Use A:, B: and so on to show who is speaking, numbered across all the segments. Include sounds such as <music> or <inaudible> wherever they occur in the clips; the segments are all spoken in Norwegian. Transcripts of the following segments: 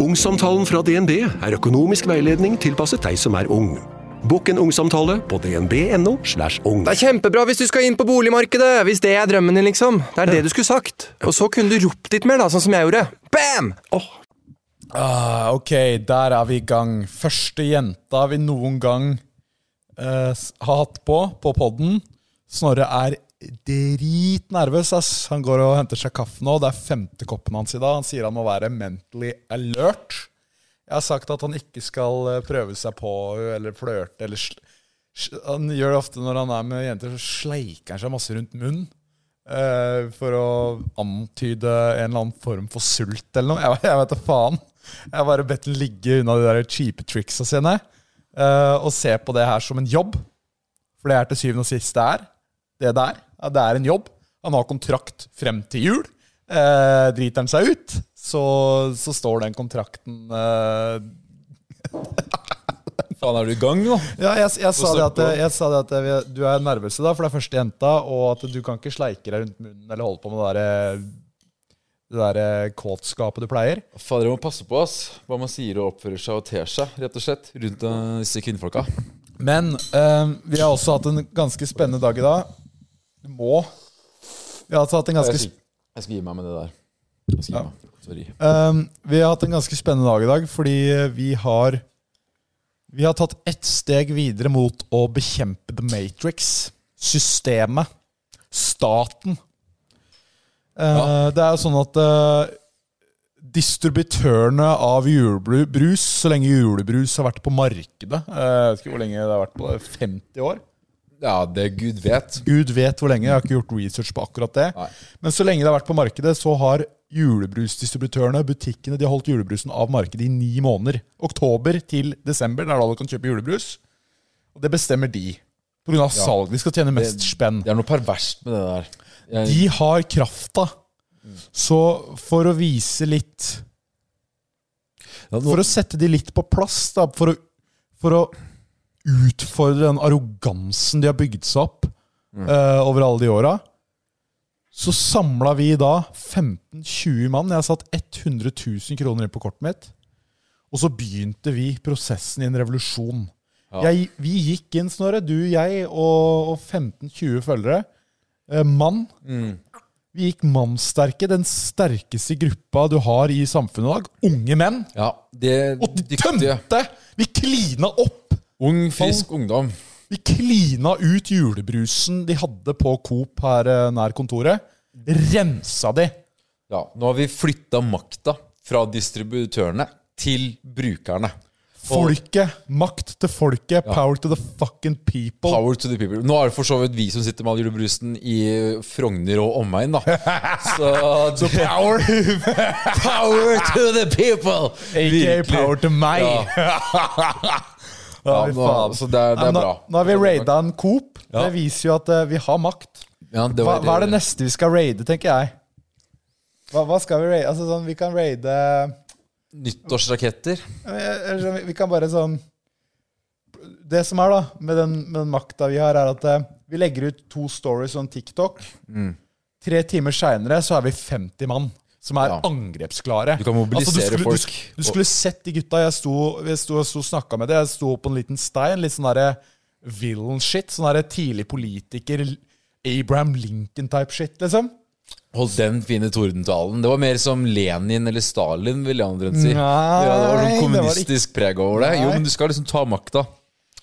A: Ungsamtalen fra DNB er økonomisk veiledning tilpasset deg som er ung. Bokk en ungsamtale på dnb.no. slash ung.
B: Det er kjempebra hvis du skal inn på boligmarkedet! Hvis det er drømmen din, liksom. Det er det du skulle sagt. Og så kunne du ropt litt mer, da, sånn som jeg gjorde. Bam!
C: Ah, ok, der er vi i gang. Første jenta vi noen gang eh, s- har hatt på på podden. Snorre er dritnervøs. ass. Han går og henter seg kaffe nå. Det er femte koppen hans i dag. Han sier han må være mentally alert. Jeg har sagt at han ikke skal eh, prøve seg på henne eller flørte. Eller sl sl- han gjør det ofte når han er med jenter, så sleiker han seg masse rundt munnen. eh, for å antyde en eller annen form for sult eller noe. <laughs> Jeg, jeg vet da faen. Jeg har bare bedt den ligge unna de der cheape tricksa sine. eh, og se på det her som en jobb. For det er til syvende og sist det er. Det der. Ja, det er en jobb. Han har kontrakt frem til jul. Eh, driter han seg ut, så, så står den kontrakten eh,
D: Faen, er du i gang nå?
C: Ja, jeg, jeg, sa det
D: snakke
C: at, jeg sa det at vi- du er nervøs i dag, for det er første jenta, og at du kan ikke sleike deg rundt munnen eller holde på med det der, eh, det der eh, kåtskapet du pleier.
D: Faen, dere må passe på ass. hva man sier og oppfører seg og ter seg rett og slett, rundt eh, disse kvinnfolka.
C: Men eh, vi har også hatt en ganske spennende dag i dag. Du må Vi har altså hatt en ganske sp-
D: Jeg skal, jeg skal gi meg med det der. Jeg skal gi
C: Ja.
D: meg. Sorry.
C: Um, vi har hatt en ganske spennende dag i dag, fordi vi har Vi har tatt ett steg videre mot å bekjempe The Matrix. Systemet. Staten. Uh, Det er jo sånn at uh, distributørene av julebrus, så lenge julebrus har vært på markedet uh, Jeg vet ikke hvor lenge det har vært på det, 50 år?
D: Ja, det gud vet.
C: Gud vet hvor lenge. Jeg har ikke gjort research på akkurat det.
D: Nei.
C: Men så lenge det har vært på markedet, så har julebrusdistributørene, butikkene, de har holdt julebrusen av markedet i ni måneder. Oktober til desember, det er da du kan kjøpe julebrus. Og det bestemmer de. På grunn av salg. De skal tjene mest spenn.
D: Det er noe perverst med det der. Jeg,
C: De har krafta. Så for å vise litt
D: Ja, nå-
C: For å sette de litt på plass, da, for å, for å utfordre den arrogansen de har bygd seg opp
D: Mm.
C: eh, over alle de åra, så samla vi da 15-20 mann. Jeg har satt 100 000 kroner inn på kortet mitt. Og så begynte vi prosessen i en revolusjon. Jeg, vi gikk inn, Snorre, du, jeg og, og 15-20 følgere. Eh, mann. Vi gikk mannssterke, den sterkeste gruppa du har i samfunnet i dag. Unge menn.
D: ja, det
C: Og de
D: dyktige.
C: tømte! Vi klina opp!
D: Ung, frisk ungdom.
C: Vi klina ut julebrusen de hadde på Coop her eh, nær kontoret. Rensa de.
D: Ja, nå har vi flytta makta fra distributørene til brukerne. Og
C: Folket. Makt til folket. Power to the fucking people.
D: Power to the people. Nå er det for så vidt vi som sitter med all julebrusen i Frogner og
C: <laughs>
D: omegn, da. Så, det-
C: Power,
D: <laughs> power to the people!
C: AKA
D: Virkelig.
C: power to meg. <laughs>
D: Ja. Ja,
C: fy
D: nå-
C: faen.
D: så det er- det er
C: Nei, nå,
D: bra.
C: Nå har vi raida en Coop.
D: Ja.
C: Det viser jo at eh, vi har makt.
D: Ja, det
C: Hva,
D: var-
C: hva er det neste vi skal raide, tenker jeg? Hva, hva skal vi raide? Altså, sånn, vi kan raide
D: Nyttårsraketter.
C: Ja, men eh, jeg- jeg skjønner, Vi kan bare sånn Det som er, da, med den, med den makta vi har, er at eh, vi legger ut to stories on TikTok.
D: Mm.
C: Tre timer seinere så er vi 50 mann som er
D: Ja.
C: angrepsklare. Altså,
D: Du kan mobilisere
C: du skulle,
D: folk.
C: Du, sk- du skulle sett de gutta. Jeg sto, jeg sto, jeg sto og snakka med dem. Jeg sto på en liten stein. Litt sånn derre villain shit. Sånn derre tidlig politiker, Abraham Lincoln-type shit, liksom.
D: Hold den fine tordentalen. Det var mer som Lenin eller Stalin, vil andre enn
C: Nei,
D: si. ja, det var noe
C: det var
D: kommunistisk preg over det. Jo,
C: Nei.
D: men du skal liksom ta makta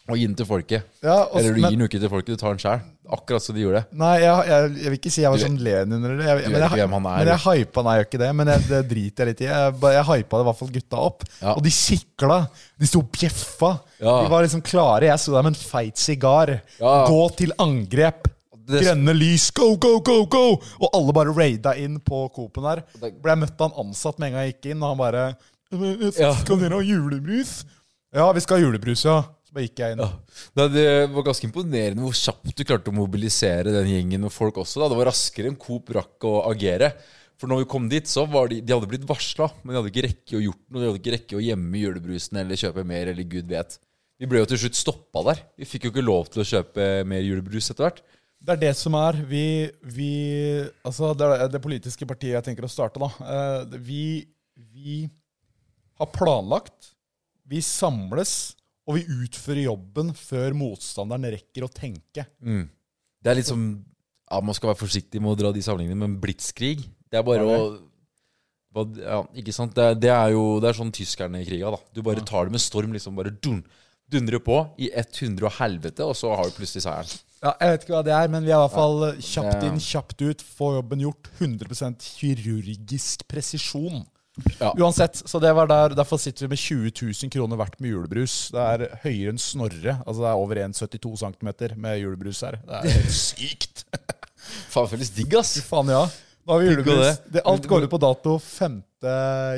D: og gi den til folket.
C: Ja, og-
D: eller du
C: men-
D: gir den jo ikke til folket, du tar den sjøl. Akkurat som de gjorde.
C: Nei, jeg, jeg, jeg vil ikke si jeg var
D: Du vet-
C: som Lenin eller det. Jeg,
D: vet
C: men jeg,
D: ikke hvem han er.
C: Men jeg hypa Nei, jeg gjør ikke det, men jeg, det driter jeg litt i. Jeg, bare- jeg hypa det i hvert fall gutta opp.
D: Ja.
C: Og de sikla. De sto og bjeffa.
D: Ja.
C: De var liksom klare. Jeg sto der med en feit sigar.
D: Ja.
C: Gå til angrep.
D: Det-
C: Grønne lys, go, go, go, go! Og alle bare raida inn på Coop-en der.
D: det-
C: Ble jeg møtt av en ansatt med en gang jeg gikk inn, og han bare «Men,
D: Ja.
C: Skal dere ha julebrus? Ja, vi skal ha julebrus, ja. Så bare gikk jeg inn.
D: Nei, det var ganske imponerende hvor kjapt du klarte å mobilisere den gjengen med folk også. da. Det var raskere enn Coop rakk å agere. For når vi kom dit, så var de, de hadde blitt varsla, men de hadde ikke rekke å gjort noe. De hadde ikke rekke å gjemme julebrusen eller kjøpe mer, eller gud vet. Vi ble jo til slutt stoppa der. Vi fikk jo ikke lov til å kjøpe mer julebrus etter hvert.
C: Det er det som er vi, vi Altså, det er det politiske partiet jeg tenker å starte, da. Eh, Vi, vi har planlagt. Vi samles, og vi utfører jobben før motstanderen rekker å tenke.
D: Det er litt som ja, Man skal være forsiktig med å dra de sammenligningene, men blitskrig Det er bare å hva- ja, Ikke sant? Det, er- det er jo Det er sånn tyskerne i kriga, da. Du bare tar det med storm, liksom. Bare dun, dundrer på i 100 og helvete, og så har du plutselig seieren.
C: Ja, jeg vet ikke hva det er, men vi er i hvert fall eh, kjapt
D: Ja.
C: inn, kjapt ut. Få jobben gjort. 100 kirurgisk presisjon.
D: Ja.
C: Uansett, så det var der, Derfor sitter vi med 20 000 kroner hvert med julebrus. Det er høyere enn Snorre. Altså Det er over 1,72 cm med julebrus her. Det er helt
D: <laughs>
C: sykt!
D: Faen, føles digg, ass.
C: Faen, ja. Nå har vi
D: Tenk på
C: julebrus.
D: det.
C: Det, alt går ut på dato 5.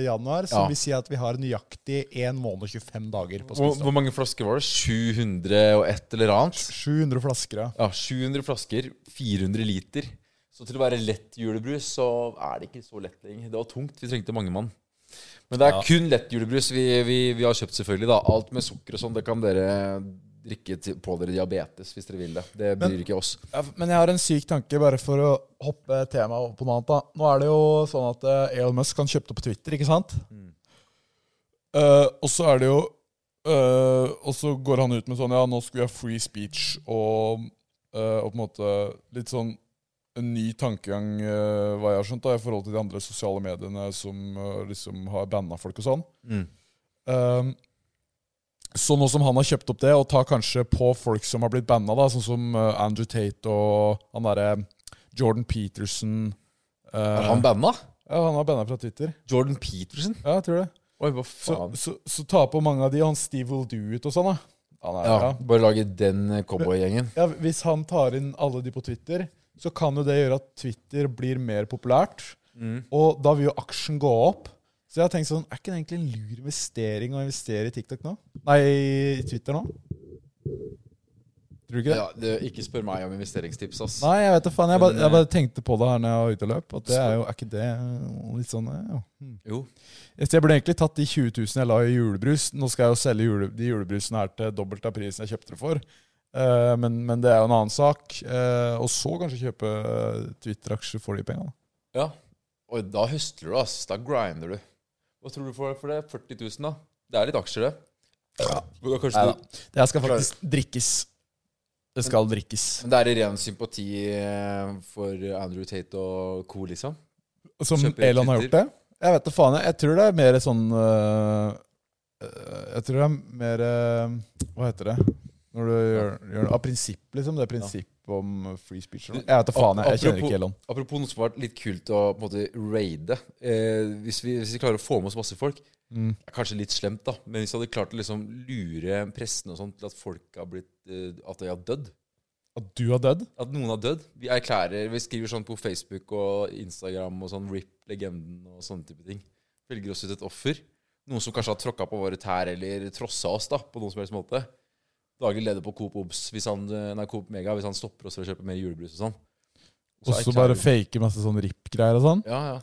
C: januar, som
D: Ja.
C: vil si at vi har nøyaktig 1 måned og 25 dager på
D: Hvor, hvor
C: spissen.
D: mange flasker var det? 700 og et eller annet?
C: 700 flasker, ja.
D: Ja, 700 flasker, 400 liter. Så til å være lett julebrus, så er det ikke så lett lenger. Det var tungt, vi trengte mange mann. Men det er kun lett julebrus vi, vi, vi har kjøpt, selvfølgelig. da. Alt med sukker og sånn, det kan dere drikke til, på dere diabetes hvis dere vil det. Det bryr ikke oss.
C: Ja, Men jeg har en syk tanke, bare for å hoppe temaet over på noe annet. da. Nå er det jo sånn at eh, Elon Musk han kjøpte på Twitter, ikke sant? Eh, og så er det jo eh, Og så går han ut med sånn Ja, nå skal vi ha free speech og, eh, og på en måte litt sånn en ny tankegang, eh, hva jeg har skjønt, da, i forhold til de andre sosiale mediene som eh, liksom har banna folk og sånn.
D: Mm.
C: Um, så nå som han har kjøpt opp det, og tar kanskje på folk som har blitt banna, da, sånn som eh, Andrew Tate og han derre Jordan Peterson eh,
D: Er han banna?
C: Ja, han har banna fra Twitter.
D: Jordan Peterson?
C: Ja, jeg tror det.
D: Oi, hva
C: Så,
D: faen?
C: så, så ta på mange av de, og han Steve Will Do It og sånn, da. Han er,
D: ja,
C: ja.
D: bare lage den cowboygjengen.
C: Ja, hvis han tar inn alle de på Twitter, så kan jo det gjøre at Twitter blir mer populært.
D: Mm.
C: Og da vil jo aksjen gå opp. Så jeg har tenkt sånn, er ikke det egentlig en lur investering å investere i TikTok nå? Nei, i Twitter nå? Tror du ikke det?
D: Ja, det, ikke spør meg om investeringstips, ass.
C: Nei, jeg vet da faen. Jeg bare,
D: Men, eh,
C: jeg bare tenkte på det her når jeg var ute og løp. At det er jo, er ikke det litt sånn ja.
D: Jo.
C: Så Jeg burde egentlig tatt de 20 000 jeg la i julebrus. Nå skal jeg jo selge jule, de julebrusene her til dobbelt av prisen jeg kjøpte det for. Eh, men, men det er jo en annen sak. Eh, og så kanskje kjøpe eh, Twitter-aksjer for de pengene.
D: Ja. Oi, da høstler du, ass. Da grinder du. Hva tror du for, for det? 40 000, da? Det er litt aksjer, det. Men da kanskje du-
C: Det her skal faktisk drikkes. Det skal drikkes.
D: Men det er i ren sympati eh, for Andrew Tate og co., liksom?
C: Som
D: Kjøper i
C: Elon har gjort det?
D: Twitter.
C: Jeg vet da faen. Jeg, jeg tror det er mer sånn eh, eh, Jeg tror det er mer eh, Hva heter det? Når du gjør, gjør det av prinsipp, liksom. Det er prinsipp om free speech. eller noe. Jeg vet da faen. Jeg, jeg kjenner
D: Apropos-
C: ikke Elon.
D: Apropos noe som har vært litt kult å på en måte raide. Eh, hvis, vi, hvis vi klarer å få med oss masse folk
C: Mm.
D: er Kanskje litt slemt, da. Men hvis vi hadde klart å liksom lure pressen og sånn til at folk har blitt eh, At de har dødd.
C: At du har dødd?
D: At noen har dødd. Vi erklærer Vi skriver sånn på Facebook og Instagram og sånn RIP legenden og sånne type ting. Velger oss ut et offer. Noen som kanskje har tråkka på våre tær eller trossa oss da på noen som helst måte. Daglig leder på Coop Obs hvis han, eh, nei, Coop Mega hvis han stopper oss fra å kjøpe mer julebrus og sånn.
C: Og så bare fake masse sånn RIP-greier og sånn.
D: Ja, ja.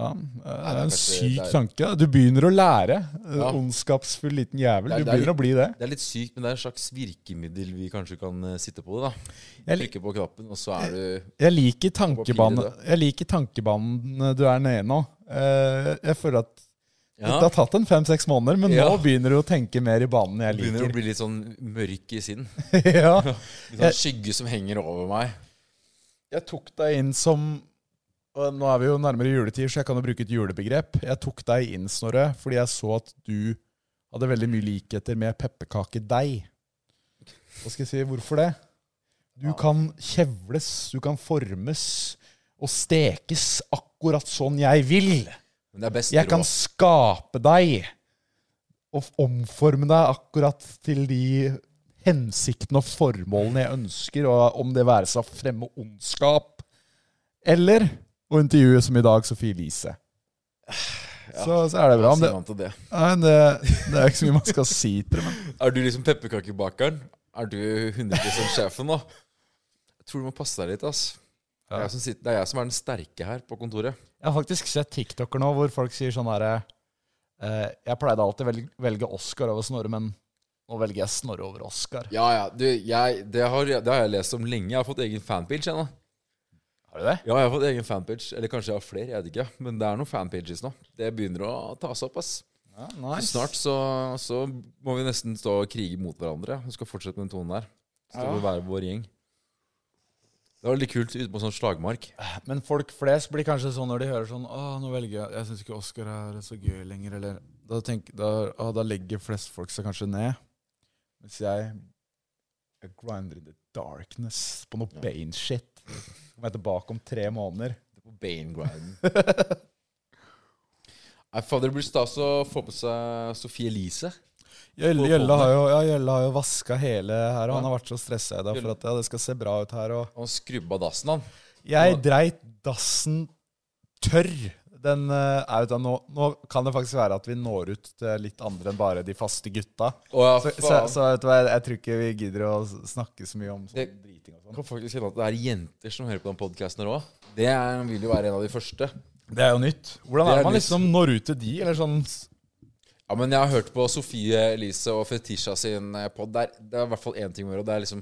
C: Ja, eh, det er
D: det er
C: en
D: kanskje-
C: syk
D: det er-
C: tanke. Du begynner å lære. eh,
D: Ja.
C: Ondskapsfull liten jævel.
D: Det er-
C: Du
D: det er-
C: begynner å bli det.
D: Det er litt sykt, men det er et slags virkemiddel vi kanskje kan eh, sitte på det, da.
C: Jeg lik-
D: Trykke på knappen, og så er du
C: Jeg liker
D: Hva
C: tankebanen
D: blir
C: Jeg liker tankebanen du er nede i nå. Eh, Jeg føler at
D: ja,
C: det har tatt en fem-seks måneder, men
D: Ja.
C: nå begynner du å tenke mer i banen jeg
D: Begynner å
C: liker.
D: bli litt sånn mørk i sinn.
C: <laughs> ja.
D: Litt sånn skygge som henger over meg.
C: Jeg tok deg inn som og Nå er vi jo nærmere juletid, så jeg kan jo bruke et julebegrep. Jeg tok deg inn, Snorre, fordi jeg så at du hadde veldig mye likheter med pepperkakedeig. Hva skal jeg si? Hvorfor det? Du kan kjevles, du kan formes og stekes akkurat sånn jeg vil.
D: Men det er best
C: Jeg kan
D: rå.
C: skape deg og f- omforme deg akkurat til de hensiktene og formålene jeg ønsker, og om det være seg å fremme ondskap eller å intervjue som i dag Sophie Elise. Så, så er det bra.
D: Hva
C: Men det,
D: sier man til det?
C: nei, det, det er ikke så mye man skal si til det. Men.
D: Er du liksom pepperkakebakeren? Er du 100 sjefen nå? Jeg tror du må passe deg litt, ass. Det er jeg som, sitter, det er jeg som er den sterke her på kontoret.
C: Jeg har faktisk sett TikToker nå hvor folk sier sånn herre Jeg pleide alltid å velge, Oscar over Snorre, men nå velger jeg Snorre over Oscar.
D: Ja, ja, du, jeg, det, har, det har jeg lest om lenge. Jeg har fått egen fanpage ennå.
C: Har du det?
D: Ja, jeg har fått egen fanpage. Eller kanskje jeg har flere, jeg vet ikke. Men det er noen fanpages nå. Det begynner å tas opp, ass.
C: nice.
D: Snart så, så må vi nesten stå og krige mot hverandre. Vi skal fortsette med den tonen der. Stå og være vår gjeng. Det var veldig kult ute på en sånn slagmark.
C: Men folk flest blir kanskje sånn når de hører sånn Å, nå velger jeg Jeg syns ikke Oscar er så gøy lenger, eller da, tenk, da, å, da legger flest folk seg kanskje ned. Mens jeg Jeg grinder in the darkness på noe Bane-shit. Kommer jeg tilbake om tre måneder.
D: På Bane-grinden. <laughs> Nei, fader, det blir stas å få på seg Sophie Elise.
C: Gjølle,
D: På
C: Gjølle har
D: båten.
C: jo, ja, Gjølle har jo vaska hele her, og han
D: Ja.
C: har vært så stressa i dag for at ja, det skal se bra ut her. Og
D: Han skrubba dassen, han.
C: jeg
D: Og-
C: dreit dassen tørr. Den eh, er ut av nå. Nå kan det faktisk være at vi når ut til litt andre enn bare de faste gutta.
D: Å, ja,
C: Så,
D: faen.
C: så, så vet du hva, jeg, jeg tror ikke vi gidder å s- snakke så mye om sånn
D: Det-
C: driting og
D: Jeg
C: sånn.
D: kan faktisk hende at det er jenter som hører på den podkasten her òg. Det er, vil jo være en av de første.
C: Det er jo nytt. Hvordan
D: Det
C: er
D: er
C: det man
D: nytt.
C: liksom når ut til de, eller sånn s-
D: Ja, men jeg har hørt på Sofie Elise og Fetisha sin pod. Det er, det er i hvert fall én ting med det. og Det er liksom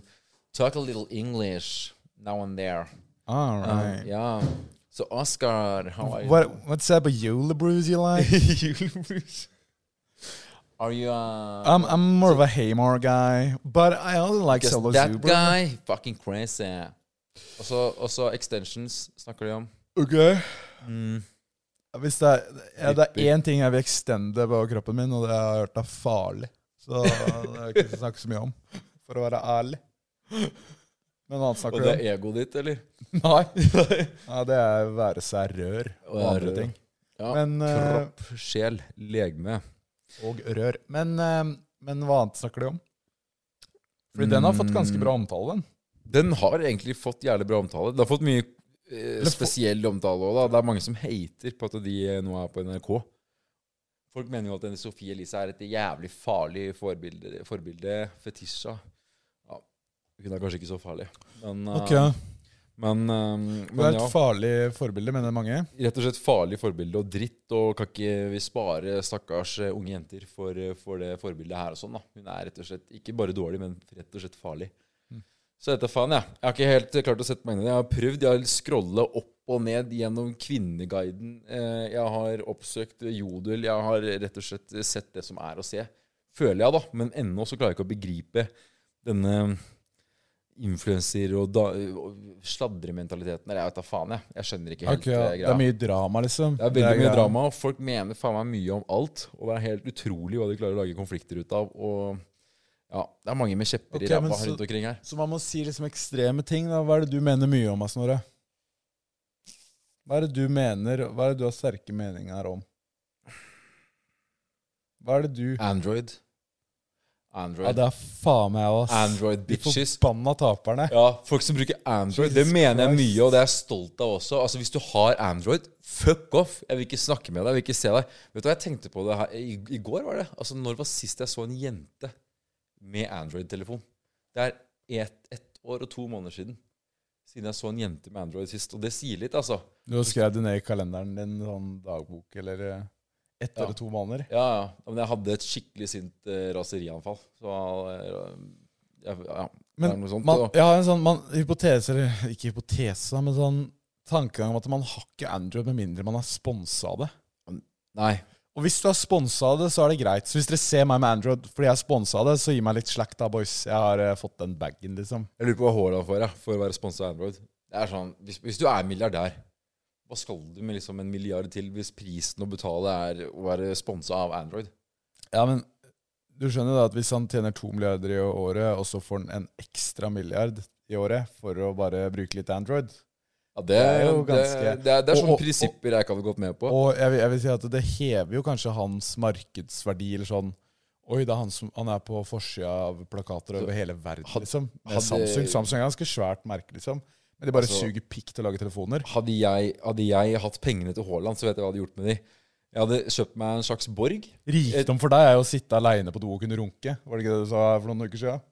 D: Talk a little English now and there.
C: All
D: Um,
C: right.
D: Ja. Så Oscar, how are you?
C: What, what's up with julebrews you
D: <laughs>
C: like?
D: Julebrusen. <laughs> Are you uh,
C: I'm, I'm more of a Haymar guy, but I also like
D: just
C: Solo
D: that
C: Super.
D: guy? Fucking crazy. Og så- Og så extensions snakker de om.
C: Ok. Mm. Hvis det er, ja, det
D: Ripper.
C: er én ting jeg vil extende på kroppen min, og det har jeg hørt er farlig. Så det er ikke å snakke så mye om, for å være ærlig. Men hva annet
D: Og
C: snakker
D: det
C: du om?
D: er egoet ditt, eller?
C: Nei. <laughs> Ja, det er være seg rør og
D: Å, ja,
C: andre
D: rør.
C: ting.
D: Ja.
C: Men, eh,
D: Kropp, sjel, legeme.
C: og rør. Men, eh, men hva annet snakker de om? Fordi den har fått ganske
D: Mm.
C: bra omtale, den.
D: Den har egentlig fått jævlig bra omtale. Den har fått mye eh,
C: få-
D: spesiell omtale òg, da. Det er mange som hater på at de eh, nå er på NRK. Folk mener jo at denne Sophie Elise er et jævlig farlig forbilde. forbilde fetisja. Ja, hun er kanskje ikke så farlig, men eh, Men, eh,
C: Det er
D: men
C: et
D: ja.
C: farlig forbilde, mener mange.
D: Rett og slett farlig forbilde og dritt, og kan ikke vi spare stakkars eh, unge jenter for, eh, for det forbildet her og sånn, da. Hun er rett og slett ikke bare dårlig, men rett og slett farlig.
C: Mm.
D: Så dette faen, jeg. Jeg har ikke helt eh, klart å sette meg inn i det. Jeg har prøvd. Jeg har scrollet opp og ned gjennom Kvinneguiden. Eh, Jeg har oppsøkt Jodel. Jeg har rett og slett sett det som er å se. Føler jeg, da. Men ennå så klarer jeg ikke å begripe denne influenser- og, da- og sladrementaliteten. Eller jeg vet da faen, jeg. Jeg skjønner ikke helt
C: Ok, ja.
D: eh,
C: Det er mye drama, liksom.
D: det er veldig mye
C: greia.
D: drama, og folk mener faen meg mye om alt. Og det er helt utrolig hva de klarer å lage konflikter ut av. Og ja, det er mange med kjepper
C: Ok,
D: i ræva
C: men så-
D: rundt omkring her.
C: Så man må si liksom ekstreme ting. da. Hva er det du mener mye om, da, Snorre? Hva er det du mener, hva er det du har sterke meninger om? Hva er det du
D: Android.
C: Ja,
D: Android.
C: det er faen meg oss.
D: Android
C: De
D: bitches.
C: forbanna taperne.
D: Ja, folk som bruker Android, det
C: Jesus
D: mener jeg
C: Christ.
D: mye, og det er jeg stolt av også. Altså, Hvis du har Android, fuck off! Jeg vil ikke snakke med deg, jeg vil ikke se deg. Vet du hva jeg tenkte på det her i, i går? var det? Altså, Når var sist jeg så en jente med Android-telefon? Det er ett ett år og to måneder siden. Siden jeg så en jente med Android sist. Og det sier litt, altså.
C: Du har skrevet det ned i kalenderen din, sånn dagbok eller eh, ett
D: Ja.
C: eller to måneder.
D: Ja, ja. Men jeg hadde et skikkelig sint eh, raserianfall. Så eh, jeg, ja, det
C: Men
D: er noe sånt.
C: man,
D: og-
C: jeg har en sånn man, hypotese, eller ikke hypotese, da, men sånn tankegang om at man har ikke Android med mindre man er sponsa av det.
D: Nei.
C: Og hvis du har sponsa det, så er det greit. Så hvis dere ser meg med Android fordi jeg sponsa det, så gi meg litt slack da, boys. Jeg har eh, fått den bagen, liksom.
D: Jeg lurer på hva Haaland får jeg, for å være sponsa av Android. Det er sånn, hvis, hvis du er milliardær, hva skal du med liksom en milliard til hvis prisen å betale er å være sponsa av Android?
C: Ja, men du skjønner da at hvis han tjener to milliarder i året, og så får han en ekstra milliard i året for å bare bruke litt Android
D: Ja, det,
C: er jo
D: det,
C: ganske-
D: det, er, det er
C: og-
D: sånne
C: og-
D: prinsipper jeg ikke hadde gått med på.
C: Og jeg, vil- jeg vil si at det hever jo kanskje hans markedsverdi, eller sånn Oi, det er han som han er på forsida av plakater over hele verden,
D: had-
C: liksom. Med
D: hadde-
C: Samsung. Samsung er ganske svært merke, liksom. Men de bare
D: Altså-
C: suger pikk til å lage telefoner.
D: Hadde jeg, hadde jeg hatt pengene til Haaland, så vet jeg hva jeg hadde gjort med de. Jeg hadde kjøpt meg en slags borg.
C: Rikdom for deg er jo å sitte aleine på do og kunne runke. Var det ikke det du sa for noen uker siden?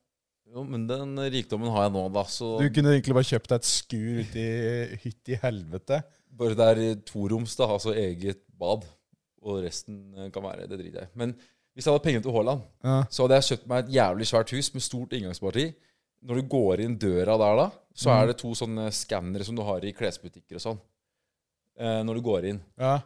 D: Jo, men den rikdommen har jeg nå, da. Så
C: Du kunne egentlig bare kjøpt deg et skur ute i hytt i helvete.
D: Bare det er toroms, da, altså eget bad. Og resten eh, kan være Det driter jeg i. Men hvis jeg hadde penger til Haaland,
C: Ja.
D: så hadde jeg kjøpt meg et jævlig svært hus med stort inngangsparti. Når du går inn døra der, da, så er det to sånne skannere som du har i klesbutikker og sånn. Eh, når du går inn.
C: Ja.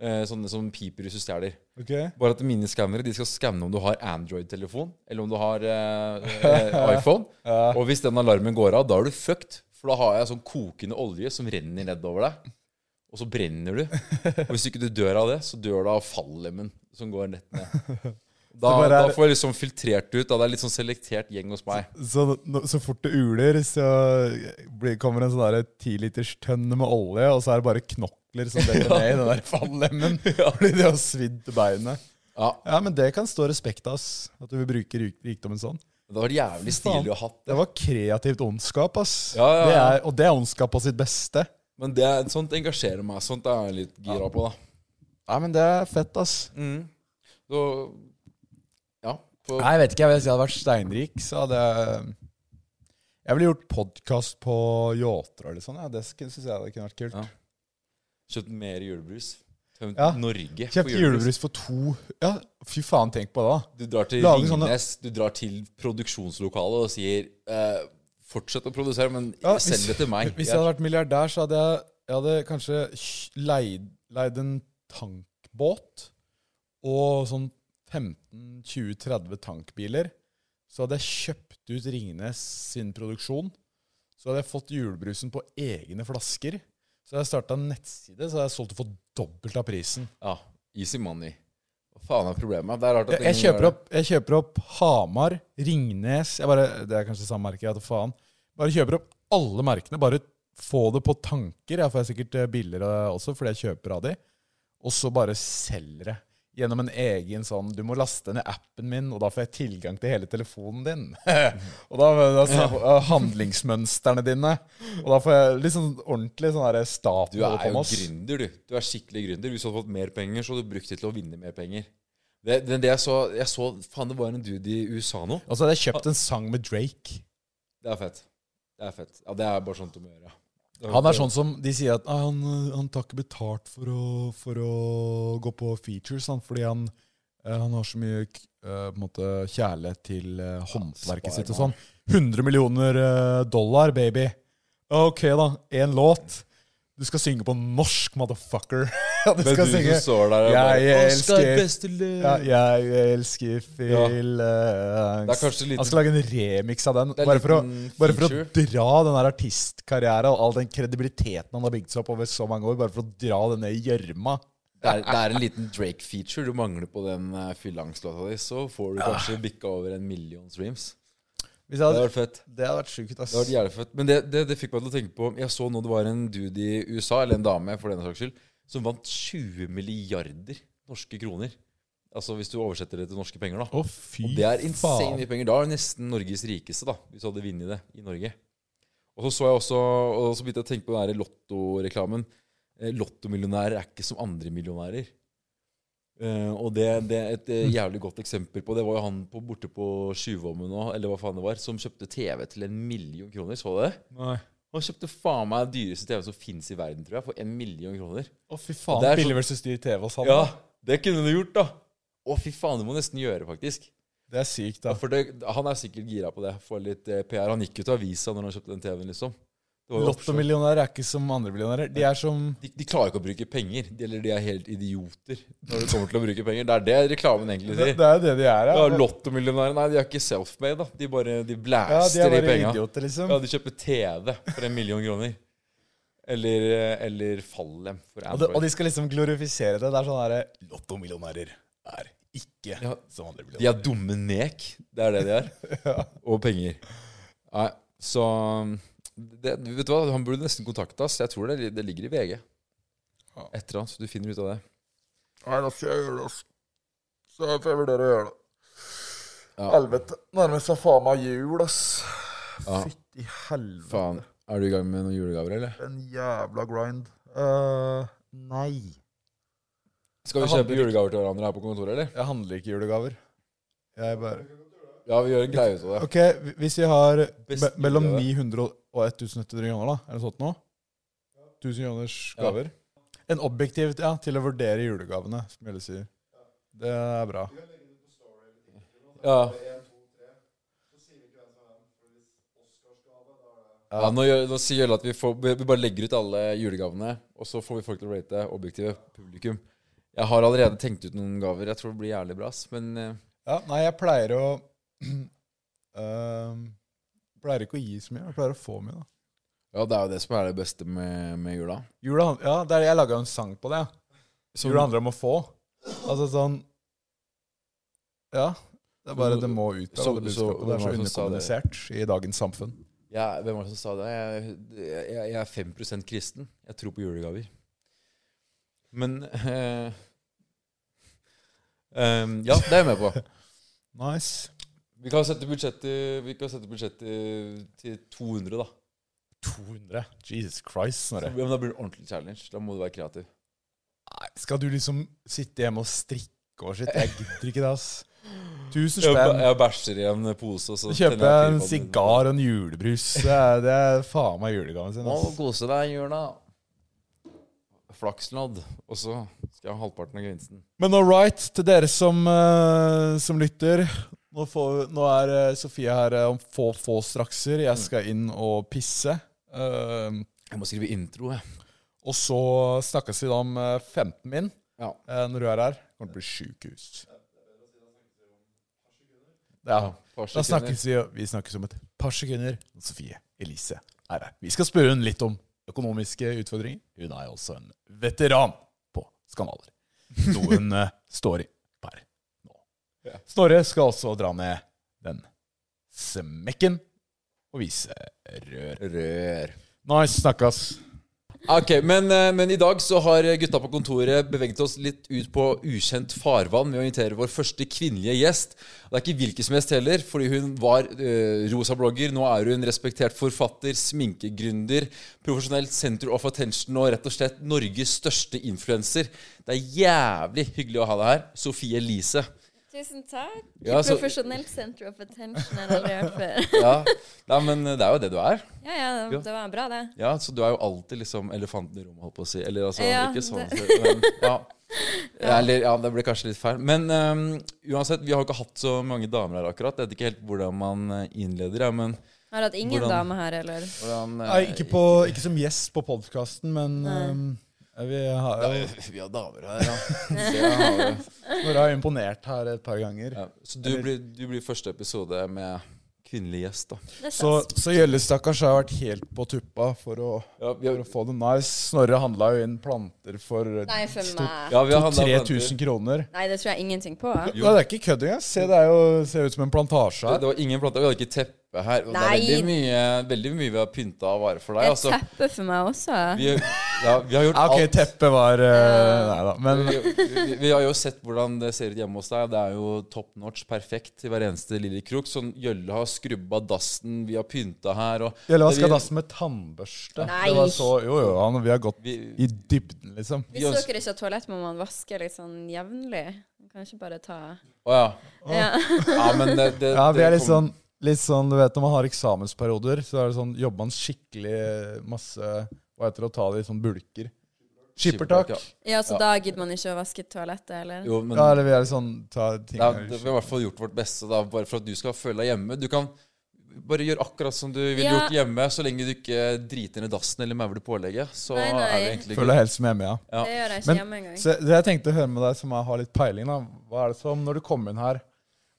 D: eh, sånne som piper hvis du stjeler.
C: Ok.
D: Bare at mine skannere de skal skanne om du har Android-telefon, eller om du har
C: <laughs>
D: eh, eh, iPhone. Og hvis den alarmen går av, da er du fucked. For da har jeg sånn kokende olje som renner nedover deg. Og så brenner du. Og hvis ikke du dør av det, så dør du av fallemmen som går
C: <laughs>
D: rett ned. Da,
C: bare er-
D: da får jeg liksom filtrert ut. Da det er litt sånn selektert gjeng hos meg.
C: Så, nå- så fort det uler, så blir, kommer en sånn derre tiliters tønne med olje, og så er det bare knokler
D: <laughs>
C: som detter ned i den der fallemmen. Fordi de har svidd til beinet.
D: Ja,
C: Ja, men det kan stå respekt av, ass. At du vil bruke rik- rikdommen sånn.
D: Det var jævlig stilig å ha hatt.
C: Det var kreativt ondskap, ass.
D: Ja, ja, ja.
C: Det er, og det er ondskap på sitt beste.
D: Men det, er- sånt engasjerer meg. Sånt er jeg litt gira på, da.
C: Nei, men det er fett, ass.
D: Mm. Så, ja. På,
C: Nei, jeg vet ikke. Jeg vet, hvis jeg hadde vært steinrik, så hadde jeg Jeg ville gjort podkast på yachter eller sånn. Ja. Det syns jeg det kunne vært kult.
D: Ja. kjøpt mer julebrus. Tømt
C: Ja.
D: Norge
C: Kjøpt julebrus for to Ja, fy faen, tenk på det, da.
D: Du drar til
C: Lage sånne-
D: Ringnes, du drar til produksjonslokalet og sier eh, Fortsett å produsere, men
C: Ja, hvis-
D: send det til meg.
C: Hvis jeg
D: Jeg-
C: hadde vært milliardær, så hadde jeg, jeg hadde kanskje kj- leid, leid en tankbåt og sånn 15-20-30 tankbiler. Så hadde jeg kjøpt ut Ringnes sin produksjon. Så hadde jeg fått julebrusen på egne flasker. Så hadde jeg starta en nettside, så hadde jeg solgt det for dobbelt av prisen.
D: Ja, easy money. Hva faen er problemet? Det er rart at
C: Jeg, jeg, kjøper, opp, jeg kjøper opp Hamar, Ringnes jeg bare, Det er kanskje samme merke, jeg vet da faen. Bare kjøper opp alle merkene. Bare få det på tanker. Jeg får sikkert eh, billigere også, fordi jeg kjøper av de. Og så bare selger det. Gjennom en egen sånn Du må laste ned appen min, og da får jeg tilgang til hele telefonen din. <laughs> og da, da ser jeg eh, handlingsmønstrene dine. Og da får jeg litt sånn ordentlig sånn derre stat
D: Du er jo
C: Thomas.
D: gründer, du. Du er skikkelig gründer. Hvis du hadde fått mer penger, så hadde du brukt det til å vinne mer penger. Det, det, det jeg så, jeg så Faen, det var en dude i USA nå.
C: Og så hadde jeg kjøpt en sang med Drake.
D: Det er fett. Det er fett. Ja, det er bare sånt du må gjøre.
C: Han er sånn som de sier at «Nei, han, eh, han tar ikke betalt for å, for å gå på features, han, fordi han, eh, han har så mye k- eh, på en måte, kjærlighet til eh, håndverket sitt og sånn. 100 millioner eh, dollar, baby. Ok, da. Én låt. Du skal synge på norsk, motherfucker. <laughs> Ja, du
D: Men
C: skal
D: du som
C: synge
D: står der og bare,
C: Jeg
D: «Oscar
C: elsker
D: Besteløv».
C: ja, Jeg elsker Phil eh,
D: Det er kanskje litt-
C: Han skal lage en remix av den.
D: Det er
C: Bare for, å,
D: liten
C: bare for å
D: feature.
C: dra den der artistkarrieren og all den kredibiliteten han har bygd seg opp over så mange år, bare for å dra den ned i gjørma.
D: Det er, det er en liten Drake-feature du mangler på den uh, fyllangslåta di. Så får du kanskje bikka over en million streams.
C: Hvis jeg
D: Det hadde
C: hadde,
D: vært fett.
C: det hadde vært sjukt, ass.
D: Det hadde vært jævlig fett. Men det, det, det fikk meg til å tenke på Jeg så nå det var en dude i USA, eller en dame for denne saks skyld, som vant 20 milliarder norske kroner. Altså hvis du oversetter det til norske penger, da.
C: Å, fy
D: Og det er insane
C: faen.
D: mye penger. Da er det nesten Norges rikeste, da, hvis du hadde vunnet det i Norge. Og så så jeg også, og så begynte jeg å tenke på den der lottoreklamen. Eh, Lottomillionærer er ikke som andre millionærer. Eh, og det, det er et
C: <laughs>
D: eh, jævlig godt eksempel på. Det var jo han på, borte på Tjuvholmen nå, eller hva faen det var, som kjøpte TV til en million kroner. Så du det?
C: Nei.
D: Han kjøpte faen meg den dyreste TV som fins i verden, tror jeg, for en million kroner.
C: Å, fy
D: Og
C: faen.
D: det er så-
C: Billig versus dyr TV hos han.
D: Ja,
C: da.
D: det kunne du gjort, da. Å, fy faen, det må du nesten gjøre, faktisk.
C: Det er sykt, da.
D: Ja, for det, han er sikkert gira på det. Få litt eh, PR. Han gikk jo til avisa når han kjøpte den TV-en, liksom. Det var jo oppslag.
C: Lottomillionærer er ikke som andre millionærer. De er som
D: de, de klarer ikke å bruke penger. De, eller de er helt idioter når det kommer til å bruke penger. Det er det reklamen egentlig
C: Det,
D: sier.
C: det er jo det de er,
D: Ja,
C: ja.
D: Lottomillionærer Nei, de er ikke self-made, da. De bare de
C: Ja, de
D: blæster
C: er
D: de,
C: bare
D: penga.
C: idioter, liksom.
D: Ja, de kjøper TV for en million kroner. Eller, eh, eller Fallem for
C: Og de,
D: Android.
C: og de skal liksom glorifisere det. Det er sånn derre Lottomillionærer er ikke
D: Ja.
C: som andre
D: De
C: millionærer.
D: er dumme nek. Det er det de <laughs> er. Og penger. Nei, så det, Vet du hva, han burde nesten kontakte oss. Jeg tror det, det ligger i VG. Etter han, så du finner ut av det.
E: Nei, da skal jeg gjøre det, altså. Så får jeg vurdere å gjøre det.
D: Ja.
E: Helvete. Nærmer seg faen meg jul, ass.
D: Ja.
E: Fytti helvete.
D: Faen. Er du i gang med noen julegaver, eller?
E: En jævla grind. Eh, nei.
D: Skal vi
C: Jeg hadde
D: kjøpe julegaver til hverandre her på kontoret, eller?
C: Jeg handler ikke julegaver. Jeg bare
D: Ja, vi gjør en greie ut av det.
C: Ok, hvi- hvis vi har me
D: Best
C: mellom
D: julegave.
C: 900 og 1100 kroner, da, er det sånt nå? 1000 kroners
D: Ja.
C: gaver? En objektiv ja, til å vurdere julegavene, som Jelle sier. Det er bra.
D: Ja. Ja, nå, gjør, nå sier Jølle at vi, får, vi bare legger ut alle julegavene, og så får vi folk til å rate objektive publikum. Jeg har allerede tenkt ut noen gaver. Jeg tror det blir jævlig bra. ass. Men eh,
C: Ja, nei, jeg pleier å <clears throat> Øhm, Pleier ikke å gi så mye, jeg pleier å få mye. da
D: ja, det er jo det som er det beste med, med jula.
C: Jula, han- ja, det er, Jeg laga en sang på det.
D: Som-
C: Som jula handler om å få. Altså sånn Ja. Det er bare det må ut av
D: Så-
C: alle
D: så-
C: budskapene. Det er så
D: hvem var det som sa
C: underkommunisert i dagens samfunn.
D: Jeg, hvem var det som sa det? Jeg, jeg, jeg er 5 kristen. Jeg tror på julegaver. Men eh, <laughs> ehm, Ja, det er jeg med på.
C: Nice.
D: Vi kan sette budsjettet, vi kan sette budsjettet til 200, da.
C: 200. Jesus Christ,
D: Så,
C: Snorre.
D: men da blir det ordentlig challenge. Da må du være kreativ.
C: Nei, Skal du liksom sitte hjemme og strikke og shit? Jeg gidder ikke det, ass. Tusen
D: Jeg, bæ-
C: spenn.
D: jeg bæsjer i en pose, og så
C: Så kjøper jeg en sigar og en julebrus. Det er, det er faen meg julegaven sin.
D: Må
C: ass.
D: kose deg i jula. Flakslodd. Og så skal jeg ha halvparten av gevinsten.
C: Men all right, til dere som, eh, som lytter. Nå, får, nå er eh, Sofie her eh, om få, få strakser. Jeg skal inn og pisse. Eh,
D: Jeg må skrive intro, jeg.
C: og så snakkes vi da om eh, 15 min
D: Ja.
C: eh, når du er her. Det kommer til å bli sjukehus. Ja.
D: Par
C: Da
D: sekunder.
C: snakkes vi, vi snakkes om et par sekunder. Sofie Elise er her. Vi skal spørre hun litt om økonomiske utfordringer. Hun er jo også en veteran på skandaler. Noe hun eh, står i per nå.
D: Ja.
C: Snorre skal også dra ned den smekken og vise rør.
D: Rør.
C: Nice, snakkes.
D: Ok, men, eh, men i dag så har gutta på kontoret beveget oss litt ut på ukjent farvann med å invitere vår første kvinnelige gjest. Det er ikke hvilken som helst heller, fordi hun var eh, rosa blogger. Nå er hun respektert forfatter, sminkegründer, profesjonelt center of attention og rett og slett Norges største influenser. Det er jævlig hyggelig å ha deg her, Sofie Elise.
F: Tusen takk.
D: Ja, så-
F: Profesjonelt center of attention har jeg aldri hørt før.
D: Ja, Nei, men eh, det er jo det du er.
F: <laughs> Ja, ja,
D: Ja.
F: det var bra, det.
D: Ja, Så du er jo alltid liksom elefanten i rommet, holdt på å si. Eller altså,
F: Ja,
D: ikke sånn, men
F: <laughs>
D: ja. Eller, ja, det ble kanskje litt feil. Men øhm, uansett, vi har jo ikke hatt så mange damer her akkurat. Jeg vet ikke helt hvordan man eh, innleder, ja, men
F: Har du hatt ingen
D: Hvordan-
F: dame her, eller?
D: hvordan eh,
C: Nei, ikke, på, ikke som gjest på podkasten, men eh, vi har,
D: ja, Vi har damer her, <laughs> ja. Det har vi.
C: Snorre har imponert her et par ganger.
D: ja. Så du blir, du blir første episode med kvinnelig gjest, da.
F: Det er
C: Så,
F: sant.
C: så Gjelle, stakkars, har vært helt på tuppa for å
D: Ja, vi
C: For å få det nice. Snorre handla jo inn planter for
F: Nei, for meg.
D: ja, vi har handlet
C: 3000
D: planter.
C: kroner.
F: Nei, det tror jeg ingenting på.
C: Nei, det er ikke kødd engang. Se, det er jo, ser ut som en plantasje
D: Det,
C: her.
D: det var ingen planter. Vi hadde ikke teppe her. Og Det er
F: Nei.
D: veldig mye, veldig mye vi har pynta av varer for deg.
F: Et
D: Altså,
F: teppe for meg også.
D: vi, ja, vi har gjort
C: Ja, ok,
D: alt.
C: teppet var eh, Nei da. Men
D: vi, vi, vi har jo sett hvordan det ser ut hjemme hos deg. Det er jo top notch, perfekt til hver eneste lille krok. Sånn Gjølle har skrubba dassen, vi har pynta her og
C: Gjelle skal
D: vi-
C: dasse med tannbørste.
F: Nei.
C: Det var så, jo, jo, han, vi har gått
D: vi-
C: i dybden, liksom.
D: vi
F: Hvis
D: ønsker-
F: dere ikke har toalett, må man vaske litt sånn jevnlig. Man kan ikke bare ta
D: Å ja.
F: Ja. <laughs>
D: ja. Men det, det,
C: Ja, vi
D: det
C: er litt
D: kom-
C: sånn, litt sånn Du vet når man har eksamensperioder, så er det sånn, jobber man skikkelig masse Hva heter det å ta det i sånn bulker?
D: Skippertak,
C: Skippertak.
D: ja.
F: Ja, så da gidder man ikke å vaske toalettet, eller?
D: Jo, men
C: Ja, eller vi er litt sånn ta ting
D: ja, det, vi har i hvert fall gjort vårt beste, da, bare for at du skal føle deg hjemme. Du kan bare gjøre akkurat som du ville
F: Ja.
D: gjort hjemme, så lenge du ikke driter ned dassen eller mauler pålegget. Så
F: Nei, nei.
D: er vi egentlig
C: Føler deg helt som hjemme, ja.
D: Ja.
F: Det gjør jeg
C: Men-
F: ikke hjemme engang.
C: Så det jeg tenkte å høre med deg, som jeg har litt peiling, da. Hva er det som, når du kommer inn her,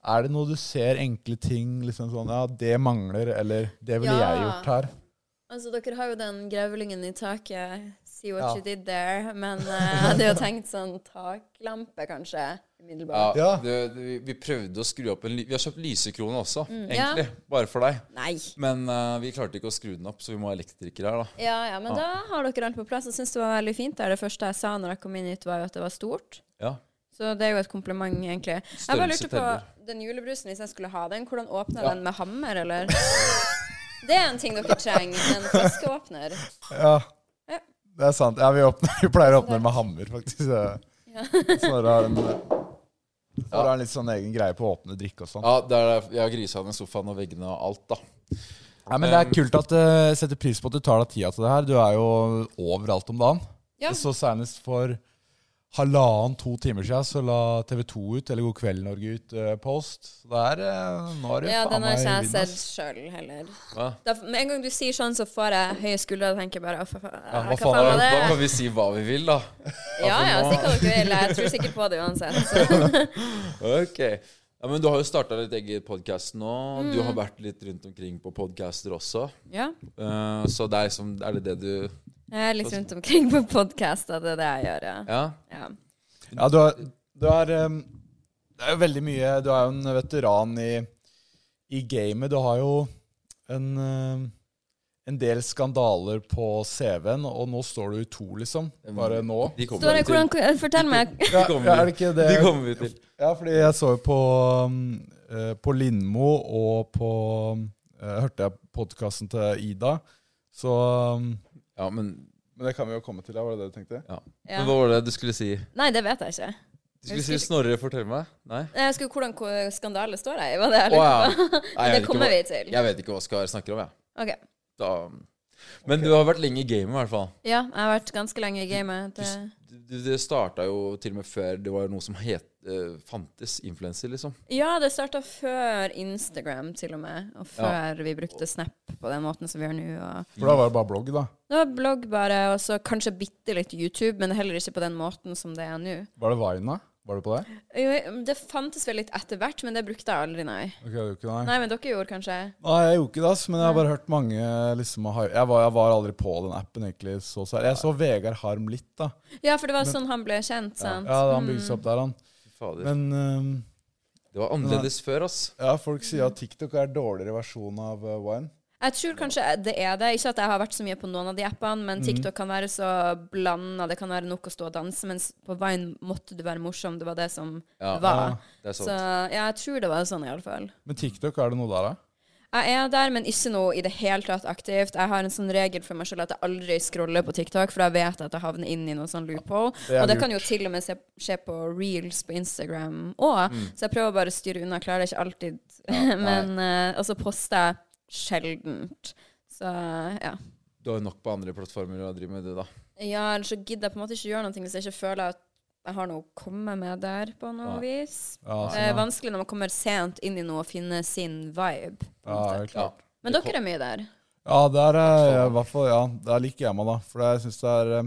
C: er det noe du ser enkle ting liksom sånn, ja, det mangler, eller det ville
F: Ja.
C: jeg gjort her?
F: Altså, dere har jo den grevlingen i taket. See what
C: Ja.
F: you did there. Men eh, jeg
D: <laughs>
F: hadde jo tenkt sånn taklampe, kanskje.
D: Ja,
F: Umiddelbart.
C: Ja.
D: det, det, vi- vi prøvde å skru opp en ly Vi har kjøpt lysekrone også,
F: Mm, ja.
D: egentlig. Bare for deg.
F: Nei.
D: Men eh, vi klarte ikke å skru den opp, så vi må ha elektrikere her, da.
F: Ja, ja, men da har dere alt på plass. Jeg syns det var veldig fint der. Det første jeg sa når jeg kom inn hit, var jo at det var stort.
D: Ja.
F: Så det er jo et kompliment, egentlig. Jeg bare
D: Størrelse
F: lurte på
D: teller.
F: den julebrusen, hvis jeg skulle ha den, hvordan åpner
D: Ja.
F: den med hammer, eller? <laughs> Det er en ting dere trenger. En flaskeåpner.
C: Ja.
F: Ja.
C: Det er sant. Ja, vi, åpner, <laughs> vi pleier å åpne med hammer, faktisk. Ja. Snorre har en Snorre har en litt sånn egen greie på å åpne drikke og sånn.
D: ja det er, jeg har grisa ned sofaen og veggene og alt, da.
C: Nei, men det er kult at jeg setter pris på at du tar deg tida til det her. Du er jo overalt om dagen.
F: Ja.
C: Så senest for halvannen, to timer siden så la TV 2 ut, eller God kveld Norge ut, eh, post. Så det er eh, Nå er det
F: Ja,
C: faen
F: den har
C: meg
F: ikke jeg
C: vind,
F: sett
C: ass.
F: sjøl heller.
D: Hva?
F: Da, med en gang du sier sånn, så får jeg høye skuldre og tenker bare «Å, fa- fa-
C: Ja, hva
F: Hva
C: faen
F: faen
D: Da,
F: var
D: da
F: det?
D: kan vi si hva vi vil, da.
F: Ja ja, si hva dere vil. Jeg tror sikkert på det uansett. Så.
D: Ok. Ja, men du har jo starta litt eget podkast nå.
F: Mm.
D: Du har vært litt rundt omkring på podcaster også.
F: Ja.
D: Eh, så det er liksom Er det det du
F: Jeg er litt rundt omkring på podkaster, det er det jeg gjør, ja.
D: Ja?
F: ja.
C: Ja, du har, du har eh, Det er jo veldig mye Du er jo en veteran i, i gamet. Du har jo en eh, en del skandaler på CV-en, og nå står du i to, liksom. Bare nå.
D: De kommer
F: Står det,
D: vi til.
F: hvordan, fortell meg.
D: <laughs>
C: Ja, ja,
D: kommer vi-
C: er det ikke det?
D: De kommer vi til.
C: Ja, fordi jeg så jo på, um, eh, på Lindmo og på eh, Hørte jeg podkasten til Ida, så um,
D: Ja, men,
C: Men det kan vi jo komme til, ja, var det det du tenkte?
D: ja.
F: Ja.
D: men hva var det du skulle si?
F: Nei, det vet jeg ikke.
D: Du skulle si Snorre, fortell meg. Nei?
F: Nei, Jeg skulle, hvordan ko- skandale står jeg i? Var det jeg
D: Å ja.
F: lurte på? <laughs>
D: Nei, jeg vet
F: Det
D: ikke
F: kommer
D: hva-
F: vi til.
D: Jeg vet ikke hva Skar snakker om, jeg.
F: Ok.
D: Da, men du har vært lenge i gamet, i hvert fall.
F: Ja, jeg har vært ganske lenge i gamet. Det,
D: Du, du- det starta jo til og med før det var noe som het, eh, fantes influenser, liksom.
F: ja, det starta før Instagram, til og med. Og før vi brukte Snap på den måten som vi gjør nå. Og
C: For da var det bare blogg, da.
F: det var blogg bare, og så kanskje bitte litt YouTube, men heller ikke på den måten som det er nå.
C: Var det Vine, da? Var du på det?
F: Jo, Det fantes vel litt etter hvert, men det brukte jeg
D: <laughs>
F: aldri, nei.
C: Ok, det er jo ikke nei.
F: Nei, men dere gjorde kanskje
C: Nei, jeg gjorde ikke det, ass, men jeg har bare hørt mange liksom, ha- jeg, var, jeg var aldri på den appen, egentlig. Så, sær- jeg så Vegard Harm litt, da.
F: Ja, for det var sånn han ble kjent, sant?
C: Ja, Han bygde seg opp der, han.
D: Fy Fader.
C: Men um,
D: Det var annerledes før, ass.
C: ja, folk sier at TikTok er dårligere versjon av eh, Vine.
F: Jeg tror kanskje det er det. Ikke at jeg har vært så mye på noen av de appene, men TikTok kan være så blanda. Det kan være nok å stå og danse, mens på Vine måtte du være morsom. Det var det som
D: Ja,
F: var.
D: Det er
F: så
D: sant.
F: ja, jeg tror det var sånn, iallfall.
C: Men TikTok, er det noe der, da?
F: Jeg er der, men ikke noe i det hele tatt aktivt. Jeg har en sånn regel for meg selv at jeg aldri scroller på TikTok, for da vet jeg at jeg havner inn i noe sånn loophole.
C: Det er
F: og det
C: lurt.
F: kan jo til og med se- skje på reels på Instagram òg, så jeg prøver bare å styre unna. Jeg klarer det ikke alltid. <laughs> men eh, Og så poster jeg sjeldent. Så ja.
D: Du har jo nok på andre plattformer å drive med det, da.
F: Ja, ellers så gidder jeg på en måte ikke gjøre noe hvis jeg ikke føler at jeg har noe å komme med der på noe vis.
C: Ja,
F: Det er vanskelig når man kommer sent inn i noe og finner sin vibe. på en
C: Ja,
F: måte.
C: helt klart.
F: Men dere er mye der.
C: Ja, der er jeg i hvert fall Ja, der liker jeg meg, da. For jeg synes det er eh,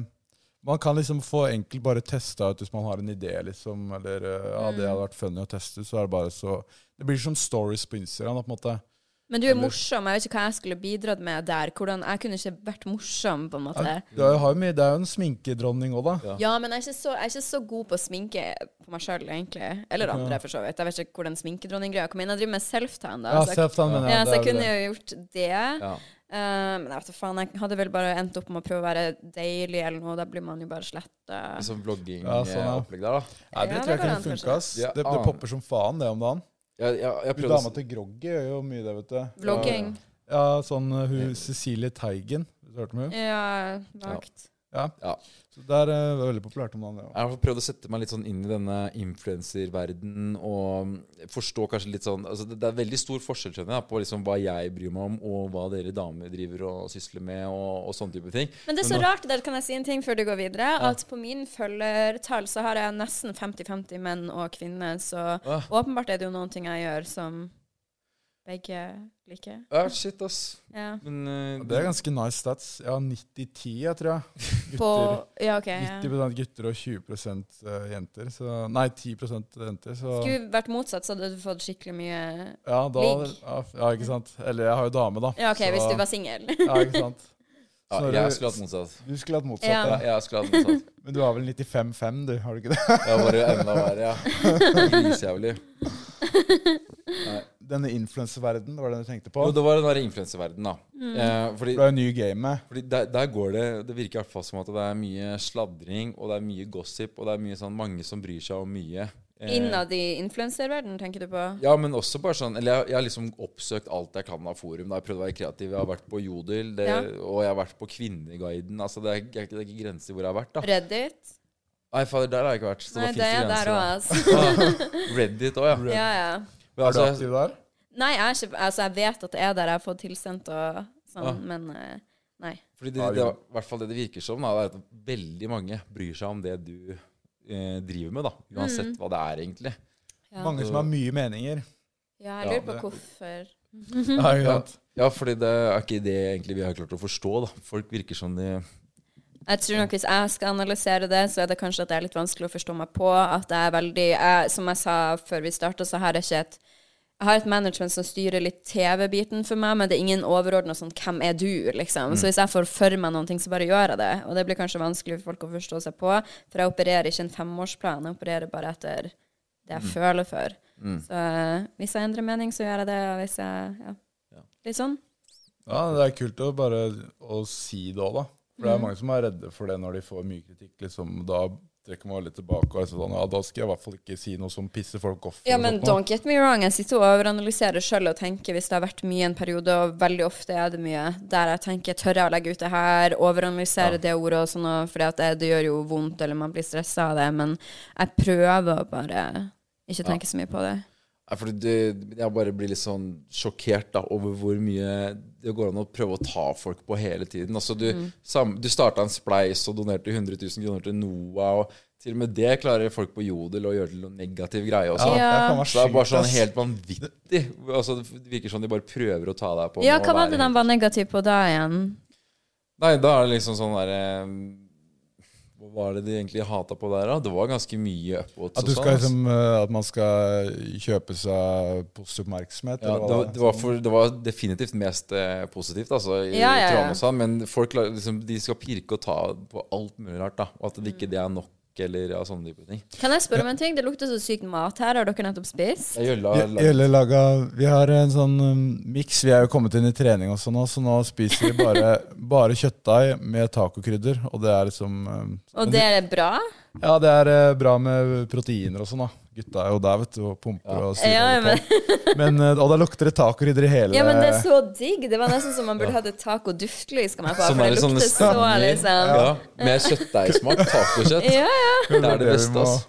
C: Man kan liksom få enkelt bare testa ut hvis man har en idé, liksom. Eller eh, ja, det hadde vært funny å teste ut, så er det bare så Det blir som stories på Instagram, da, på en måte.
F: Men du er morsom. Jeg vet ikke hva jeg skulle bidratt med der. Hvordan, jeg kunne ikke vært morsom, på en måte.
C: Du har jo- har jo mye Det er jo en sminkedronning òg, da.
F: Ja, men jeg er ikke så, jeg er ikke så god på å sminke på meg sjøl, egentlig. Eller andre, for så vidt. Jeg vet ikke hvordan sminkedronninggreia kom inn. Jeg driver med self-tan, da.
C: Ja,
F: så jeg,
C: Seftan, mener
F: ja,
C: jeg.
F: så jeg
C: det er
F: kunne
C: det.
F: jo gjort det.
D: Ja.
F: Eh, men jeg vet da faen, jeg hadde vel bare endt opp med å prøve å være deilig eller noe. Da blir man jo bare sletta.
D: Sånn
C: Ja, sånn, ja.
D: vlogging-opplegg eh, der, da.
C: Nei, det tror jeg
F: Ja, det går
C: kunne
F: an, kanskje.
C: funka, ass.
D: Ja,
C: Det, det
D: annen.
C: popper som faen, det om dagen.
D: Jeg, jeg, jeg
C: Hun
D: prøvde
C: dama til Groggy gjør jo mye det, vet du.
F: Vlogging.
C: Ja, sånn eh, hun Cecilie Teigen. Har du hørt om henne?
F: Ja, vagt.
C: Ja.
D: Ja.
C: Så det er eh, veldig populært om dagen, det òg.
D: Jeg har prøvd å sette meg litt sånn inn i denne influenserverdenen og mm, forstå kanskje litt sånn altså det, det er veldig stor forskjell skjønner jeg, på liksom hva jeg bryr meg om, og hva dere damer driver og sysler med, og, og sånne type ting.
F: Men det er så rart, der kan jeg si en ting før du går videre, at på min følgertall så har jeg nesten 50-50 menn og kvinner, så
D: Ah.
F: åpenbart er det jo noen ting jeg gjør som begge liker.
D: Ja, shit, ass.
F: Ja.
D: Men eh,
C: Det er ganske nice stats. Jeg har 90-10, jeg tror jeg. Gutter,
F: På, ja, ok. Ja.
C: 90 gutter og 20 eh, jenter. Så, nei, 10 jenter. Så
F: Skulle vi vært motsatt, så hadde du fått skikkelig mye
C: ja, da,
F: ligg.
C: ja, f- ja, ikke sant. Eller jeg har jo dame, da.
F: Ja, OK,
C: så,
F: hvis du var singel. <laughs>
C: Ja, ikke sant.
D: ja,
C: Snorre-
D: jeg skulle hatt motsatt.
C: Du skulle hatt motsatt,
F: Ja.
D: Ja,
C: ja.
D: jeg skulle hatt motsatt.
C: Men du har vel 95-5, du? Har du ikke det? <laughs>
D: Det var bare enda verre, ja.
F: <laughs>
D: Grisejævlig.
C: Denne influenserverdenen, det var den du tenkte på?
D: Jo, det var den der influenserverdenen, da.
F: Mm.
D: Eh, fordi
C: Du er jo ny i gamet.
D: Fordi der, der går det Det virker i hvert fall som at det er mye sladring, og det er mye gossip, og det er mye sånn mange som bryr seg om mye. Eh,
F: Innad i influenserverdenen, tenker du på?
D: Ja, men også bare sånn Eller jeg, jeg har liksom oppsøkt alt jeg kan av forum. Da. Jeg har prøvd å være kreativ. Jeg har vært på Jodel, det,
F: Ja.
D: og jeg har vært på Kvinneguiden. Altså, det er, det er ikke- det er ikke grenser hvor jeg har vært, da.
F: Reddit?
D: Nei, fader, der har jeg ikke vært. Så da
F: Nei, det
D: finnes
F: er
D: det
F: der òg,
D: grenser.
F: altså.
D: da. Reddit òg, ja.
F: Ja, ja.
D: Men
C: Er du
D: altså, jeg,
C: aktiv der?
F: Nei, jeg, er ikke, altså, jeg vet at det er der jeg har fått tilsendt og sånn, men eh, nei.
D: fordi det, det, er i hvert fall det det virker som, da, det er at veldig mange bryr seg om det du eh, driver med, da. Uansett hva det er, egentlig.
F: Ja.
C: Mange som har mye
F: <laughs>
C: meninger.
F: ja, jeg lurer
D: Ja,
F: på
C: det-
F: hvorfor.
C: Ja, ikke
D: Ja.
C: sant?
D: ja, fordi det er ikke det egentlig vi har klart å forstå, da. Folk virker som de
F: Jeg tror nok Hvis jeg skal analysere det, så er det kanskje at det er litt vanskelig å forstå meg på. At jeg er veldig jeg, Som jeg sa før vi starta, så har jeg ikke et jeg har et management som styrer litt TV-biten for meg, men det er ingen overordna sånn 'Hvem er du?' liksom. Så hvis jeg får for meg noen ting, så bare gjør jeg det. Og det blir kanskje vanskelig for folk å forstå seg på, for jeg opererer ikke en femårsplan. Jeg opererer bare etter det jeg føler for. Så eh, hvis jeg endrer mening, så gjør jeg det. Og hvis jeg Ja. Litt sånn.
C: Ja, det er kult å bare å si det òg, da. For
F: Mm.
C: det er mange som er redde for det når de får mye kritikk. liksom, Da trekker man litt tilbake og er sånn Ja, da skal jeg i hvert fall ikke si noe som pisser folk off.
F: Ja,
C: eller
F: men
C: sånt noe.
F: don't get me wrong. Jeg sitter og overanalyserer sjøl og tenker hvis det har vært mye en periode, og veldig ofte er det mye, der jeg tenker tør jeg å legge ut det her, overanalysere det ordet og sånn, og- fordi at det, det gjør jo vondt, eller man blir stressa av det, men jeg prøver å bare ikke tenke så mye på det.
D: Nei, fordi det, Jeg bare blir litt sånn sjokkert da, over hvor mye det går an å prøve å ta folk på hele tiden. Altså, Du, sam, du starta en spleis og donerte 100 000 kroner til Noah. og Til og med det klarer folk på Jodel å gjøre til noen negativ greie også.
C: Ja, det
F: Ja.
C: kan være
D: Så det er bare
C: sjukt,
D: sånn
C: ass.
D: helt vanvittig. Altså, det virker som de bare prøver å ta deg på
F: Ja,
D: med å
F: hva var
D: være
F: det
D: helt-
F: de var negativ på da igjen?
D: Nei, da er det liksom sånn derre Hva var det de egentlig hata på der, da? Det var ganske mye
C: At,
D: upvotes. og
C: du
D: sånn,
C: skal,
D: ass.
C: liksom, eh, at man skal kjøpe seg positiv oppmerksomhet?
D: Ja,
C: eller hva
D: det, var-
C: det er.
D: det, var for, det var definitivt mest eh, positivt, altså, i
F: Ja, ja, ja.
D: Trondheim og sånn, men folk la- liksom, de skal pirke og ta på alt mulig rart, da, og at det ikke det er nok, eller ja, sånne type ting.
F: Kan jeg spørre om en ting? Det lukter så sykt mat her, har dere nettopp spist?
D: Jeg gjølla,
C: Vi- Gjelle laga Vi har en sånn um, miks. Vi er jo kommet inn i trening sånn også nå, så nå spiser vi bare, <laughs> bare kjøttdeig med tacokrydder. Og det er liksom um,
F: Og det er bra?
C: Ja, det er eh, bra med proteiner og sånn, da. Gutta er jo der, vet du, og pumper og styrer.
F: Ja,
C: og på. Men, eh, og da lukter det tacokrydder i hele
F: Ja, men det er så digg. Det var nesten som man burde hatt et taco-duftlys, kan man få,
D: Sånn
F: for
D: er
F: det
D: sånne
F: lukter så,
D: stanger.
F: liksom.
D: Ja, med kjøttdeigsmak, tacokjøtt.
F: Ja, ja.
D: Det er det
C: vi
D: beste,
C: må-
D: altså.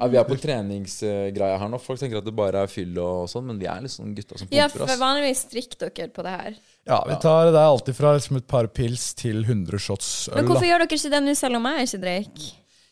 D: Ja, vi er på treningsgreia her nå. Folk tenker at det bare er fyll og sånn, men vi er liksom gutta som
F: Ja,
D: pumper,
F: for
D: ass.
F: vanligvis strikker dere på det her.
C: Ja, vi tar det er alltid fra liksom et par pils til 100 shots øl.
F: Men hvorfor
C: Da.
F: gjør dere ikke det nå, selv om jeg ikke drikker?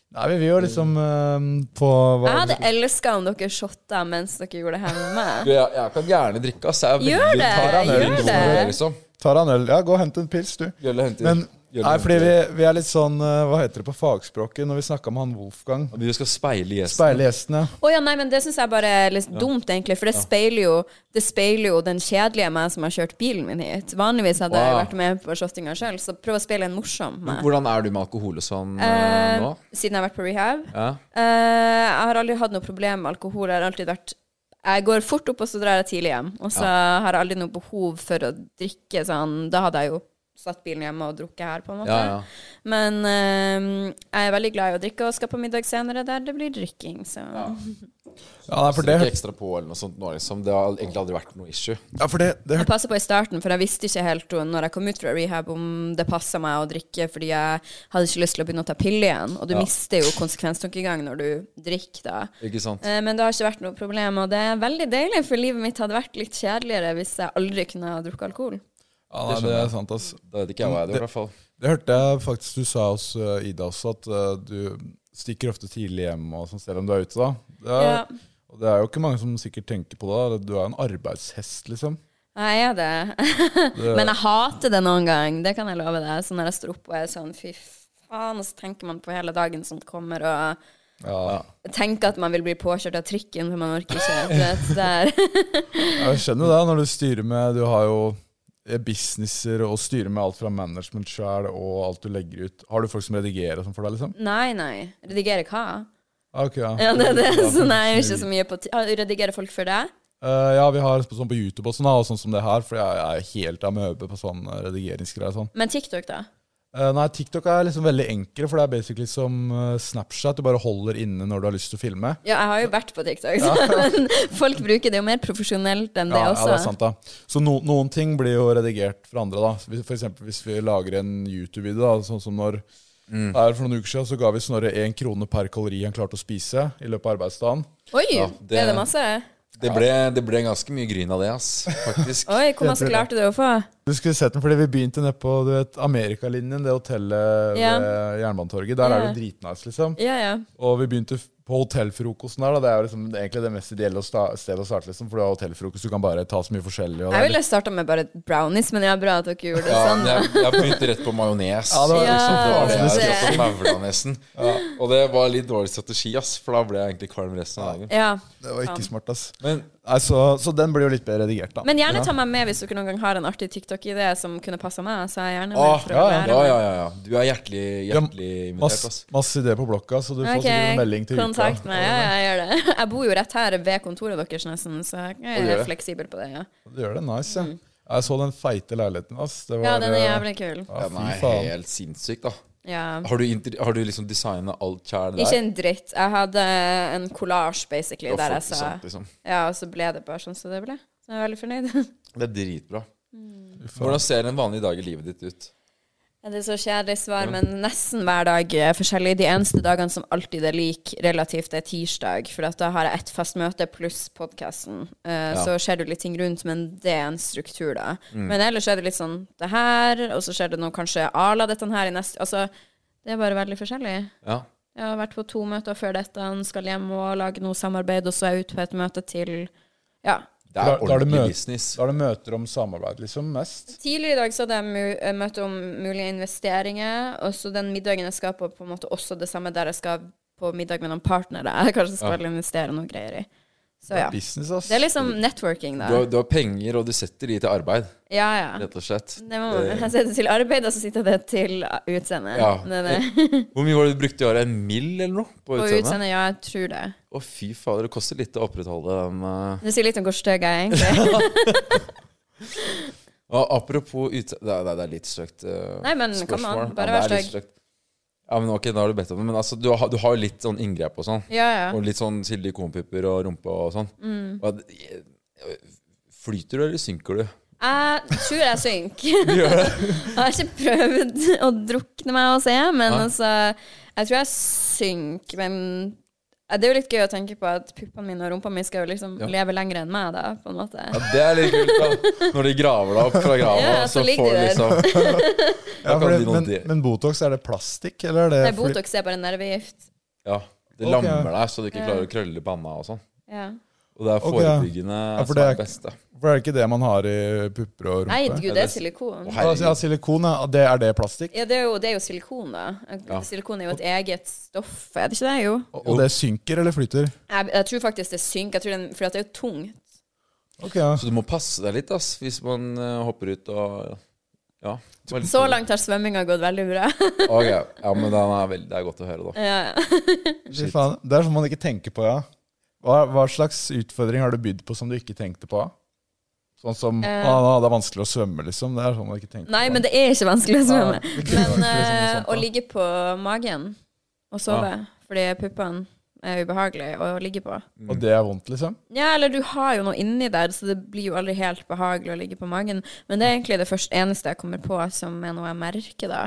C: Nei, vi vil jo liksom eh, på hva,
F: Jeg hadde elska om dere shotta mens dere gjorde det her med
D: <laughs>
F: meg.
D: Du, jeg, jeg kan gjerne drikke, ass. Jeg er
F: Gjør
D: veldig-
F: det,
D: tar en øl
F: gjør
D: nå,
F: det.
D: Liksom.
C: Tar han øl? Ja, gå og hent en pils, du.
D: Gjølle henter-
C: Men
D: Gjølle
C: nei, fordi vi,
D: henter-
C: vi er litt sånn eh, Hva heter det på fagspråket når vi snakka med han Wolfgang?
D: Vi skal speile gjesten.
C: Speile gjestene.
F: Å ja, nei, men det syns jeg bare er litt dumt, egentlig. For det speiler jo, det speiler jo den kjedelige meg som har kjørt bilen min hit. Vanligvis hadde jeg
D: Wow.
F: vært med på shottinga sjøl, så prøv å speile en morsom meg.
D: Hvordan er du med alkohol og sånn eh,
F: Eh,
D: nå?
F: siden jeg har vært på rehab.
D: Ja.
F: Eh, jeg har aldri hatt noe problem med alkohol. Jeg har alltid vært Jeg går fort opp, og så drar jeg tidlig hjem. Og så har jeg aldri noe behov for å drikke sånn. Da hadde jeg jo satt bilen hjemme og drukket her, på en måte.
D: Ja, ja.
F: Men eh, jeg er veldig glad i å drikke og skal på middag senere der det blir drikking, så
C: Ja, nei, for
D: det
C: det,
D: ikke ekstra på eller noe sånt nå, liksom. Det har egentlig aldri vært noe issue.
C: ja, for det, det
F: Jeg passet på i starten, for jeg visste ikke helt uh, når jeg kom ut fra rehab om det passa meg å drikke, fordi jeg hadde ikke lyst til å begynne å ta piller igjen. Og du mister jo konsekvenstankegang når du drikker, da.
D: Ikke sant?
F: Eh, Men det har ikke vært noe problem, og det er veldig deilig, for livet mitt hadde vært litt kjedeligere hvis jeg aldri kunne ha drukket alkohol.
C: Ja, nei, det er sant, ass.
D: Da vet ikke jeg hva jeg gjør, i hvert fall.
C: Det hørte jeg faktisk du sa hos eh, Ida også, at eh, du stikker ofte tidlig hjem og sånn, selv om du er ute, da. Det er,
F: Ja.
C: Og det er jo ikke mange som sikkert tenker på det. da. Du er en arbeidshest, liksom.
F: Jeg er <laughs> det. Men jeg hater det noen gang, det kan jeg love deg. Så når jeg står opp og er sånn, fy faen, og så tenker man på hele dagen som kommer, og
C: Ja,
F: tenker at man vil bli påkjørt av trikken, for man orker ikke. Du vet, det er <laughs>
C: Jeg skjønner det, når du styrer med Du har jo eh, businesser og styrer med alt fra management sjøl og alt du legger ut. Har du folk som redigerer og sånn for deg, liksom?
F: Nei, nei. Redigere hva?
C: Ah, ok, ja.
F: Ja, det er <laughs> det. Så nei, jeg er
C: sjukt.
F: ikke så mye på ti- Ah, Redigere folk for deg?
C: Eh, ja, vi har sånn på YouTube og sånn, da, og sånn som det her, for jeg er helt amøbe på sånn eh, redigeringsgreier. og Sånn.
F: Men TikTok, da?
C: Eh, nei, TikTok er liksom veldig enkle, for det er basically som eh, Snapchat. Du bare holder inne når du har lyst til å filme.
F: Ja, jeg har jo vært på TikTok, <laughs> men folk bruker det jo mer profesjonelt enn det
C: ja,
F: også.
C: Ja, det er sant da. Så no, noen ting blir jo redigert for andre. da. Hvis- For eksempel hvis vi lager en YouTube-video, da, sånn som når her For noen uker siden så ga vi Snorre én krone per kalori han klarte å spise i løpet av arbeidsdagen.
F: Oi,
D: Ja, det-
F: ble det masse?
D: Det ble, det ble ganske mye gryn av det, ass. Faktisk.
F: Oi, hvor masse klarte du å få?
C: Du skulle sett den, fordi vi begynte nede på du vet, Amerikalinjen, det hotellet
F: Ja.
C: ved Jernbanetorget. Der er det dritnice, liksom.
F: Ja, ja.
C: Og vi begynte f- på hotellfrokosten der. Da. Det er jo liksom egentlig det mest ideelle å sta- stedet å starte, liksom, for du har hotellfrokost, du kan bare ta så mye forskjellig. Og det
F: Jeg
C: er
F: ville starta med bare brownies, men ja, bra at dere gjorde det
D: Ja,
F: sånn.
D: men jeg, jeg begynte rett på majones.
C: Ja, det var liksom-
D: det var det
F: Ja,
D: jeg
F: det-
D: skratt og maula nesten. Og det var litt dårlig strategi, ass, for da ble jeg egentlig kvalm resten av dagen.
F: Ja.
C: litt- det var ikke smart, ass.
D: Men
C: Nei, så, så den blir jo litt bedre redigert, da.
F: sånn. Men gjerne ta meg med hvis dere noen gang har en artig TikTok-idé som kunne passa meg. Så er jeg gjerne med
D: Åh,
F: for å
D: Ah, ja, ja,
F: lære
D: ja,
F: meg.
D: ja, ja. Du er hjertelig, hjertelig invitert, ass.
C: Masse, masse ideer på blokka, så du får
F: Ok,
C: sikkert en melding til
F: kontakt
C: uka.
F: meg. Ja, ja, jeg gjør det. <laughs> Jeg bor jo rett her ved kontoret deres, nesten, så jeg
D: gjør
F: er
D: det.
F: fleksibel på det. Ja,
C: Du gjør det nice, ja. Jeg så den feite leiligheten, ass. Det var,
F: Mm. ja den er
C: eh,
F: jævlig kul.
C: ja,
D: Den
C: fy
D: er
C: faen.
D: helt sinnssyk, da.
F: Ja.
D: Har du, inter- har du liksom designa alt kjælen
F: Ikke
D: der?
F: en dritt. Jeg hadde en kollasj, basically,
D: Og
F: der
D: folk,
F: jeg sa
D: sånt, liksom.
F: Ja, og så ble det bare sånn som det ble. Så jeg er veldig fornøyd. <laughs>
D: Det er dritbra. Hvordan ser en vanlig dag i livet ditt ut?
F: Ja, Det er så kjedelig svar, men nesten hver dag er forskjellig. De eneste dagene som alltid er lik relativt, er tirsdag. For at da har jeg ett fast møte pluss podkasten. Så skjer det jo litt ting rundt, men det er en struktur, da. Men ellers er det litt sånn det her, og så skjer det noe kanskje à la dette her i neste Altså, det er bare veldig forskjellig.
D: Ja.
F: Jeg har vært på to møter før dette, skal hjem og lage noe samarbeid, og så er jeg ute på et møte til Ja.
D: Det
C: Da-
D: er
C: da er det
D: ordentlig
C: møte.
D: business.
C: Da er det møter om samarbeid, liksom, mest.
F: Tidligere i dag så hadde jeg mu eh, møte om mulige investeringer, og så den middagen jeg skal på, på en måte også det samme der jeg skal på middag med noen partnere. <laughs> Jeg kanskje skal investere noe greier i. Så ja.
C: Business, ass.
F: Det er liksom networking,
D: Du
F: da.
D: har, du har penger, og du setter de til arbeid,
F: Ja, ja.
D: rett og slett.
F: Det må man. <laughs> Jeg sitter til arbeid, og så sitter det til utseende. eh,
D: Ja.
F: Det, <laughs> er det.
D: Hvor mye var det du brukte i året? En mill eller noe? På
F: Og
D: utseendet?
F: utseende, ja, jeg tror det.
D: Å, fy fader, det koster litt å opprettholde den. eh.
F: Det sier litt om hvor stygg jeg er, egentlig.
D: Og apropos utseende det, er- det, er- det er litt støkt eh,
F: Nei, men kom
D: spørsmål.
F: an,
D: Ja,
F: bare
D: det
F: vær
D: er litt
F: stygg.
D: støkt. Ja, men ok, da har du bedt om det. Men altså, du har, du har jo litt sånn inngrep og sånn.
F: Ja, ja. Mm.
D: Og litt sånn silikonpupper og rumpe og sånn. Og det- flyter du, eller synker du?
F: Jeg tror jeg
D: <laughs>
F: synker. jeg har ikke prøvd å drukne meg og se, men
D: Nei.
F: altså Jeg tror jeg synker, men ja, det er jo litt gøy å tenke på at puppene mine og rumpa mi skal jo liksom leve lenger enn meg, da, på en måte.
D: Ja, det er litt kult, da. Når de graver deg opp fra grava,
F: Ja,
D: så,
F: så
D: får
F: ligger
D: du
F: de <laughs> der.
D: liksom
C: Ja,
D: Da
C: for
D: kan
C: det,
D: de noen
C: men,
D: de-
C: men Botox, er det plastikk, eller er det
F: Nei, Botox er bare nervegift.
D: Ja. Det
C: Ok.
D: lammer deg, så du ikke klarer å krølle panna og sånn.
F: Ja.
D: Og det er
C: Ok.
D: forebyggende
C: Ja, for
D: som er
C: det
D: det
C: er-
D: beste.
C: For er det ikke det man har i pupper og rumpe?
F: Nei, gud, det er silikon.
D: Å,
C: Ja, altså, ja, silikon, ja. Det, er det plastikk?
F: Ja, det er jo, det er jo silikon, da.
D: Ja.
F: Silikon er jo et eget stoff, er det ikke det? Jo.
C: Og, og det synker eller flyter?
F: Jeg, jeg tror faktisk det synker, jeg tror den, for at det er jo tungt.
C: Ok, ja.
D: Så du må passe deg litt ass, hvis man eh, hopper ut og Ja. Vær litt
F: Så
D: forsiktig.
F: langt har svømminga gått veldig bra.
D: Ok, Ja, men den er veldig, det er godt å høre, da.
F: ja, ja.
C: Fy faen. Det er sånn man ikke tenker på, ja. Hva, hva slags utfordring har du bydd på som du ikke tenkte på? Sånn som
F: Eh.
C: ah, Det er vanskelig å svømme, liksom. Det er sånn man ikke tenker
F: <laughs> Nei,
C: på.
F: men det er ikke vanskelig å svømme.
C: Ja, det kunne vært
F: Men
C: liksom noe
F: eh,
C: sånt,
F: å
C: da.
F: ligge på magen og sove fordi puppene er ubehagelig å ligge på.
C: Og det er vondt, liksom?
F: Ja, eller du har jo noe inni der, så det blir jo aldri helt behagelig å ligge på magen. Men det er egentlig det første eneste jeg kommer på som er noe jeg merker, da.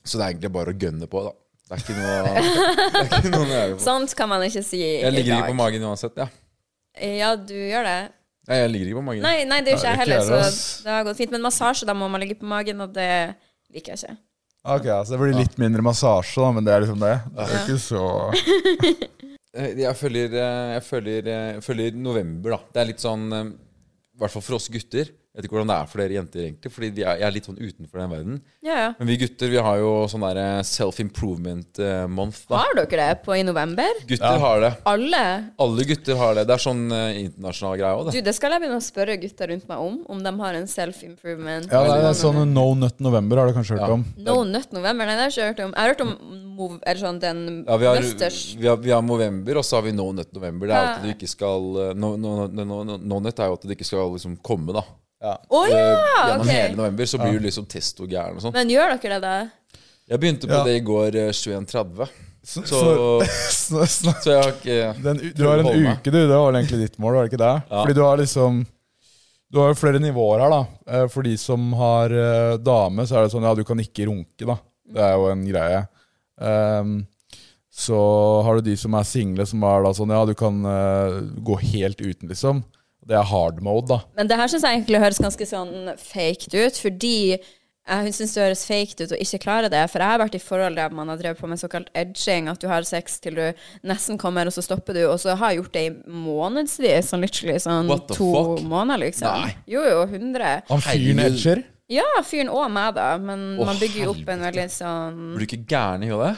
D: Så det er egentlig bare å gønne på, da. Det er ikke noe, det er ikke noe å gjøre
F: <laughs>
D: på.
F: Sånt kan man ikke si i dag.
D: Jeg ligger ikke på magen uansett, ja.
F: Ja, du gjør det.
D: Nei, jeg ligger ikke på magen.
F: Nei, nei det gjør ikke jeg
C: Ja,
F: heller,
C: ikke jeg, ass.
F: så det har gått fint. Men massasje, da må man ligge på magen, og det liker jeg ikke.
C: Ok, altså Det blir litt mindre massasje, da, men det er liksom det. Det er ikke så
D: Eh, Jeg følger, eh, jeg følger, eh, jeg følger november, da. Det er litt sånn eh, I hvert fall for oss gutter. Jeg vet ikke hvordan det er for dere jenter, egentlig. Fordi vi er, jeg er litt sånn utenfor den verden.
F: Ja, ja.
D: Men vi gutter vi har jo sånn der eh, self-improvement eh, month, da.
F: Har dere det på i november?
D: Gutter har det.
F: Alle?
D: Alle gutter har det. Det er sånn eh, internasjonal greie òg, det.
F: Du, det skal jeg begynne å spørre gutter rundt meg om, om de har en self-improvement.
C: Ja, det er sånn No Nut November har du kanskje hørt om.
F: No Nut November, nei, det har jeg ikke hørt om. Jeg har hørt om mov, eller sånn, den
D: Ja, vi har, eh,
F: Musters.
D: vi har, vi har Movember, og så har vi No Nut November. Det er jo at du ikke skal eh, No, no, no, no, no, no Nut er jo at du ikke skal liksom komme, da. Eh,
F: Å ja!
D: Gjennom hele
F: Ah, Ok.
D: november så blir du liksom testogæren og sånn.
F: Men gjør dere det, da?
D: Jeg begynte på
C: Ja.
D: det i går eh, 21.30,
C: Så,
D: så,
C: <laughs> så, så,
D: så jeg har ikke
C: den, u- du har en
D: Holde meg.
C: uke, du. Det var vel egentlig ditt mål, var det ikke det? Fordi du har liksom Du har jo flere nivåer her, da. Eh, For de som har eh, dame, så er det sånn ja, du kan ikke runke, da. Det er jo en greie. Ehm, så har du de som er single, som er da sånn ja, du kan eh, gå helt uten, liksom. Det er hard mode, da.
F: Men det her syns jeg egentlig høres ganske sånn faked ut, fordi jeg syns det høres faked ut å ikke klare det. For jeg har vært i forhold der man har drevet på med såkalt edging, at du har sex til du nesten kommer, og så stopper du, og så har jeg gjort det i månedsvis, sånn literally sånn
D: What the
F: to
D: fuck?
F: måneder, liksom.
D: Nei.
F: Jo, jo, 100.
C: Han fyren
D: Herregud.
C: edger.
F: Ja, fyren og meg, da, men
D: Å,
F: man bygger jo opp en
D: helvete.
F: veldig sånn
D: Blir du ikke gæren i hodet?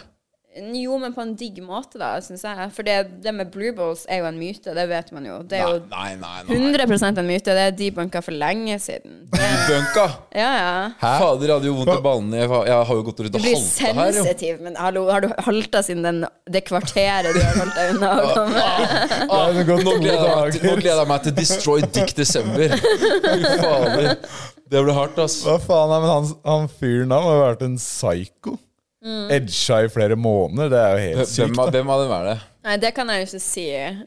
F: Jo, men på en digg måte, da, syns jeg. For det, det med blue balls er jo en myte, det vet man jo. Det er jo
D: Nei, nei, nei.
F: 100 en myte. Det er de banka for lenge siden.
D: Bunka!
F: Ja, ja.
D: Fader, jeg hadde jo vondt i ballene. Jeg, var- jeg har jo gått rundt
F: Du
D: og
F: blir
D: halta her. jo.
F: sensitiv, men hallo, har du halta siden den, det kvarteret du har holdt deg
D: <laughs>
F: unna å komme?
D: Ah,
C: Det har gått
D: nå,
C: to
D: gleder jeg meg til, nå
C: dager.
D: gleder jeg meg til Destroy Dick December. Fy fader. Det ble hardt, ass.
C: Hva faen er men han, han fyren da må ha vært en psyko. Edga i flere måneder, det er jo helt sykt.
D: Hvem av,
C: da.
D: hvem av dem er det?
F: Nei, det kan jeg jo ikke si.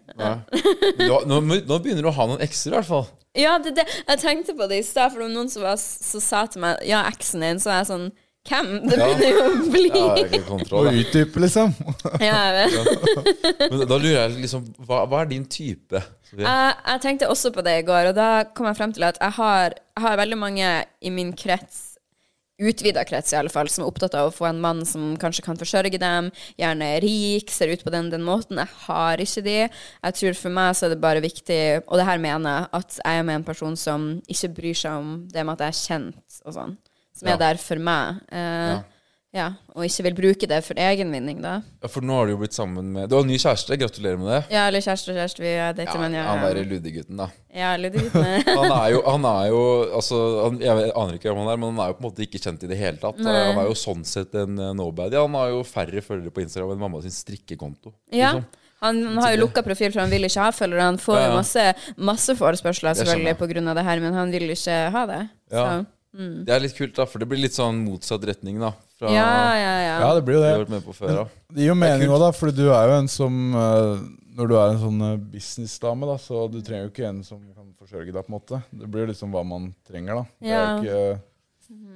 D: Du har, nå, nå begynner du å ha noen ekser, i hvert fall.
F: Ja, det, det, jeg tenkte på det i stad, for det var noen som, var, som sa til meg Ja, eksen din, så var jeg sånn Hvem? Det begynner jo å bli
D: Jeg har ikke kontroll.
C: Må
D: da.
C: utdype, liksom.
F: <laughs> ja, jeg vet.
D: Men da lurer jeg liksom, hva, hva er din type?
F: Jeg, Eh, jeg tenkte også på det i går, og da kom jeg frem til at jeg har, jeg har veldig mange i min krets, utvida krets i alle fall, som er opptatt av å få en mann som kanskje kan forsørge dem, gjerne er rik, ser ut på den, den måten. Jeg har ikke de. Jeg tror for meg så er det bare viktig, og det her mener jeg, at jeg er med en person som ikke bryr seg om det med at jeg er kjent og sånn, som
D: Ja.
F: er der for meg. Eh,
D: Ja.
F: ja. og ikke vil bruke det for egen vinning, da.
D: Ja, for nå har du jo blitt sammen med Du har en ny kjæreste, gratulerer med det.
F: Ja, eller kjæreste og kjæreste, vi er dater, men ja,
D: han derre ludegutten, da.
F: ja, litt vitne.
D: Han er jo, han er jo altså, han, Jeg vet- aner ikke hvem han er, men han er jo på en måte ikke kjent i det hele tatt.
F: Nei.
D: Han er jo sånn sett en eh, nobody. Han har jo færre følgere på Instagram enn mamma sin strikkekonto.
F: Ja.
D: liksom.
F: Han har jo lukka profil, for han vil ikke ha følgere. Han får
D: Ja, ja.
F: jo masse, masse forespørsler
D: Det
F: selvfølgelig
D: skjønner jeg.
F: pga. det her, men han vil ikke ha det. Så.
D: Ja. Det er litt kult, da, for det blir litt sånn motsatt retning, da. Fra
F: Ja, ja, ja.
C: <laughs> Ja, det blir jo
D: det
C: det.
D: du har vært med på før av.
C: Det gir jo mening òg, da, for du er jo en som eh, Når du er en sånn eh, businessdame, da, så du trenger jo ikke en som kan forsørge deg, på en måte. Det blir jo liksom hva man trenger, da. Det er
F: Ja.
C: jo ikke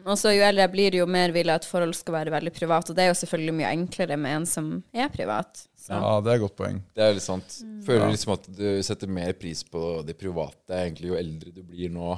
F: Og så jo eldre jeg blir, jo mer vil jeg at forhold skal være veldig privat. Og det er jo selvfølgelig mye enklere med en som er privat. Så.
C: Ja, det er et godt poeng.
D: Det er litt sant.
F: Mm.
D: Føler liksom at du setter mer pris på det private egentlig jo eldre du blir nå,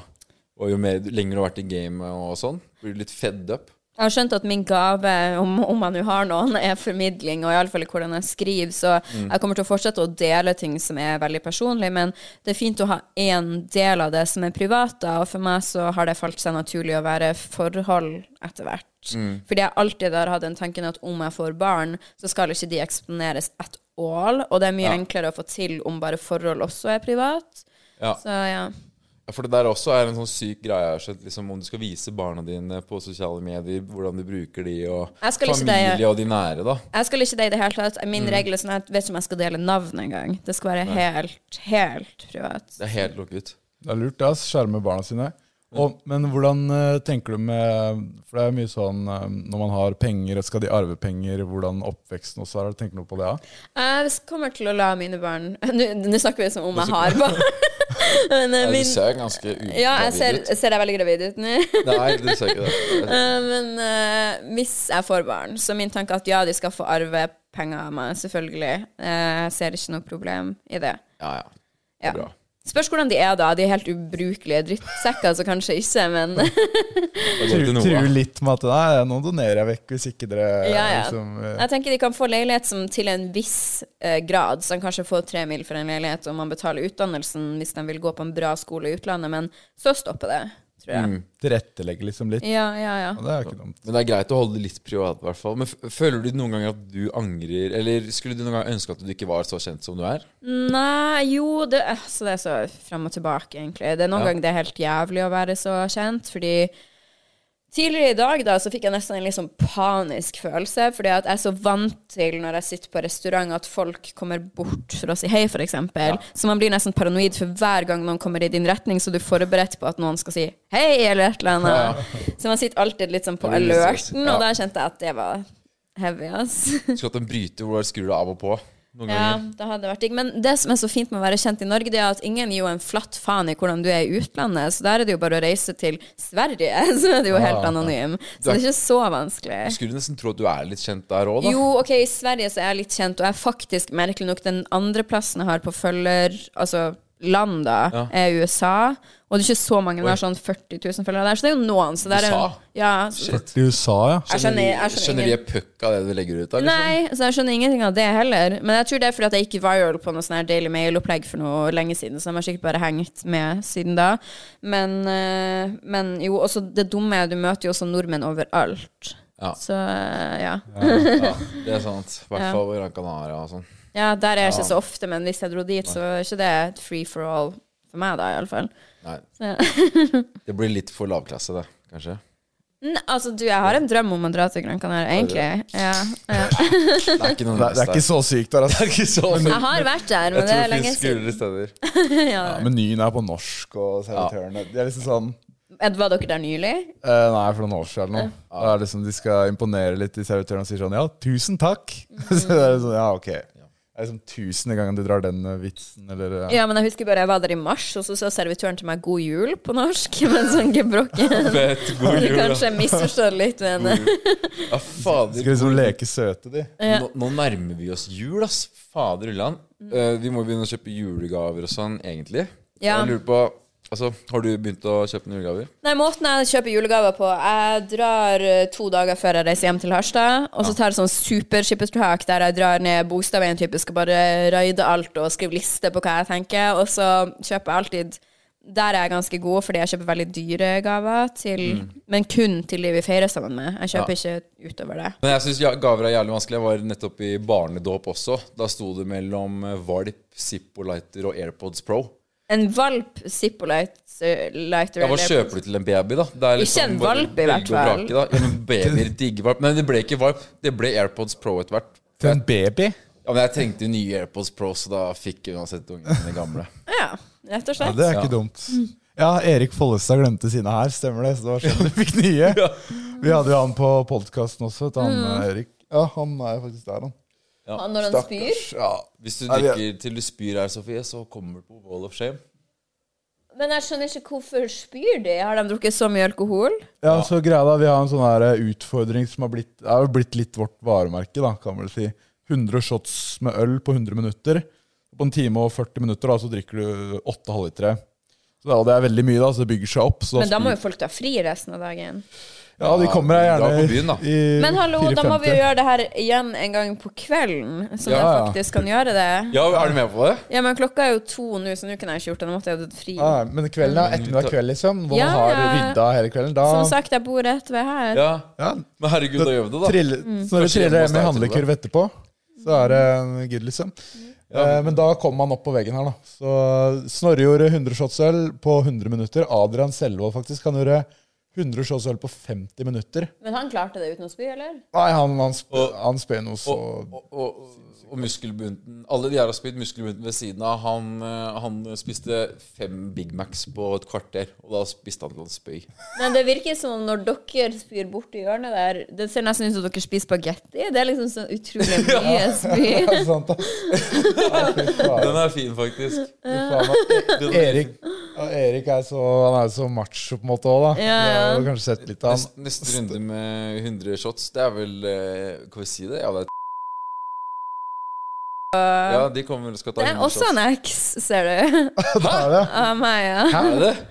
D: og jo mer, lenger du har vært i gamet og sånn. Blir du litt fed up.
F: Jeg har skjønt at min gave, om, om jeg nå har noen, er formidling, og iallfall hvordan jeg skriver. Så jeg kommer til å fortsette å dele ting som er veldig personlig, men det er fint å ha én del av det som er privat, da. Og for meg så har det falt seg naturlig å være forhold etter hvert. Fordi jeg alltid har hatt den tanken at om jeg får barn, så skal ikke de eksponeres at all, og det er mye enklere å få til om bare forhold også er privat.
D: Ja.
F: Så ja.
D: Ja, For det der også er en sånn syk greie. jeg har skjønt, liksom, om du skal vise barna dine på sosiale medier, hvordan du bruker de, og
F: Jeg skal ikke
D: familie
F: det, jeg-
D: og de nære, da.
F: Jeg skal ikke det i det hele tatt. Min
D: Mm.
F: regel er sånn at jeg vet ikke om jeg skal dele navn engang. Det skal være helt, helt privat.
D: Det er helt lukket.
C: Det er lurt, det. ass. Skjerme barna sine. Og, men hvordan eh, tenker du med For det er mye sånn eh, når man har penger, skal de arve penger, hvordan oppveksten også er? Tenker du noe på det? Ja?
F: Jeg kommer til å la mine barn <laughs> Nå nå snakker vi som om jeg har barn. <laughs> Men eh,
D: Nei, du
F: min
D: ser ganske ugravid
F: Ja, jeg ser,
D: ut.
F: ser jeg veldig gravid ut nå.
D: Nei, du ser ikke det.
F: <laughs> Eh, Men eh, hvis jeg får barn, så er min tanke at ja, de skal få arve penger av meg, selvfølgelig. Eh, Jeg ser ikke noe problem i det.
D: Ja, ja.
F: Ja.
D: Bra.
F: Spørs hvordan de er, da. De er helt ubrukelige drittsekker, så kanskje ikke, men
D: Det går til
C: Tru-
D: noe.
C: Truer litt med at nei, nå donerer jeg vekk hvis ikke dere
F: Ja, ja.
C: Liksom, eh,
F: Jeg tenker de kan få leilighet som til en viss eh, grad, så de kanskje får tre mil for en leilighet, og man betaler utdannelsen hvis de vil gå på en bra skole i utlandet, men så stopper det, tror jeg.
C: Mm. tilrettelegger liksom litt.
F: Ja, ja, ja.
C: Ja, Det er jo ikke dumt.
D: Men det er greit å holde det litt privat, i hvert fall. Men f- føler du noen ganger at du angrer, eller skulle du noen gang ønske at du ikke var så kjent som du er?
F: Nei, jo det, altså, det er så frem og tilbake, egentlig. Det er noen
D: Ja.
F: ganger det er helt jævlig å være så kjent, fordi Tidligere i dag da, så fikk jeg nesten en litt sånn panisk følelse, fordi at jeg er så vant til når jeg sitter på restaurant at folk kommer bort for å si hei, for eksempel. Så man blir nesten paranoid for hver gang noen kommer i din retning, så du er forberedt på at noen skal si hei, eller et eller annet. Så man sitter alltid litt sånn på
D: Det blir litt stress.
F: alerten,
D: Ja.
F: og da kjente jeg at det var heavy, ass.
D: Skulle hatt en bryter hvor du skrur deg av og på. Noen
F: Ja,
D: ganger.
F: det hadde vært digg. Men det som er så fint med å være kjent i Norge, det er at ingen gir jo en flatt faen i hvordan du er i utlandet. Så der er det jo bare å reise til Sverige, <laughs> så er du jo
D: Ah.
F: helt anonym. Så det er ikke så vanskelig.
D: Skulle nesten tro at du er litt kjent der òg, da.
F: Jo, ok, i Sverige så er jeg litt kjent, og jeg er faktisk merkelig nok den andre plassen jeg har på følger, altså land, da,
D: Ja.
F: er USA. Og det er ikke så mange. Det er sånn 40 000 følgere der, så det er jo noen. Så det er jo,
D: USA?
F: ja,
D: Shit.
C: I USA, ja.
F: jeg skjønner, jeg skjønner
D: Skjønner de puck av det du legger ut? da, liksom?
F: Nei, så jeg skjønner ingenting av det heller. Men jeg tror det er fordi at jeg gikk viral på noe sånn her Daily Mail-opplegg for noe lenge siden, så de har sikkert bare hengt med siden da. Men, eh, men jo, også det dumme er jo du møter jo også nordmenn overalt.
D: Ja.
F: Så eh, ja.
D: Ja, det er sant. I hvert
F: Ja.
D: fall på Gran Canaria og sånn.
F: Ja, der er jeg ikke så ofte, men hvis jeg dro dit, så er ikke det et free for all for meg, da, i alle fall.
D: Nei.
F: Ja.
D: <laughs> Det blir litt for lavklasse, det, kanskje.
F: N altså, du, jeg har en drøm om å dra til Gran Canaria, egentlig. Ja, ja.
D: <laughs> Det er ikke noe
C: Det, <laughs> det er ikke så sykt der, altså.
D: er ikke så
F: Jeg har vært der,
D: Jeg
F: men det
D: tror
F: er
D: det
F: lenge
D: finnes
F: siden.
D: skulere
F: <laughs>
D: steder.
F: Ja.
C: Ja, menyen er på norsk, og servitørene De er liksom sånn
F: Ed, Var dere der nylig?
C: eh, Nei, for noen år siden eller noe. Da er det liksom, de skal imponere litt i servitørene og sier sånn Ja, tusen takk! <laughs> Så det er liksom, ja, ok. Det er liksom tusende gangen du drar den eh, vitsen, eller eh,
F: Ja, men jeg husker bare jeg var der i mars, og så sa servitøren til meg 'god jul' på norsk. <laughs> Men sånn gebrokken
D: Fett, god
F: Du
D: jul, Mm. da.
F: kanskje misforstår litt, men
D: Ja, fader.
C: Skal liksom leke søte, de.
F: Eh,
D: Nå, nå nærmer vi oss jul, ass. Fader ulland.
F: Mm.
D: Eh, vi må begynne å kjøpe julegaver og sånn, egentlig.
F: Ja.
D: Jeg lurer på Altså, har du begynt å kjøpe noen julegaver?
F: Nei, måten jeg kjøper julegaver på Jeg drar eh, to dager før jeg reiser hjem til Harstad, og så tar jeg sånn superskippertak der jeg drar ned bokstaven typisk og bare raider alt og skriver liste på hva jeg tenker, og så kjøper jeg alltid der er jeg ganske god, fordi jeg kjøper veldig dyre gaver, til,
D: Mm.
F: men kun til de vi feirer sammen med. Jeg kjøper ikke utover det.
D: Men jeg syns gaver er jævlig vanskelig. Jeg var nettopp i barnedåp også. Da sto det mellom eh, valp, Zippo-lighter og AirPods Pro.
F: En valp Zippolite lighter
D: Ja, Hva kjøper du til en baby, da? Det er liksom
F: Ikke en
D: bare
F: valp, i
D: velge
F: hvert
D: og
F: fall.
D: vrake, da. Ja, men babyer digger valp. Nei, det ble ikke valp. Det ble AirPods Pro etter hvert.
C: Til en baby?
D: Ja, men jeg trengte jo nye AirPods Pro, så da fikk jeg uansett ungene mine gamle.
F: Ja, rett
C: Ja,
F: og
C: Mm.
F: slett.
C: det er ikke dumt. Ja, Erik Follestad glemte sine her, stemmer det? Så det var sånn du fikk nye. <laughs> Vi hadde jo han på podkasten også, vet du, han eh, Erik. Ja, han er faktisk der, han.
F: Han når han spyr.
C: Ja.
D: Hvis du
C: Nei, vi-
D: drikker til du spyr her, Sofie, så kommer du på Wall of Shame.
F: Men jeg skjønner ikke hvorfor spyr de? Har de drukket så mye alkohol?
C: ja, så greia da, vi har en sånn her eh, utfordring som har blitt, er jo blitt litt vårt varemerke, da, kan man vel si. 100 shots med øl på 100 minutter. På en time og 40 minutter da, så drikker du 8 halvlitere. Så da, det er veldig mye, da, så det bygger seg opp. Så
F: Men da må jo folk ta fri resten av dagen.
C: Ja, de kommer her
D: Ja,
C: gjerne
D: dra på byen, da.
C: i
F: Men hallo, da må
C: 4.50.
F: vi jo gjøre det her igjen en gang på kvelden, så
D: Ja,
F: jeg
C: ja.
F: faktisk kan gjøre det.
D: Ja, er du med på det?
F: Ja, men klokka er jo to nå, så nå kunne jeg ikke gjort det. Nå måtte jeg hatt fri.
C: Ja, men kvelden er ettermiddag kveld, liksom. Når
F: Ja,
C: man har
F: ja.
C: rydda hele kvelden, da
F: Som sagt, jeg bor rett ved her.
D: Ja.
C: ja,
D: Men herregud, da gjør vi det, da.
C: trille,
F: Mm.
C: Så når du
D: Kanskje hjemme
C: triller
D: hos
C: hjem i
D: deg
C: handlekurv etterpå, så er det eh, good, liksom. Eh, Men da kommer man opp på veggen her, da. Så Snorre gjorde 100 shots øl på 100 minutter. Adrian Selvold faktisk han gjorde 100 shots øl på 50 minutter.
F: Men han klarte det uten å spy, eller?
C: Nei, han, han, sp han spør noe så <laughs>
D: Og, og, og muskelbunten Alle de her har spilt muskelbunten ved siden av. Han, eh, han spiste fem Big Macs på et kvarter, og da spiste han til han spøy.
F: Men det virker som om når dere spyr borti hjørnet der Det ser nesten ut som dere spiser spagetti. Det er liksom så utrolig mye spy.
C: Ja, <laughs> sant, da. Nei, fy faen.
D: Den er fin, faktisk.
C: Fy faen, da. Erik, ja, Erik er så, han er så macho på en måte òg, da.
F: Ja, ja.
C: Du har jo kanskje sett litt av han.
D: <laughs> Neste, neste runde med 100 shots, det er vel eh, Kan vi si det? Ja, det er Ja, de kommer og skal ta
F: Eh, Det er
D: 100
F: også en
D: shots.
F: eks, ser du.
C: Da er det.
F: Av meg, ja.
D: Er det?
F: <laughs>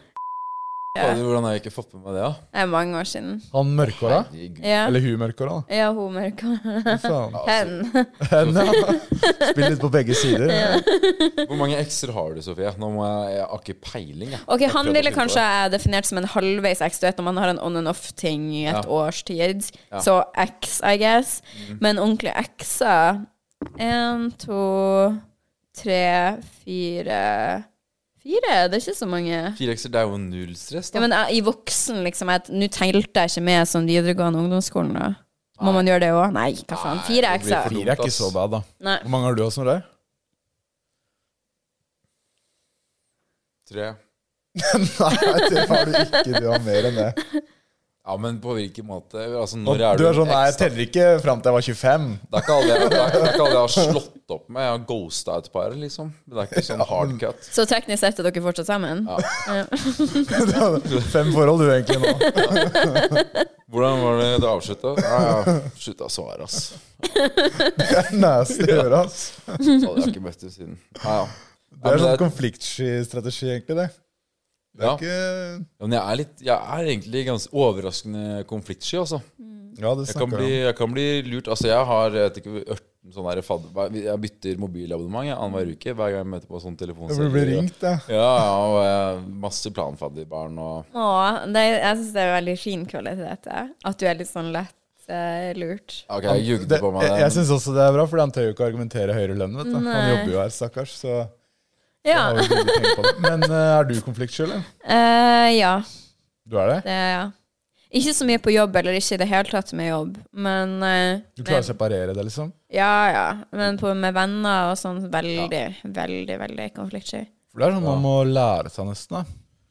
F: Ja.
D: Fader, Hvordan har jeg ikke fått med meg det, da?
F: Det er mange år siden.
C: Han mørkhåra?
D: Herregud.
F: Ja,
C: Eller hun mørkhåra, da.
F: ja hun mørka.
C: Fy faen.
F: Hen.
C: Hen, ja. <laughs> Spill litt på begge sider.
D: Hvor mange ekser har du, Sofie? Nå må jeg, jeg har ikke peiling, jeg.
F: Ok,
D: Jeg
F: Han
D: prøvde å
F: ville
D: finne
F: kanskje
D: på det.
F: jeg definert som en halvveis eks. Du vet når man har en on and off-ting i et
D: Ja.
F: års tid.
D: Ja. Mm.
F: Så eks, I guess. Men ordentlige ekser Én, to, tre, fire Fire? Det er ikke så mange.
D: Fire ekser, det er jo null stress, da.
F: Ja, men jeg, i voksen, liksom jeg- Nå telte jeg ikke med som videregående ungdomsskolen, da. Må man gjøre det òg? Nei, hva faen. Fire
D: Nei, det blir
F: ekser.
D: for-
C: Fire er ikke så bad, da.
F: Nei.
C: Hvor mange har du også, Snorre?
D: Tre.
C: <laughs> Nei, det har du ikke. Du har mer enn det.
D: Ja, men på hvilken måte? Altså,
C: Og
D: når er
C: Du
D: du,
C: er sånn
D: en
C: Nei, jeg
D: eks? da?
C: teller ikke fram til jeg var 25.
D: Det er ikke alle jeg, det er, det er ikke alle jeg
C: <laughs>
D: har slått opp med. Jeg har ghosta et par, liksom. Men det er ikke sånn hardcut.
F: Så teknisk sett er dere fortsatt sammen?
C: Du hadde <laughs> Fem forhold, du, egentlig, nå.
D: Hvordan var det du avslutta? Ja, ja. Slutta å svare, ass.
C: Det er nasty å gjøre, ass.
D: Så hadde jeg ikke møtt henne siden. Ja, ja.
C: Det
D: men
C: er sånn
D: det er-
C: konfliktstrategi, egentlig, det. Det
D: Ja.
C: er ikke
D: Ja, men jeg er, litt, jeg er egentlig ganske overraskende konfliktsky, altså.
C: Ja, det
D: Jeg kan,
C: snakker
D: bli,
C: jeg om.
D: jeg kan bli lurt. Altså, jeg har jeg vet ikke, ørten sånn der fad- hva- Jeg bytter mobilabonnement jeg, annenhver uke hver gang jeg møter på sånn
C: Jeg blir-
D: telefonserie.
C: blir ringt, jeg.
D: Ja, ja, og eh, masse planfadderbarn og
F: Å, det, jeg syns det er veldig fin kvalitet, det. At du er litt sånn lett eh, lurt.
D: Ok, jeg jugde
C: Det-
D: på meg
C: jeg
D: den.
C: jeg syns også det er bra, fordi han tør jo ikke å argumentere høyere lønn. vet du. Han
F: Nei.
C: jobber jo her, stakkars. Så
F: Ja.
C: har jo ikke penger på det. Men eh, er du konfliktsky, eller?
F: Eh, ja.
C: Du er det?
F: Det, ja. Ikke så mye på jobb, eller ikke i det hele tatt med jobb, men eh,
C: Du klarer å
F: med-
C: separere det, liksom?
F: Ja, ja. Men på, med venner og sånn, veldig, veldig, veldig konfliktsky.
C: For det er sånn man må lære seg nesten. da.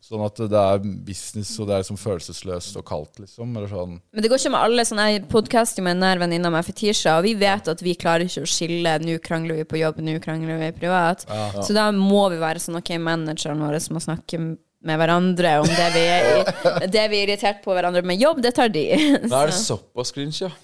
C: Sånn at det er business, og det er liksom følelsesløst og kaldt, liksom. Eller sånn.
F: Men det går ikke med alle sånne Jeg podcaster jo med en nær venninne av meg, Fetisha, og vi vet at vi klarer ikke å skille 'nå krangler vi på jobb, nå krangler vi privat'. Så da må vi være sånn OK, manageren vår må snakke med hverandre om det vi <laughs> er, det vi er irritert på hverandre med jobb, det tar de.
D: Da er det såpass cringe, ja.
F: <laughs>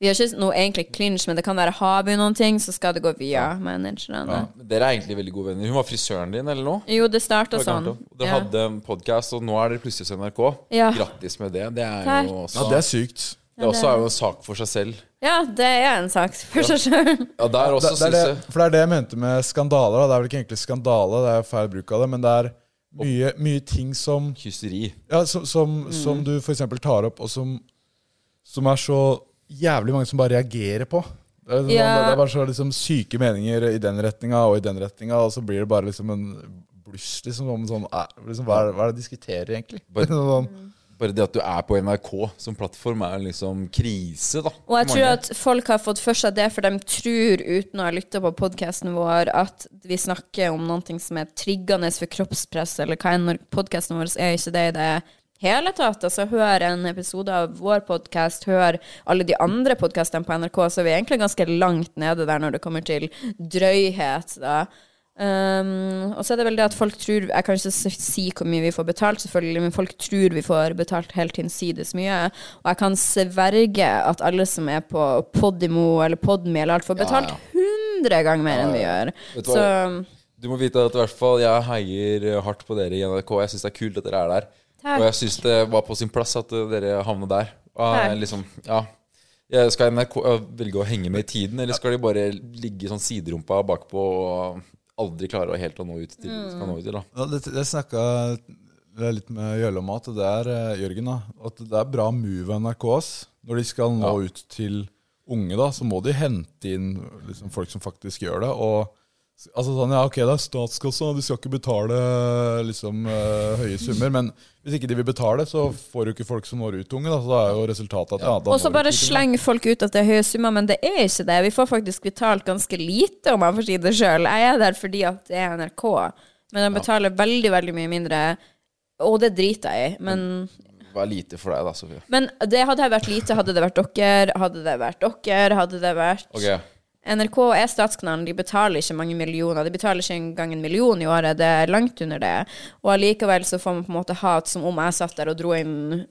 F: Vi har ikke noe egentlig clinch, men det kan være har vi noen ting, så skal det gå via managerne.
D: Men Dere er egentlig veldig gode venner. Hun var frisøren din, eller noe?
F: Jo, det starta
D: Jeg kan
F: sånn.
D: ikke. Dere hadde en podkast, og nå er dere plutselig hos NRK.
F: Ja.
D: Grattis med det. Det er
F: Takk.
D: jo også,
C: Ja, det er sykt.
D: det er også er jo en sak for seg selv.
F: ja, det er en sak for seg sjøl.
D: Ja, der
C: Det,
D: også
C: det er
D: synes
C: det,
D: jeg
C: for det er det jeg mente med skandaler. Da. Det er vel ikke egentlig skandale, det er feil bruk av det, men det er mye, mye ting som
D: Kysteri.
C: Ja, som, som, som du for eksempel tar opp, og som, som er så jævlig mange som bare reagerer på. Det er, liksom,
F: Ja.
C: det er bare så liksom, syke meninger i den retninga og i den retninga, og så blir det bare liksom en bluss. Liksom, om sånn, eh, liksom, hva, er, hva er det de diskuterer, egentlig? <laughs>
D: Bare-
C: sånn,
D: Bare det at du er på NRK som plattform, er liksom krise, da.
F: Og jeg
D: for
F: tror
D: mange.
F: at folk har fått for seg det, for de tror, uten å ha lytta på podkasten vår, at vi snakker om noe som er triggende for kroppspress, eller hva enn når podkasten vår er ikke det i det hele tatt. Altså, hør en episode av vår podkast, hør alle de andre podkastene på NRK, så vi er egentlig ganske langt nede der når det kommer til drøyhet, da. Um, og så er det vel det at folk tror Jeg kan ikke s- si hvor mye vi får betalt, selvfølgelig, men folk tror vi får betalt helt hinsides mye. Og jeg kan sverge at alle som er på Podimo eller Podme eller alt, får betalt
D: ja.
F: 100 ganger mer enn vi gjør.
D: Vet du hva?
F: Så
D: Du må vite at i hvert fall jeg heier eh, hardt på dere i NRK. Jeg syns det er kult at dere er der.
F: Takk.
D: Og jeg syns det var på sin plass at uh, dere havna der. Og, uh,
F: Takk.
D: liksom, ja. Ja, Skal NRK eh, velge å henge med i tiden, eller skal de bare ligge sånn siderumpa bakpå og aldri klare å helt å nå ut til
F: Mm.
D: de skal nå ut til? da?
C: Ja, det, det snakka jeg litt med Jølle om, at det er eh, Jørgen, da, at det er bra move av NRK. ass. Når de skal nå ut til unge, da, så må de hente inn liksom, folk som faktisk gjør det. og Altså sånn, ja, ok, Det er statskassa, de skal ikke betale liksom, eh, høye summer. Men hvis ikke de vil betale, så får du ikke folk som når ut til unge. Da, så da er jo resultatet at ja, da
F: Og så
C: når du
F: bare
C: ikke
F: slenger folk ut at det er høye summer, men det er ikke det. Vi får faktisk betalt ganske lite, om jeg får si det sjøl. Jeg er der fordi at det er NRK, men de betaler veldig, veldig mye mindre. Og det driter jeg i, men
D: Vær lite for deg, da, Sofie.
F: Men det hadde her vært lite, hadde det vært dere, hadde det vært dere, hadde det vært
D: Ok,
F: NRK er statskanalen, de betaler ikke mange millioner. De betaler ikke engang en million i året, det er langt under det. Og allikevel så får man på en måte hat som om jeg satt der og dro inn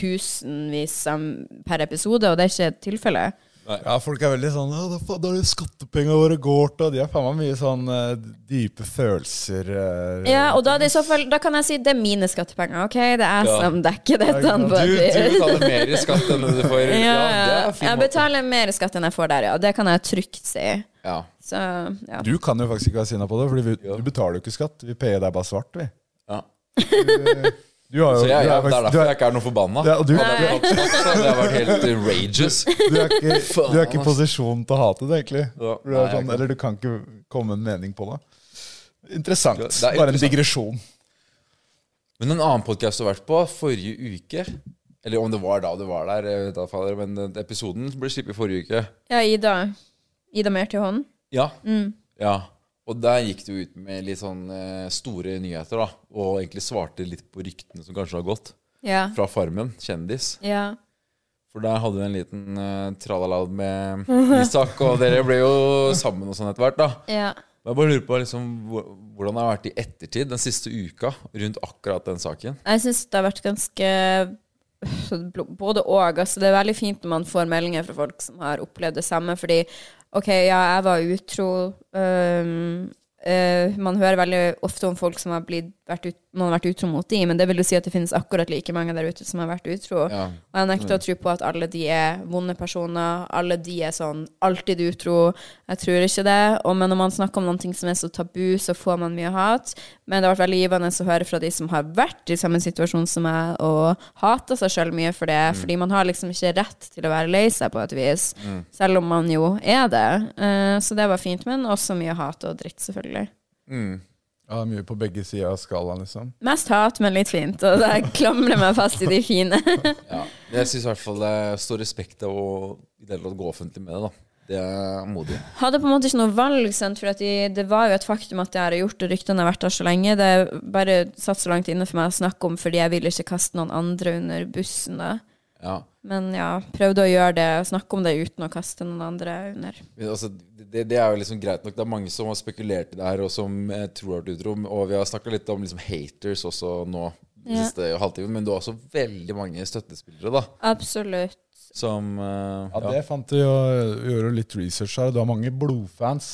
F: titusenvis av- per episode, og det er ikke tilfellet.
C: Ja, folk er veldig sånn «Å, Da fa- da er det skattepengene våre går til og De har faen meg mye sånn eh, dype følelser eh,
F: Ja, og da, er det i så fall, da kan jeg si det er mine skattepenger, OK? Det er jeg som dekker dette.
C: Ja,
F: på
D: Du, du
F: et vis.
D: betaler mer i skatt enn du får. Ja,
F: <laughs> ja,
D: det
F: ja.
D: er
F: Jeg
D: fint.
F: betaler mer skatt enn jeg får der, ja. Det kan jeg trygt si.
D: Ja.
F: Så ja.
C: Du kan jo faktisk ikke være sinna på det, Fordi vi, du betaler jo ikke skatt. Vi payer deg bare svart, vi.
D: Ja.
C: Du har jo
D: Så
C: du er
D: jeg, ja, det er
C: faktisk- du
D: derfor
C: er-
D: jeg ikke er noe forbanna.
C: Ja, og du-
D: Hadde jeg fått skatt, så hadde jeg vært helt eh, rageous.
C: du er ikke
D: <laughs> Faen,
C: du er ikke i
D: ass.
C: posisjon til å hate det, egentlig.
D: Ja,
C: For Du er
D: nei, jeg
C: sånn,
D: kan-
C: eller du kan ikke komme med en mening på det. Interessant.
D: Det er
C: Bare en
D: interessant.
C: digresjon.
D: Men en annen podkast du har vært på forrige uke Eller om det var da du var der, jeg vet da, fader, men den episoden ble sluppet forrige uke.
F: Ja, Ida. Ida mer til hånden.
D: Ja. ja. Og der gikk du ut med litt sånn eh, store nyheter, da. Og egentlig svarte litt på ryktene som kanskje har gått.
F: Ja.
D: Fra Farmen, kjendis.
F: ja.
D: For der hadde du en liten eh, tralalad med Isak, og dere ble jo sammen og sånn etter hvert, da.
F: ja.
D: Men jeg bare lurer på liksom, hvor- hvordan det har vært i ettertid, den siste uka, rundt akkurat den saken.
F: Jeg syns det har vært ganske Både og. Altså, det er veldig fint når man får meldinger fra folk som har opplevd det samme, fordi OK, ja, jeg var utro. øhm, eh, Man hører veldig ofte om folk som har blitt, vært ut, man har vært utro mot de, men det vil jo si at det finnes akkurat like mange der ute som har vært utro.
D: Ja.
F: Og jeg nekter å tro på at alle de er vonde personer. Alle de er sånn alltid utro. Jeg tror ikke det. Og, men når man snakker om noe som er så tabu, så får man mye hat. Men det har vært veldig givende å høre fra de som har vært i samme situasjon som meg, og hater seg sjøl mye for det. Fordi man har liksom ikke rett til å være lei seg på et vis. Selv om man jo er det. Eh, så det var fint, men også mye hat og dritt, selvfølgelig.
C: Ja, mye på begge sider av skalaen, liksom.
F: Mest hat, men litt fint. Og jeg klamrer meg fast i de fine.
D: Ja. Jeg syns i hvert fall det står respekt av å i det hele tatt gå offentlig med det. da Det er modig.
F: hadde på en måte ikke noe valg, sant? for at de, det var jo et faktum at det her er gjort, og ryktene har vært der så lenge. Det er bare satt så langt inne for meg å snakke om, fordi jeg vil ikke kaste noen andre under bussen. da.
D: Ja.
F: Men ja, prøvde å gjøre det, snakke om det uten å kaste noen andre under.
D: Men altså, det, det er jo liksom greit nok. Det er mange som har spekulert i det her, og som eh, tror har vært utro. Og vi har snakka litt om liksom, haters også nå, den
F: Ja.
D: siste halvtimen. Men du har også veldig mange støttespillere, da.
F: Absolutt.
D: Som eh,
C: Ja, det fant vi jo, vi gjorde litt research her. Du har mange blodfans.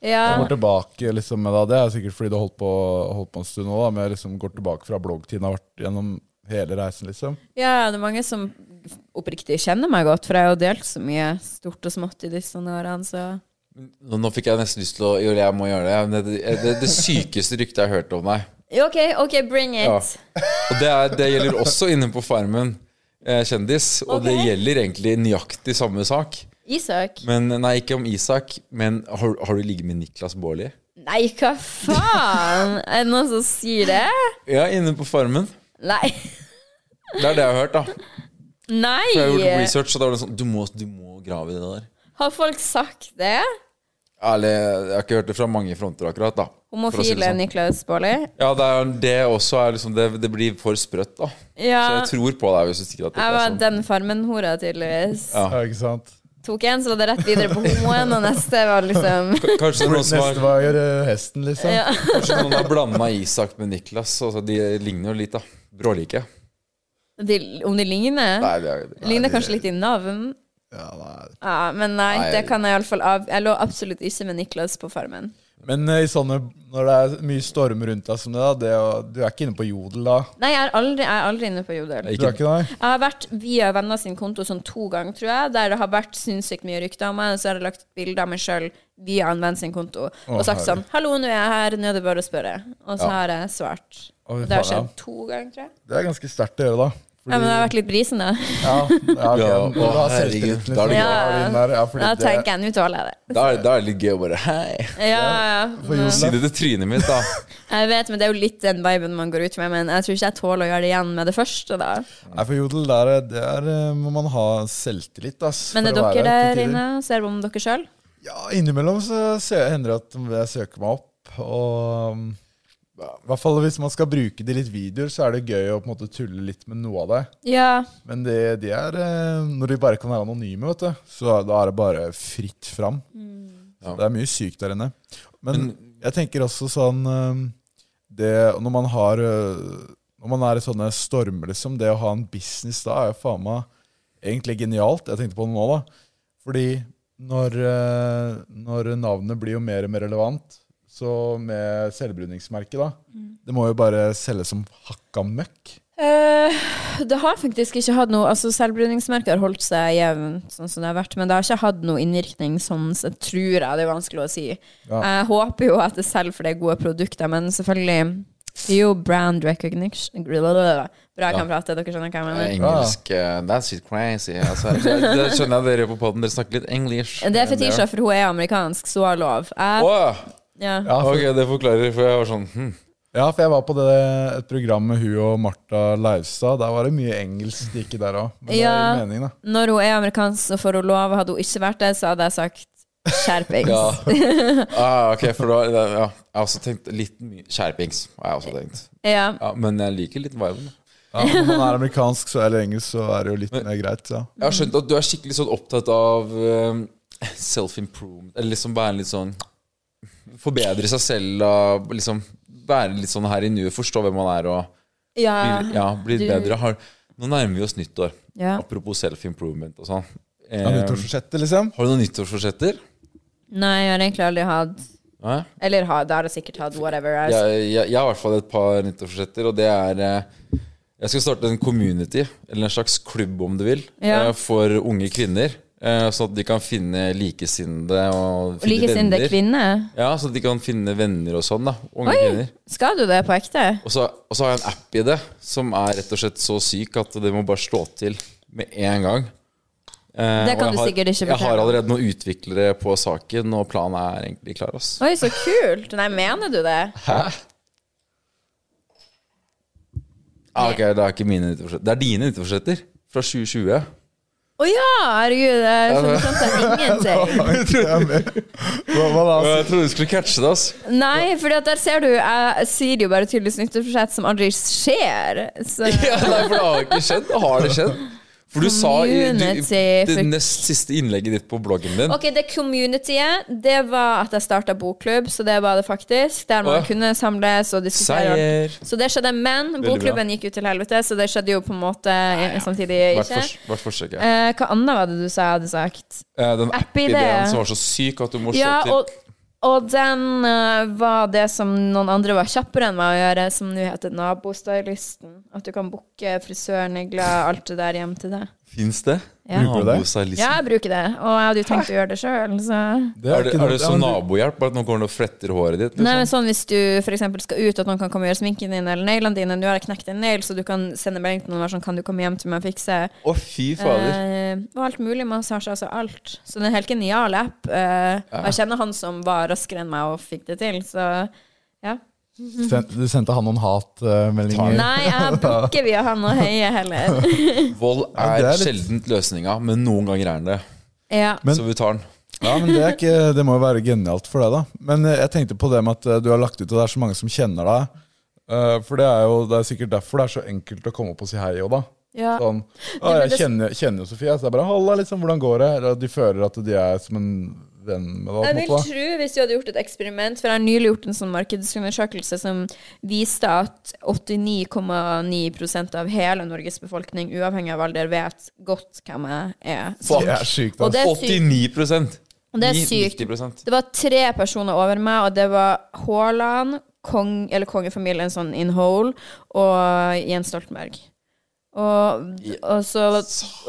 C: Jeg
F: Ja,
C: går tilbake liksom med deg. Det er sikkert fordi du har holdt på, holdt på en stund nå, da, men jeg liksom går tilbake fra bloggtiden har vært gjennom hele reisen, liksom.
F: ja, det er mange som oppriktig kjenner meg godt, for jeg har jo delt så mye stort og smått i disse årene, så
D: Nå, nå fikk jeg nesten lyst til å Jo, jeg må gjøre det. Men Det, det, det, det sykeste ryktet jeg har hørt om deg.
F: Ja, OK, OK, bring it.
D: Ja. Og det, er, det gjelder også inne på Farmen eh, kjendis. Og det
F: Ok.
D: gjelder egentlig nøyaktig samme sak.
F: Isak.
D: Men Nei, ikke om Isak, men har, har du ligget med Niklas Baarli?
F: Nei, hva faen? Er det noen som sier det?
D: Ja, inne på Farmen.
F: Nei.
D: Det er det jeg har hørt, da. For jeg har gjort
F: Nei!
D: research, og da var det sånn Du må, du må grave i det der.
F: Har folk sagt det?
D: Ærlig, jeg har ikke hørt det fra mange fronter akkurat, da. for å si det
F: Homofile
D: sånn.
F: Niklas Baarli?
D: Ja, det, er, det også er liksom det, det blir for sprøtt, da. Så
F: Ja.
D: jeg tror på deg hvis du stikker at det
F: Jeg
D: ikke
F: var
D: er sånn.
F: den farmen-hora, tydeligvis.
D: Ja.
C: Ja, ikke sant?
F: Tok en, så var det rett videre på homoen,
D: <laughs>
F: og neste var liksom
D: K- Kanskje det er noen som har
C: Neste var å gjøre hesten, liksom.
F: ja.
D: Kanskje noen har blanda Isak med Niklas. Altså, de ligner jo litt, da. Brålike.
F: de, Om de ligner?
D: Nei, det er, nei,
F: Ligner kanskje litt i navn.
C: Ja, nei.
F: Ja, men nei,
D: Nei.
F: det kan jeg iallfall av. Jeg lå absolutt ikke med Niklas på Farmen.
C: Men eh, i sånne, når det er mye storm rundt deg som det, da, det, å- du er ikke inne på jodel da?
F: Nei, jeg er aldri, jeg er aldri inne på Jodel.
D: Ikke-
C: Du er ikke det?
F: Jeg har vært via venner sin konto sånn to ganger, tror jeg, der det har vært sinnssykt mye rykter om meg, og så har jeg lagt bilder av meg sjøl via en venn sin konto og sagt sånn 'Hallo, nå er jeg her, nå er det bare å spørre', og så har jeg svart.
C: Å, fy
F: Og det har
C: faen,
F: skjedd to ganger, tror jeg.
C: Det er ganske sterkt å gjøre da.
F: Ja, men jeg har vært litt brisen, da.
C: Ja, ja, ok.
D: Ja,
C: Du har
D: å, herregud.
C: selvtilliten,
D: Da er
C: liksom.
D: det gøy.
C: Ja, din der, ja, fordi
F: Da
C: det-
F: tenker jeg 'nå tåler jeg det'.
D: Da er, da er det litt gøy å bare Hei!
F: Ja, ja.
C: For jodel,
D: Si det til trynet mitt, da.
F: Jeg vet, men det er jo litt den viben man går ut med, men jeg tror ikke jeg tåler å gjøre det igjen med det første, da.
C: Nei, for jodel der, det er, eh, må man ha selvtillit ass,
F: Men er
C: for å
F: dere
C: være til
F: der
C: tider.
F: inne? Ser om dere sjøl?
C: Ja, innimellom så sø- hender det at jeg søker meg opp. Og um, i hvert fall hvis man skal bruke det i litt videoer, så er det gøy å på en måte tulle litt med noe av det.
F: Ja.
C: Men det, de er eh, Når de bare kan være anonyme, vet du, så da er det bare fritt fram.
D: Ja.
C: Det er mye sykt der inne. Men jeg tenker også sånn eh, det, Når man har eh, Når man er i sånne stormer, liksom, det å ha en business da er jo faen meg egentlig genialt. Jeg tenkte på det nå, da. Fordi når, eh, når navnet blir jo mer og mer relevant, så med selvbruningsmerket, da Det må jo bare selges som hakka møkk.
F: Eh, det har faktisk ikke hatt noe altså Selvbruningsmerket har holdt seg jevnt, sånn som det har vært, men det har ikke hatt noe innvirkning, sånn sett, tror jeg. Det er vanskelig å si. Jeg håper jo at det selger for det er gode produkter, men selvfølgelig det er jo brand recognition Bra, jeg kan prate, dere skjønner hva jeg
D: Det er
F: mener.
D: Engelsk eh, That's it crazy. Altså, det, det skjønner jeg dere på poden. Dere snakker litt English.
F: Det er Fetisha, for hun er amerikansk, så har lov. Jeg,
D: Åh,
F: ja.
C: Ja, for-
D: ok, det forklarer, for jeg var sånn hm.
C: Ja, for jeg var på det, et program med hun og Martha Leivstad. Der var det mye engelsk det gikk i der òg. Men
F: Ja.
C: det er meningen, da.
F: Når hun er amerikansk, så får hun lov. Hadde hun ikke vært det, så hadde jeg sagt skjerpings.
D: Ja. Ah, ok, for da da- ja. Jeg har også tenkt litt mye Skjerpings. Har jeg også tenkt.
F: ja.
D: Ja, men jeg liker litt viben.
C: Ja, når man er amerikansk så, eller engelsk, så er det jo litt mer greit. Ja.
D: Jeg har skjønt at du er skikkelig sånn opptatt av eh, self-improvement. Eller liksom være litt sånn Forbedre seg selv og liksom være litt sånn her i nuet. Forstå hvem man er og
F: ja.
D: bli, ja, bli litt
F: Du-
D: bedre. Har, nå nærmer vi oss nyttår.
F: ja.
D: Apropos self-improvement og sånn. Eh,
C: Ja, nyttårsforsettet, liksom.
D: har du noen nyttårsforsetter?
F: Nei, jeg har egentlig aldri hatt
D: Hæ?
F: Eller har, da har jeg sikkert hatt whatever. Altså.
D: Jeg, jeg, jeg har i hvert fall et par nyttårsforsetter, og det er eh, Jeg skal starte en community, eller en slags klubb om du vil,
F: Ja.
D: eh, for unge kvinner. eh, Sånn at de kan finne likesinnede og
F: Ja.
D: finne venner.
F: kvinner.
D: Ja, så at de kan finne venner og sånn, da. Unge
F: Oi,
D: kvinner.
F: skal du det på ekte?
D: Og så, og så har jeg en app i det som er rett og slett så syk at det må bare slå til med en gang. Eh,
F: Det kan
D: og jeg
F: du sikkert ikke
D: Jeg har
F: fortelle.
D: allerede noen utviklere på saken, og planen er egentlig klar. ass.
F: Oi, så kult. Nei, mener du det?
D: Ah, ok, Det er ikke mine nyttårsforsetter. Det er dine nyttårsforsetter fra 2020.
F: Å ja, herregud. Jeg skjønner sånt er
D: <laughs>
F: ingenting.
C: Hva, hva da?
D: Jeg trodde du skulle catche det. ass.
F: Nei, for der ser du, jeg sier jo bare tydeligvis nyttårsforsett som aldri skjer. Så
D: <laughs> Ja, nei, for det har ikke skjedd. Det har det skjedd. For du sa i du,
F: Community for-
D: det nest siste innlegget ditt på bloggen din
F: Ok, det communityet, det var at jeg starta bokklubb, så det var det faktisk. Der man
D: Å ja.
F: kunne samles og
D: Seier.
F: diskutere. Så det skjedde, men
D: bra.
F: bokklubben gikk jo til helvete, så det skjedde jo på en måte samtidig
D: Hvert
F: ikke.
D: fors- hvert forsøk. ja.
F: Eh, hva annet var det du sa jeg hadde sagt?
D: Eh, Den
F: app-ideen.
D: app-ideen som var så syk at du må slå
F: Ja,
D: til.
F: og, og den eh, var det som noen andre var kjappere enn meg å gjøre, som nå heter nabostylisten. At du kan booke frisør, negler, alt det der hjem til deg.
D: Fins det?
F: Ja.
C: Bruker du det?
D: Nabostylisten.
F: Ja, jeg bruker det, og jeg hadde jo tenkt å gjøre det sjøl, så
C: er
D: Er det,
C: ikke
D: er
C: noe-
D: det som
C: Ja, men
D: nabohjelp? Bare at nå går han og fletter håret ditt?
F: Nei,
D: Liksom?
F: men sånn Hvis du for eksempel skal ut, at noen kan komme og gjøre sminken din eller neglene dine Nå har jeg knekt en negl, så du kan sende melding til noen og være sånn Kan du komme hjem til meg og fikse?
D: Å, fy fader.
F: Eh, og alt mulig massasje, altså alt. Så det er en helt genial app. Eh, og Jeg kjenner han som var raskere enn meg og fikk det til, så ja.
C: du- sen- Du sendte han noen hatmeldinger?
F: Nei,
C: <laughs>
F: jeg booker via han og Høie heller.
D: Vold
C: Ja,
D: er,
C: det er litt-
D: sjeldent løsninga, men noen ganger er den det.
F: Ja.
C: Men-
D: så vi tar den.
C: Ja, men det, er ikke, det må jo være genialt for deg, da. Men eh, jeg tenkte på det med at eh, du har lagt ut, og det er så mange som kjenner deg. Eh, For det er jo det er sikkert derfor det er så enkelt å komme opp og si hei òg, da.
F: Ja.
C: Sånn,
F: Du,
C: å,
F: men
C: jeg
F: det-
C: kjenner, kjenner jo Sofie, så det er bare 'halla, liksom, hvordan går det?' Eller at De føler at de er som en venn med deg. på en
F: Jeg vil
C: måte, da.
F: tro, hvis du hadde gjort et eksperiment For jeg har nylig gjort en sånn markedsundersøkelse som viste at 89,9 av hele Norges befolkning, uavhengig av alder, vet godt hvem jeg er.
D: Fuck.
C: Det er sykt,
F: Og
C: ass.
F: det er sykt.
D: 89
F: Og det er sykt.
D: 90%.
F: Det var tre personer over meg, og det var Haaland, kong, eller kongefamilien sånn in whole, og Jens Stoltenberg. Og, og, så,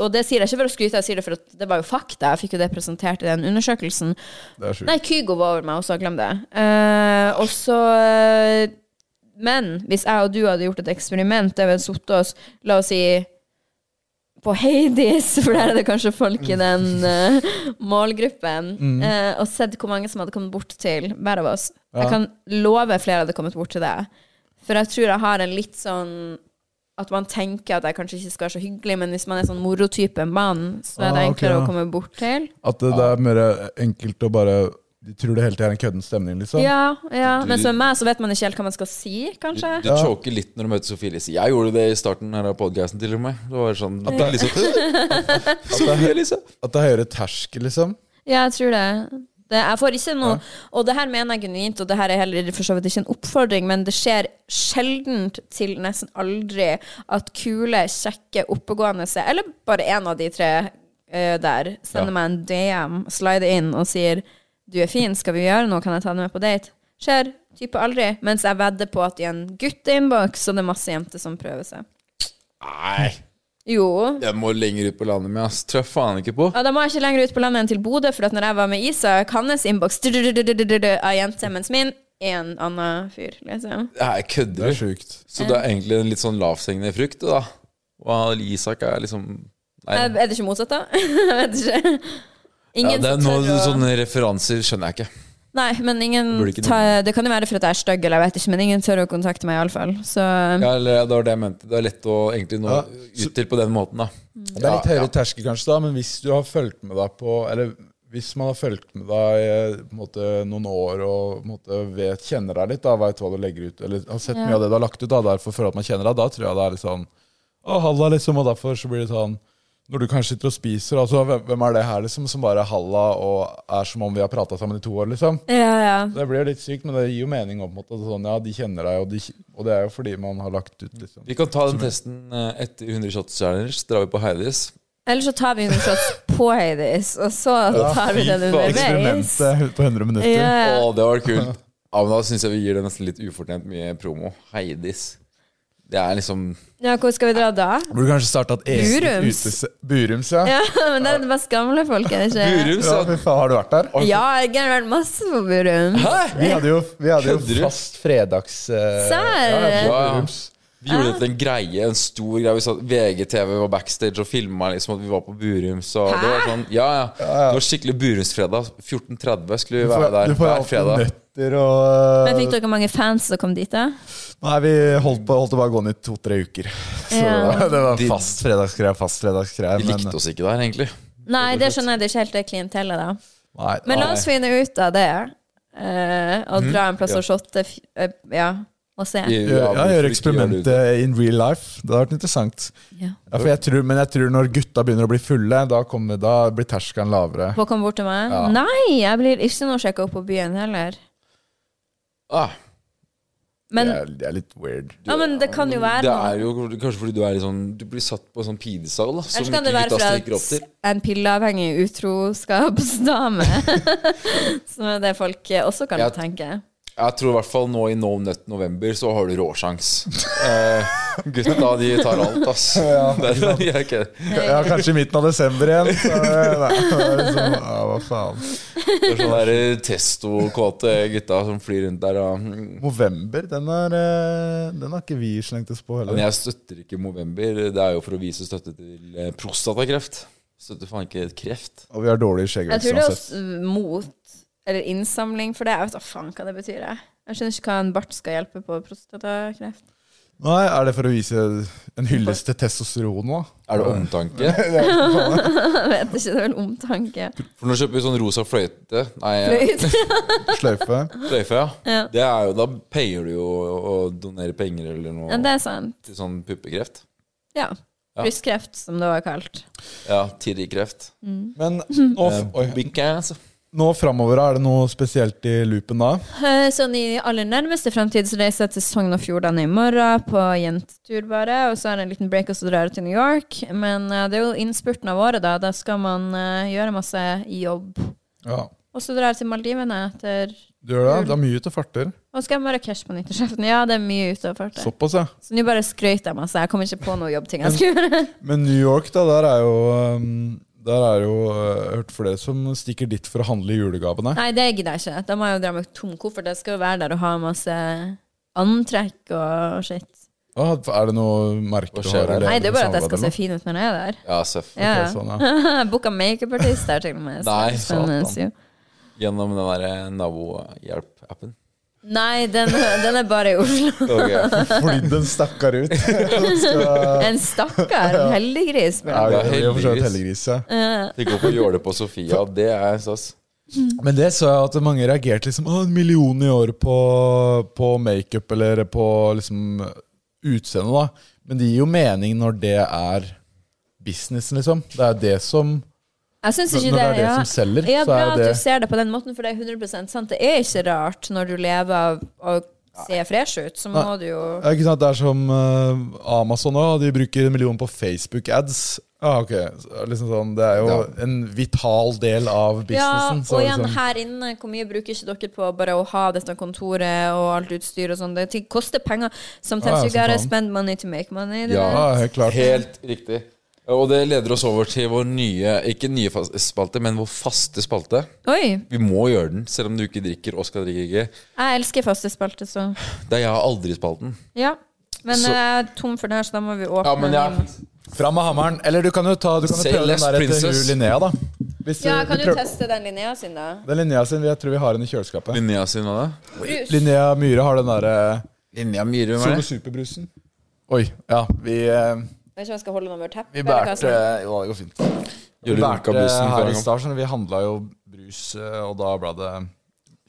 F: og det sier jeg ikke for å skryte, jeg sier det for at det var jo fakta. Jeg fikk jo det presentert i den undersøkelsen.
C: Det er sykt.
F: Nei, Kygo var over meg også, glem det. Eh, og så eh, Men hvis jeg og du hadde gjort et eksperiment der vi hadde sittet oss, la oss si på Hades, <laughs> for der er det kanskje folk i den
C: Mm.
F: eh, målgruppen, eh, og sett hvor mange som hadde kommet bort til hver av oss. Jeg kan love flere hadde kommet bort til deg. For jeg tror jeg har en litt sånn at man tenker at jeg kanskje ikke skal være så hyggelig, men hvis man er sånn morotype mann, så er
C: Ah,
F: det
C: ok,
F: enklere
C: ja.
F: å komme bort til.
C: At det, det er mer enkelt å bare De tror det hele tiden er en kødden stemning, liksom.
F: Ja, ja.
D: Du-
F: men som meg så vet man ikke helt hva man skal si,
D: Du,
F: kanskje.
D: du choker litt når du møter Sofie Elise. Jeg gjorde det i starten her av podcasten til og med. Det var sånn liksom, Sofie Elise!
C: At det er høyere terskel, liksom.
F: Ja, jeg tror det. det jeg får ikke noe Og det her mener jeg genuint, og det her er heller for så vidt ikke en oppfordring, men det skjer sjeldent til nesten aldri at kule, kjekke, oppegående Eller bare én av de tre eh, der sender meg en DM, slider inn og sier 'Du er fin, skal vi gjøre noe? Kan jeg ta deg med på date?' Skjer type aldri. Mens jeg vedder på at i en gutteinnboks, så det er masse jenter som prøver seg.
D: Nei,
F: Jo.
D: jeg må lenger ut på landet med, ass. Trøff faen ikke på.
F: Ja, da må jeg ikke lenger ut på landet enn til Bodø, for at når jeg var med Isak, hans innboks av jente, mens min er en annen fyr, liksom.
D: Jeg
C: Det
D: kødder.
C: er sykt.
D: Så det er egentlig en litt sånn lavthengende frukt, da. Og Isak er liksom Nei,
F: Er er det ikke motsatt, da? <laughs> Jeg vet ikke.
D: ja,
F: Ingen
D: det er
F: som
D: noen
F: tør å
D: sånne referanser skjønner jeg ikke.
F: Nei, men ingen
D: Burde ikke
F: ta, Det kan jo være for at jeg er stygg, eller jeg vet ikke, men ingen tør å kontakte meg, iallfall. Så
D: Ja, eller, det var det jeg mente. Det er lett å egentlig nå
C: Ja,
D: ut til på den måten, da.
F: Mm.
C: Det er litt høyere terskel kanskje da, men hvis du har fulgt med deg på Eller hvis man har fulgt med deg eh, på en måte, noen år og på en måte, vet, kjenner deg litt, da, vet hva du legger ut Eller har sett
F: Ja.
C: mye av det du har lagt ut, da, derfor føler at man kjenner deg, da tror jeg det er litt sånn Å, halla, liksom. Og derfor så blir det sånn Når du kanskje sitter og spiser, altså hvem, hvem er det her, liksom, som bare er halla og er som om vi har prata sammen i to år, liksom?
F: ja, ja.
C: Det blir jo litt sykt, men det gir jo mening. Opp, måte, sånn, ja, de kjenner deg, og, de, kj- og det er jo fordi man har lagt ut, liksom.
D: Vi kan ta den testen eh, etter 100 shots challenge. Drar vi på Heidis.
F: Eller så tar vi noen
D: <laughs>
F: shots på Hades, og så tar vi
D: fy
F: den
D: faen.
F: underveis.
C: Eksperimentet på 100 minutter.
F: Ja.
D: Å, det var kult. Ja, men da syns jeg vi gir det nesten litt ufortjent mye promo. Heidis. Det er liksom
F: ja, hvor skal vi dra da? <laughs>
C: Burde kanskje starta et eget
F: Burums.
C: utese- Burums, ja.
F: Ja, men det er bare gamle folk, er det ikke?
D: Burum,
C: ja
D: sa
C: fy faen, har du vært der?
F: Ja, jeg har vært masse på Burum.
D: Hæ?
C: Vi hadde jo, vi hadde
D: Kødder
C: jo
D: du?
C: fast fredags... eh,
F: Serr?
C: ja, ja, på
D: Ja, ja.
C: Burums.
D: Vi
F: Ah.
D: gjorde det til en greie, en stor greie. Vi satt, VGTV var backstage og filma liksom, at vi var på Burum. Så det var sånn, ja, ja. Det var skikkelig Burumsfredag. 14.30 skulle vi
C: Du
D: være
C: får-
D: der
C: Du får
D: hver
C: alltid
D: fredag.
C: nøtter og
F: Men fikk dere mange fans som kom dit, da?
C: Nei, vi holdt, på, holdt det bare gående i to-tre uker. <laughs> Så
F: Ja.
C: <laughs> det var
D: De-
C: fast fredagsgreie, fast fredagsgreie.
D: De likte oss ikke der, egentlig.
F: Nei, det skjønner jeg. Det er ikke helt det klientellet, da.
C: Nei,
F: Men la
C: nei.
F: oss finne ut av det. eh, og dra en plass og shotte f- eh, Ja, og se.
D: Vi-
C: Gjør, ja,
D: hvorfor ikke
C: gjør
D: gjøre
C: eksperimentet
D: det?
C: in real life. Det hadde vært interessant.
F: Ja.
C: Ja, for jeg tror, men jeg tror når gutta begynner å bli fulle, da, kommer, da blir terskelen lavere.
F: Få komme bort til meg.
C: Ja.
F: Nei, jeg blir ikke noe sjekka opp på byen heller.
D: Ah,
F: Men,
C: det, er, det er litt weird.
F: ja, men det kan jo være
D: det
F: noe.
D: er jo kanskje fordi du er i sånn Du blir satt på en sånn pidestall, da. Som
F: Ellers kan
D: ikke
F: det være
D: gutta strekker
F: fra
D: opp til.
F: at en pilleavhengig utroskapsdame. <laughs> Som er det folk også kan
D: Ja.
F: tenke.
D: Jeg tror i hvert fall nå i No Nut November så har du råsjans. Eh, gutta, de tar alt,
C: <laughs>
D: ass. <laughs> det er, de er ikke,
C: Ja, kanskje i midten av desember igjen. Så, eh, nei, det er liksom, ja, hva faen.
D: det er sånne der eh, testo-kåte gutta som flyr rundt der og mm.
C: November, den, er, eh, den har ikke vi slengt oss på
D: Men
C: heller.
D: jeg støtter ikke Movember. Det er jo for å vise støtte til eh, prostatakreft. Støtter faen ikke kreft.
C: Og vi har dårlig
F: Jeg tror
C: skjeggvekst
F: det er
C: uansett.
F: også eh, mot eller innsamling for det. Jeg vet da faen hva det betyr. Jeg Jeg skjønner ikke hva en bart skal hjelpe på prostatakreft. <laughs>
C: Nei, er det for å vise en hyllest til testosteron nå?
D: Er det omtanke?
F: Jeg vet ikke, det er vel omtanke.
D: For nå kjøper vi sånn rosa fløyte. Nei, eh,
F: Fløyt.
C: Sløyfe?
D: fløyfe, ja.
F: Ja.
D: Det er jo, da payer du jo å donere penger eller noe
F: <laughs> Ja, det er sant.
D: til sånn puppekreft.
F: Ja. Brystkreft, som det var kalt.
D: Ja, Tirri-kreft.
C: Men nå,
D: Eh,
C: oi,
D: big ass.
C: nå framover, er det noe spesielt i loopen da?
F: Eh, Sånn i aller nærmeste fremtid så reiser jeg til Sogn og Fjordane i morgen på jentetur, bare. Og så er det en liten break, og så drar jeg til New York. Men eh, det er jo innspurten av året, da. Da skal man eh, gjøre masse jobb.
C: Ja.
F: Og så drar jeg til Maldivene etter
C: Du gjør det? Det er mye ute og farter.
F: Og så skal jeg Marrakech på nyttårsaften. Ja, det er mye ute og fart der.
C: Såpass, ja.
F: Så nå bare skrøt jeg masse. Jeg kommer ikke på noe jobbting jeg skal gjøre.
C: Men New York, da, der er jo um, Der er jo uh, jeg har hørt flere som stikker dit for å handle julegavene.
F: Nei, det gidder jeg ikke. Da må jeg jo dra med tom koffert. Jeg skal jo være der og ha masse antrekk og shit.
C: Ah, er det noe merke
D: Hva
C: du
D: skjer
C: har?
D: der?
C: eller
F: Nei, det er bare at jeg
C: samarbeid
F: skal se
C: eller noe?
F: fin ut når jeg er der.
D: Ja, seff.
F: Ja.
C: Ok, sånn,
F: <laughs> Jeg Booka makeupartist der, til og med. Så
D: Nei,
F: det spennende,
D: satan.
F: jo.
D: Gjennom den der eh, Nabo-hjelp-appen.
F: Nei, den, den er bare i Oslo.
D: Okay.
C: Fordi den stakkar
F: <laughs>
C: ut.
F: En stakkar. En heldiggris.
C: Ja,
F: bro.
C: vi er jo for så vidt
D: heldiggris.
C: heldiggris, ja.
D: Tenk å få gjøre det på Sofia. Det er stas.
F: Mm.
C: Men det så jeg at mange reagerte liksom Å, en million i året på, på makeup eller på liksom utseende, da. Men det gir jo mening når det er businessen, liksom. Det er det som
F: Jeg syns
C: Når
F: ikke
C: det er det
F: ja.
C: som selger,
F: ja,
C: så
F: bra
C: er
F: at du
C: det-
F: ser det på den måten, for det er 100 sant. Det er ikke rart når du lever av å se fresh ut, så må
C: Nei.
F: du jo
C: Ja, ikke sant? Det er som eh, Amazon òg. De bruker en million på Facebook-ads. Ja, ok. Så, Liksom sånn, det er jo en vital del av
F: Ja,
C: businessen.
F: og igjen,
C: liksom,
F: her inne, hvor mye bruker ikke dere på bare å ha dette kontoret og alt utstyr og sånn? Det ting koster penger.
C: Ja,
F: Sometimes
C: ja,
F: you
C: som
F: gotta
C: faen.
F: spend money to make money. det
D: Ja.
F: der.
C: ja, helt klart.
D: Helt riktig. Og det leder oss over til vår nye, ikke nye fas- spalte, men vår faste spalte.
F: Oi!
D: Vi må gjøre den, selv om du ikke drikker. Oskar drikker ikke.
F: Jeg elsker faste spalter, så
D: Det er jeg har aldri spalten.
F: Ja. Men eh,
D: Så-
F: jeg er tom for den her, så da må vi åpne
D: Ja, men jeg,
F: den.
C: Fram med hammeren. Eller du kan jo ta du kan jo
D: Say
C: prøve den
D: less,
C: der etter
D: princess.
C: hun Linnea, da. Hvis
F: Ja,
C: du- vi
F: kan du
C: prøver-
F: teste den Linnea sin, da?
C: Det er Linnea sin. Jeg tror vi har den i kjøleskapet.
D: Linnea sin hva da?
F: Brus.
C: Linnea Myhre har den derre
D: Linnea Myhre
C: Solo Superbrusen. Oi. Ja, vi eh,
F: Vet ikke om jeg skal holde den over teppet.
C: Vi
F: eller hva
C: bærte
F: som-
C: Jo, det går fint. Vi
D: Gjør du
C: bærte
D: runka bussen
C: her i
D: for en gang?
C: stad, så vi handla jo brus, eh, og da ble det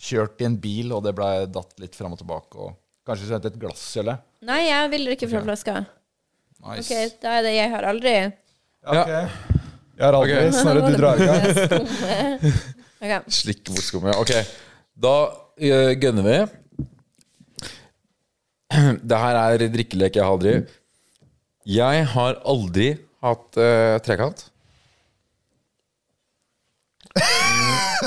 C: kjørt i en bil, og det ble datt litt fram og tilbake, og kanskje så hentet et glass, eller?
F: Nei, jeg vil drikke fra flaska. Ok,
C: Nice.
F: da er det jeg har aldri.
C: Ja, ok. Jeg har aldri
D: Ok.
C: Snorre,
F: <laughs>
C: du drar i gang.
F: Ok.
D: Slikk bort skummet. Ok, da uh, gønner vi. <clears throat> Det her er drikkelek jeg har aldri. Jeg har aldri hatt eh, trekant.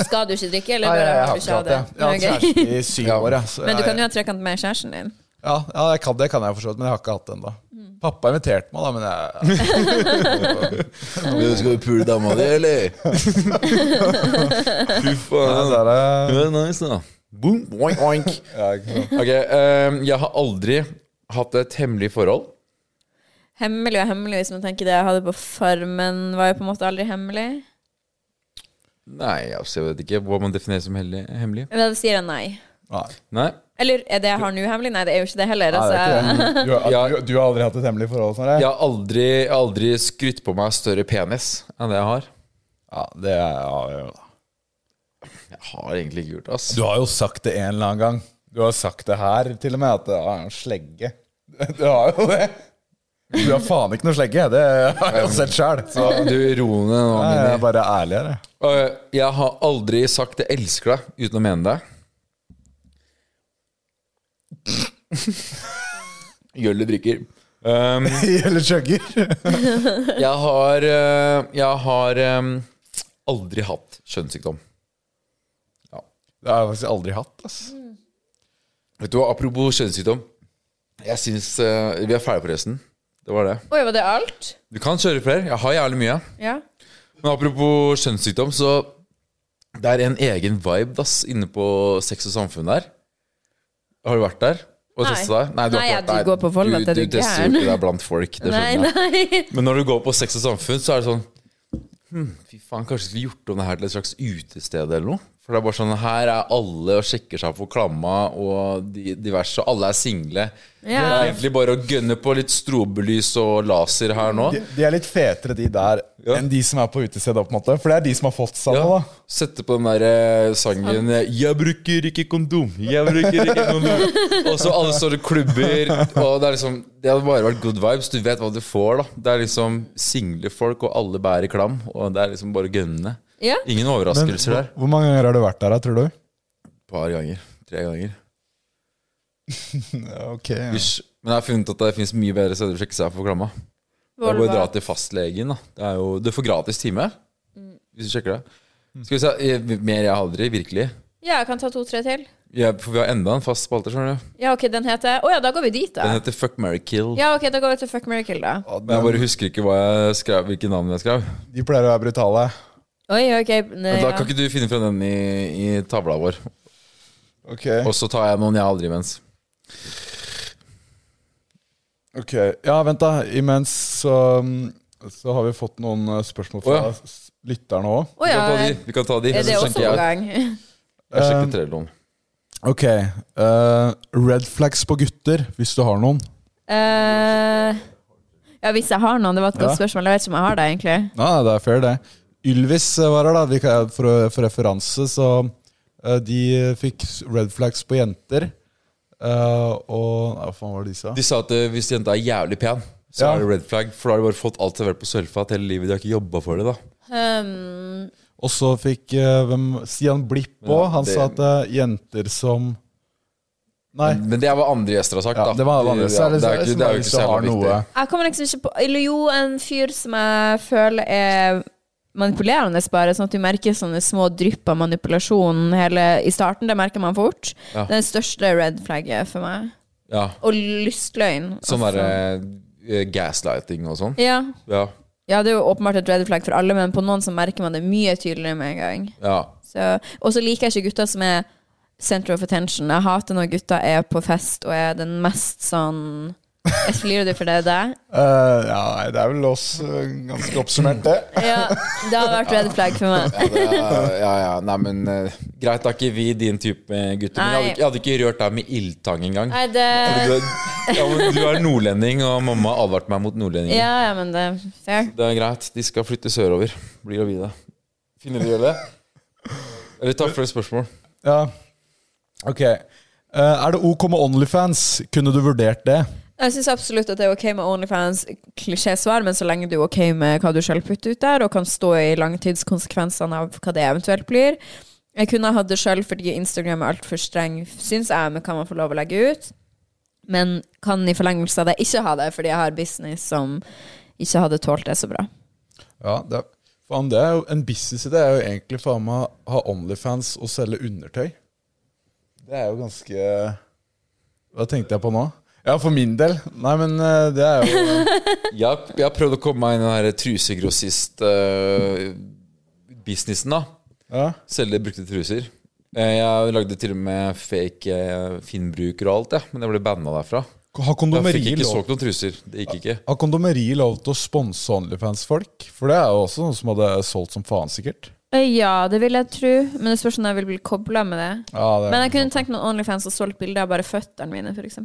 F: Skal du ikke drikke,
C: Nei,
F: eller bare
C: jeg
F: har
C: har
F: du ikke
C: ikke
F: av
C: hatt det.
F: det?
C: Jeg har hatt
F: Nei, ok.
C: kjæreste i syv
D: Ja.
C: år. Ja, så
F: Men du
C: jeg-
F: kan jo ha trekant med kjæresten din.
C: ja, ja jeg kan, det kan jeg for så vidt, men jeg har ikke hatt det ennå. Pappa inviterte meg, da, men <laughs> jeg
D: Skal du pule dama di, eller? Fy faen.
C: det er,
D: Det er nice, da. Boom, oink, oink.
C: ja, ikke sant.
D: Ok, ehm, jeg har aldri hatt et hemmelig forhold.
F: Hemmelig og hemmelig, hvis man tenker det jeg hadde på Farmen, var jo på en måte aldri hemmelig.
D: Nei, altså, jeg vet ikke hva man definerer som hellig- hemmelig.
F: Men da sier jeg nei.
C: Nei.
D: Nei.
F: Eller er det jeg har nå hemmelig? Nei, det er jo ikke det heller.
C: Nei, det
F: Altså.
C: er ikke det. Du, har-
D: Ja.
C: du, du har aldri hatt et hemmelig forhold? Sånn,
D: Jeg har aldri, jeg har aldri skrytt på meg større penis enn det jeg har.
C: ja, det er, ja, ja.
D: Jeg har egentlig ikke gjort det, ass.
C: Du har jo sagt det en eller annen gang. Du har sagt det her til og med, at det er en slegge. <laughs> Du har jo det. Du har faen ikke noe slegge, det har jeg jo sett sjøl. Så
D: Du roer ned nå,
C: jeg
D: Mini.
C: er bare ærlig her, jeg.
D: Øh, Jeg har aldri sagt 'jeg elsker deg' uten å mene det. Gjølle drikker.
C: Mm.
D: Um,
C: <laughs> Eller chugger.
D: jeg har, øh, jeg har øhm, aldri hatt kjønnssykdom.
C: Det har jeg faktisk aldri hatt. ass.
D: Vet du hva, Apropos kjønnssykdom. Jeg syns øh, Vi er ferdige, forresten. Det var det.
F: <laughs> Oi, var det alt?
D: Du kan kjøre flere. Jeg har jævlig mye.
F: Ja.
D: Men apropos kjønnssykdom, så det er en egen vibe dass, inne på Sex og samfunn der. Har du vært der? Og
F: Nei.
D: testa deg? du har
F: Nei,
D: ikke vært
F: ja, du
D: der.
F: går på Volda til
D: du,
F: du
D: du tester jo
F: gæren.
D: ikke deg blant folk. Det
F: Nei, <laughs>
D: skjønner jeg.
F: nei.
D: Men når du går på Sex og samfunn, så er det sånn hm, Fy faen, kanskje vi skulle gjort om det her til et slags utested eller noe? For det er bare sånn Her er alle og sjekker seg for klamma og de, diverse, og alle er single. Det
F: Ja.
D: er egentlig bare å gønne på litt strobelys og laser her nå.
C: De, de er litt fetere, de der, enn de som er på utestedet. på en måte. For det er de som har fått seg noe.
D: Ja,
C: da.
D: sette på den der eh, sangen eh, 'Jeg bruker ikke kondom', 'Jeg bruker ikke kondom'. Og så alle store klubber. Og det er liksom Det hadde bare vært good vibes. Du vet hva du får, da. Det er liksom single folk, og alle bærer klam. Og det er liksom bare å gønne.
F: ja.
D: Ingen
C: Men,
D: overraskelser
C: hvor,
D: der.
C: hvor mange ganger har du vært der, da, tror du?
D: Et par ganger. Tre ganger.
C: Ja, Ok, ja.
D: Hysj. Men jeg har funnet at det fins mye bedre steder å sjekke seg for klamma. Det er bare å dra til fastlegen. da det er jo, Du får gratis time hvis du sjekker det.
C: Mm.
D: Skal vi se, eh, Mer jeg har aldri, virkelig.
F: Ja, jeg kan ta to-tre til.
D: Ja, for vi har enda en fast spalte. skjønner du
F: Ja, ok, den heter Å ja, da går vi dit,
D: Den
F: da.
D: heter Fuck, marry, kill.
F: Ja, ok, da går vi til Fuck Miracle, da.
D: Men jeg bare husker ikke hva jeg skrev, hvilke navn jeg skrev.
C: De pleier å være brutale.
F: Oi, ok. Nei,
D: Men da
F: ja.
D: kan ikke du finne frem den i, i tavla vår.
C: Ok,
D: Og så tar jeg noen jeg aldri imens.
C: ok. Ja, vent, da. Imens så, mm, så har vi fått noen eh, spørsmål fra
D: Å, ja.
C: s- lytterne òg.
F: Å ja,
D: Vi kan ta de. Vi kan ta de.
F: er det
D: Så
F: også
D: sjekker
F: på
D: jeg,
F: gang? <laughs>
D: jeg
C: Um,
D: sjekker trelloen.
C: Ok. eh, red flags på gutter, hvis du har noen.
F: Eh, ja, hvis jeg har noen. Det var et godt
C: Ja.
F: spørsmål. Jeg vet ikke om jeg har det, egentlig.
C: Nei, nei, det er fair, det. Ylvis eh, var her, da. Vi kan, for, å- for referanse, så eh, De fikk red flags på jenter. Eh, og Nei, hva faen var det de sa?
D: De sa at eh, hvis jenta er jævlig pen, så
C: Ja.
D: er det red flag. For da har de bare fått alt servert på sølvfat hele livet. De har ikke jobba for det, da.
F: Um,
C: Og så fikk eh, hvem, Stian Blipp òg.
D: Ja,
C: han
D: det-
C: sa at det er jenter som Nei.
D: Men det er hva andre gjester har sagt,
C: Ja,
D: da.
C: det var det
D: De-
C: andre. Så
D: ja,
C: er det,
D: det er ikke-
C: som
D: det er jo
C: er
D: ikke
C: hvis du
D: så
C: har
D: jævla
C: noe
D: viktig.
F: jeg kommer liksom ikke på Eller jo, en fyr som jeg føler er manipulerende, bare. Sånn at du merker sånne små drypp av manipulasjon hele, i starten. Det merker man fort.
D: Ja.
F: Det er det største red flagget for meg.
D: Ja.
F: Og lystløgn.
D: Sånn
F: altså.
D: derre eh, gaslighting og sånn.
F: ja.
D: Ja.
F: ja, det er jo åpenbart et red flag for alle, men på noen så merker man det mye tydeligere med en gang.
D: ja.
F: Så- Og så liker jeg ikke gutter som er center of attention. Jeg hater når gutter er på fest og er den mest sånn Jeg flirer du for det der?
C: Eh, ja, nei, det er vel oss eh, ganske oppsummert, det.
F: Ja, det har vært red flag for meg.
D: Ja, det er- ja, ja. Nei, men eh, greit, da er ikke vi din type eh, gutter. Men jeg hadde,
F: Nei.
D: ikke- jeg hadde ikke rørt deg med ildtang engang.
F: Nei, det
D: Du, er- ja, men du er nordlending, og mamma advarte meg mot nordlendinger.
F: Ja, ja, men det er fair.
D: Det er greit, de skal flytte sørover. Blir gravide. Finner de det? Eller takk for et spørsmål.
C: Ja. Ok. Eh, er det OK med Onlyfans? Kunne du vurdert det?
F: Jeg syns absolutt at det er ok med Onlyfans, klisjésvar, men så lenge du er ok med hva du selv putter ut der, og kan stå i langtidskonsekvensene av hva det eventuelt blir. Jeg kunne ha hatt det sjøl fordi Instagram er altfor streng, syns jeg, med hva man får lov å legge ut. Men kan i forlengelse av det ikke ha det, fordi jeg har business som ikke hadde tålt det så bra.
C: Ja, det er, Faen, det er jo En businessidé er jo egentlig faen meg å ha Onlyfans og selge undertøy. Det er jo ganske Hva tenkte jeg på nå? Ja, for min del. Nei, men eh, det er jo
D: Jeg, har- jeg har prøvd å komme meg inn i den her trusegrossist-businessen, da.
C: ja.
D: Selge brukte truser. Eh, Jeg lagde til og med fake eh, Finn-bruker og alt, jeg. Men jeg ble banna derfra.
C: Har
D: Jeg fikk
C: kondomeri
D: ikke
C: lov
D: solgt noen truser. Det gikk ikke.
C: Har kondomeri lov til å sponse Onlyfans-folk? For det er jo også noe som hadde solgt som faen, sikkert.
F: Eh, Ja, det vil jeg tro, men det spørs om jeg vil bli kobla med det.
C: Ja, det
F: Men
C: er,
F: jeg kunne tenkt meg Onlyfans og solgt bilder av bare føttene mine, f.eks.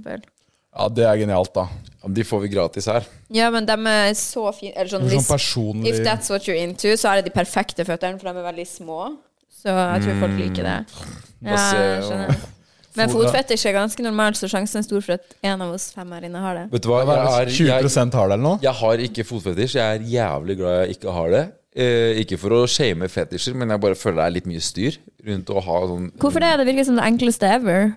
C: ja, det er genialt, da.
D: Ja, men De får vi gratis her.
F: Ja, men de er så fine. Eller sånn,
C: Det er sånn
F: hvis,
C: personlig
F: if that's what you're into, så er det de perfekte føttene, for de er veldig små. Så jeg tror
C: Mm.
F: folk liker det. Ja, jeg skjønner. Men fotfetisj er ganske normalt, så sjansen er stor for at en av oss fem her inne har det.
D: Vet du hva,
C: Hva er det,
D: jeg, er,
C: 20
D: jeg,
C: har det, eller noe?
D: jeg har ikke fotfetisj. Jeg er jævlig glad jeg ikke har det. Eh, ikke for å shame fetisjer, men jeg bare føler det er litt mye styr rundt å ha sånn
F: Hvorfor det? Det virker som det enkleste ever.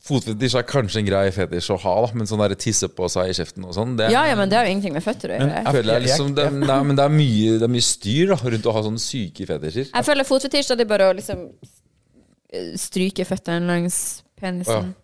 D: Fotfetisj er kanskje en grei fetisj å ha, da, men sånn der tisse på seg i kjeften og sånn, det
F: Ja, ja, men det har jo ingenting med føtter å gjøre.
D: Jeg føler det er liksom det, nei, men det er, mye, det er mye styr da, rundt å ha sånne syke fetisjer.
F: Jeg føler fotfetisj, da det er bare å liksom eh, stryke føttene langs penisen.
D: Ikke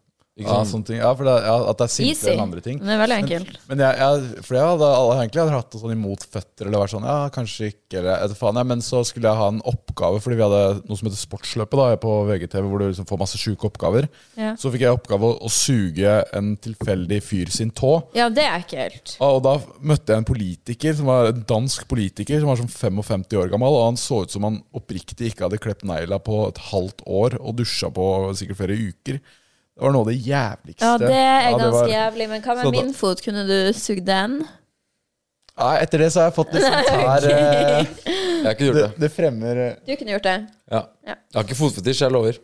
C: Ja,
D: sant?
C: sånne ting. ja, for det er, ja, at det er simplere
F: Easy.
C: enn andre ting.
F: Det er veldig enkelt.
C: Men jeg, jeg, for jeg hadde alle egentlig hadde hatt det sånn imot føtter, eller vært sånn, ja, kanskje ikke, eller jeg vet faen jeg, men så skulle jeg ha en oppgave, fordi vi hadde noe som heter sportsløpet da, på VGTV, hvor du liksom får masse syke oppgaver.
F: Ja.
C: Så fikk jeg oppgave å, å suge en tilfeldig fyr sin tå,
F: Ja, det er ekkelt.
C: Ja, Og da møtte jeg en politiker, som var en dansk politiker, som var sånn 55 år gammel, og han så ut som han oppriktig ikke hadde klept negla på et halvt år, og dusja på sikkert flere uker. Det var noe av det jævligste.
F: Ja, det er
C: Ja, det
F: ganske
C: var-
F: jævlig. Men hva
C: Så
F: med
C: da-
F: min fot? Kunne du sugd den?
C: Nei, etter det så har jeg fått litt
F: <laughs>
C: sånn her eh,
D: Jeg har ikke gjort det.
C: det, det fremmer eh,
F: Du kunne gjort det.
D: Ja.
F: Ja.
D: Jeg har ikke fotfetisj, jeg lover.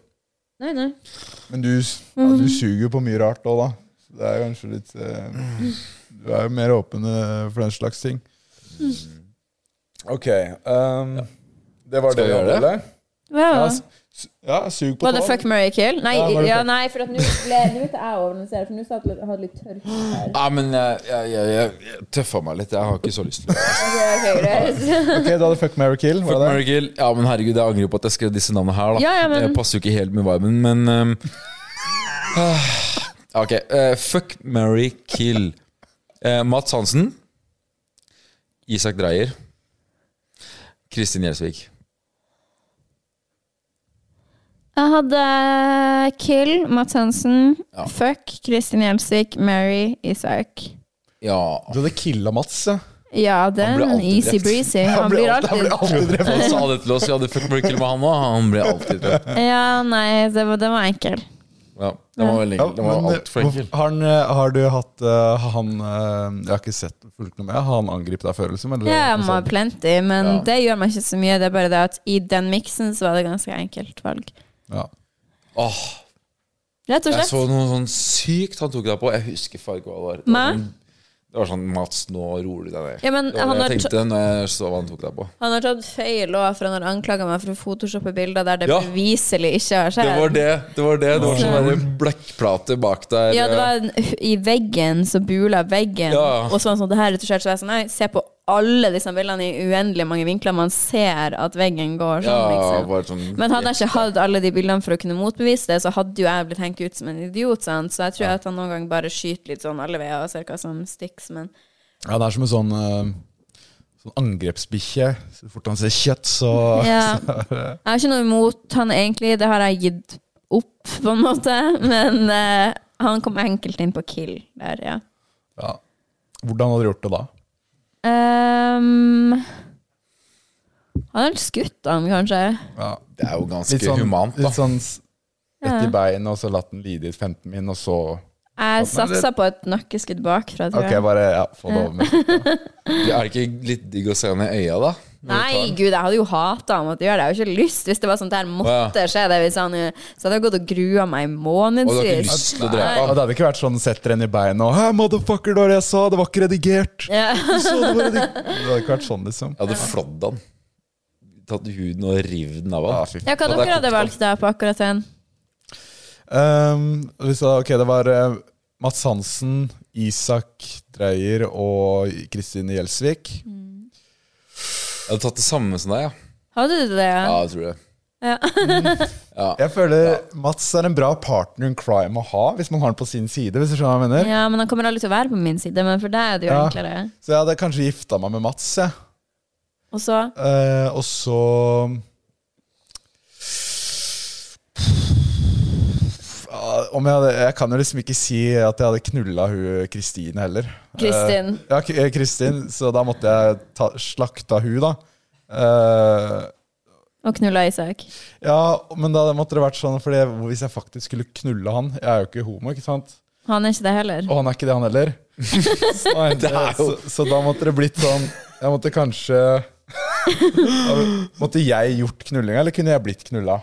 F: Nei, nei.
C: Men du, s- ja,
F: Mhm.
C: du suger jo på mye rart òg, da. Så det er kanskje litt eh, Du er jo mer åpen eh, for den slags ting. OK. ehm, Det var
D: Skal
C: det
D: vi
C: vi
D: gjøre det?
C: hadde. Ja,
F: Wow.
C: s- s- ja, sug på
F: Var det
C: tåa.
F: fuck, marry, kill? Nei,
C: Ja, var det
F: ja,
C: fuck-
F: nei for at nå ble nå vet jeg jeg overanalyserer, for nå satt jeg og hadde litt tørr her.
D: Nei, men jeg, jeg, jeg, jeg, jeg tøffa meg litt. Jeg har ikke så lyst til det.
F: Ok, ok, greit.
C: Ok, da hadde Fuck, marry, kill.
D: Fuck
C: Var det det?
D: Mary Kill. Ja, men herregud, jeg angrer på at jeg skrev disse navnene her. da
F: Ja, ja, men-
D: Det passer jo ikke helt med viben, men ehm, <sighs> ah, Ok. eh, fuck Mary Kill. Eh, Mats Hansen. Isak Dreyer. Kristin Gjelsvik.
F: Jeg hadde kill Mads Hansen, fuck Kristin Gjelsvik, Mary Isak.
D: Ja,
C: Du hadde killa Mats, ja.
F: Ja, den
D: blir alltid
F: easy
D: drept.
F: breezy. Han blir alltid
C: alltid drept.
D: Han sa det til oss, vi hadde fuck Mary Kill med han òg. Han ble alltid drept.
F: Ja, nei, det var, den var enkel.
D: Ja, den var veldig enkel. Den var altfor enkel.
C: Har, han, eh, har du hatt eh, han eh, Jeg har ikke sett fulgt noe med. Har han angrepet deg før, liksom? Eller,
F: Ja, man har
C: altså,
F: plenty, men
C: Ja.
F: det gjør meg ikke så mye. Det er bare det at i den miksen så var det ganske enkelt valg.
C: ja.
D: Åh,
F: Rett og
D: jeg så
F: slett.
D: noe sånn sykt han tok deg på. Jeg husker faen ikke hva det var. Det var.
F: Meg?
D: sånn- Det var sånn Mats, nå roer du deg ned.
F: Ja, men
D: det var
F: han
D: det
F: har
D: jeg tenkte når jeg så hva han tok deg på.
F: Han har tatt feil òg, for han har anklaga meg for å photoshoppe bilder der det
D: Ja.
F: beviselig ikke har
D: Det
F: skjedd.
D: var det. Det var det, det var sånn der blekkplate bak der.
F: Ja, det var en, i veggen, så bula veggen.
D: Ja.
F: Og så var han sånn, det her er retusjert. Så jeg er sånn, nei, se på alle disse bildene i uendelig mange vinkler. Man ser at veggen går
D: ja,
F: sånn, liksom.
D: bare sånn
F: Men hadde jeg ikke hatt alle de bildene for å kunne motbevise det, så hadde jo jeg blitt hengt ut som en idiot, sant? så jeg tror at han noen gang bare skyter litt sånn alle veier og ser hva som stikker. Men
C: ja, det er som en sånn eh, Sånn angrepsbikkje. Så fort han ser kjøtt, så
F: ja. jeg har ikke noe imot han egentlig, det har jeg gitt opp, på en måte. Men eh, han kom enkelt inn på kill der, ja.
C: ja. Hvordan hadde du gjort det da?
F: Um, han har skutt han, kanskje.
C: Ja.
D: Det er jo ganske
C: Litt sånn,
D: humant, da.
C: litt sånn s- rett i beinet, og så latt den lide i 15 min, og så
F: Jeg satsa på et nakkeskudd bakfra, tror
C: Ok,
F: jeg.
C: bare ja, få det over med. sånn-
D: Er det ikke litt digg å se henne i øya, da?
F: Nei, gud, jeg hadde jo hata han måtte gjøre det. Jeg hadde jo ikke lyst hvis det var sånt der
D: Å,
F: måtte skje. det hvis han, eh, Så hadde jeg gått og grua meg i
D: Og du har ikke
F: månedsvis.
D: lyst til å drepe
C: Og
D: ham?
C: det hadde ikke vært sånn setter henne i beinet og Hæ, motherfucker, det var det jeg sa, det var ikke redigert.
F: Ja. <laughs>
C: Du så det, var redig det hadde ikke vært sånn, liksom.
D: Jeg hadde flådd han. Tatt huden og revet den av
C: Ja,
D: han.
C: fy
F: ja,
D: Og
F: hva
D: det er
F: dere hadde
D: kokt,
F: valgt da på akkurat den?
C: Um, vi sa, ok, det var eh, Mats Hansen, Isak Dreyer og Kristine Gjelsvik.
D: Jeg hadde tatt det samme som deg, ja.
F: Hadde du det?
D: Ja, jeg tror det.
C: Jeg føler Mats er en bra partner in crime å ha, hvis man har den på sin side. hvis du skjønner hva jeg mener.
F: Ja, men han kommer aldri til å være på min side, men for deg er det jo
C: Ja.
F: enklere.
C: Så jeg hadde kanskje gifta meg med Mats, jeg.
F: Og så
C: Eh, og så Ah, om jeg, hadde, jeg kan jo liksom ikke si at jeg hadde knulla hun Kristin heller.
F: Kristin.
C: Eh, ja, K- eh, Kristin, så da måtte jeg ta, slakta hun, da. Eh,
F: Og knulla Isak.
C: ja, men da måtte det vært sånn, for hvis jeg faktisk skulle knulle han Jeg er jo ikke homo, ikke sant?
F: Han er ikke det heller.
C: Og han er ikke det, han heller. Så, <laughs> så, så da måtte det blitt sånn Jeg måtte kanskje Måtte jeg gjort knullinga, eller kunne jeg blitt knulla?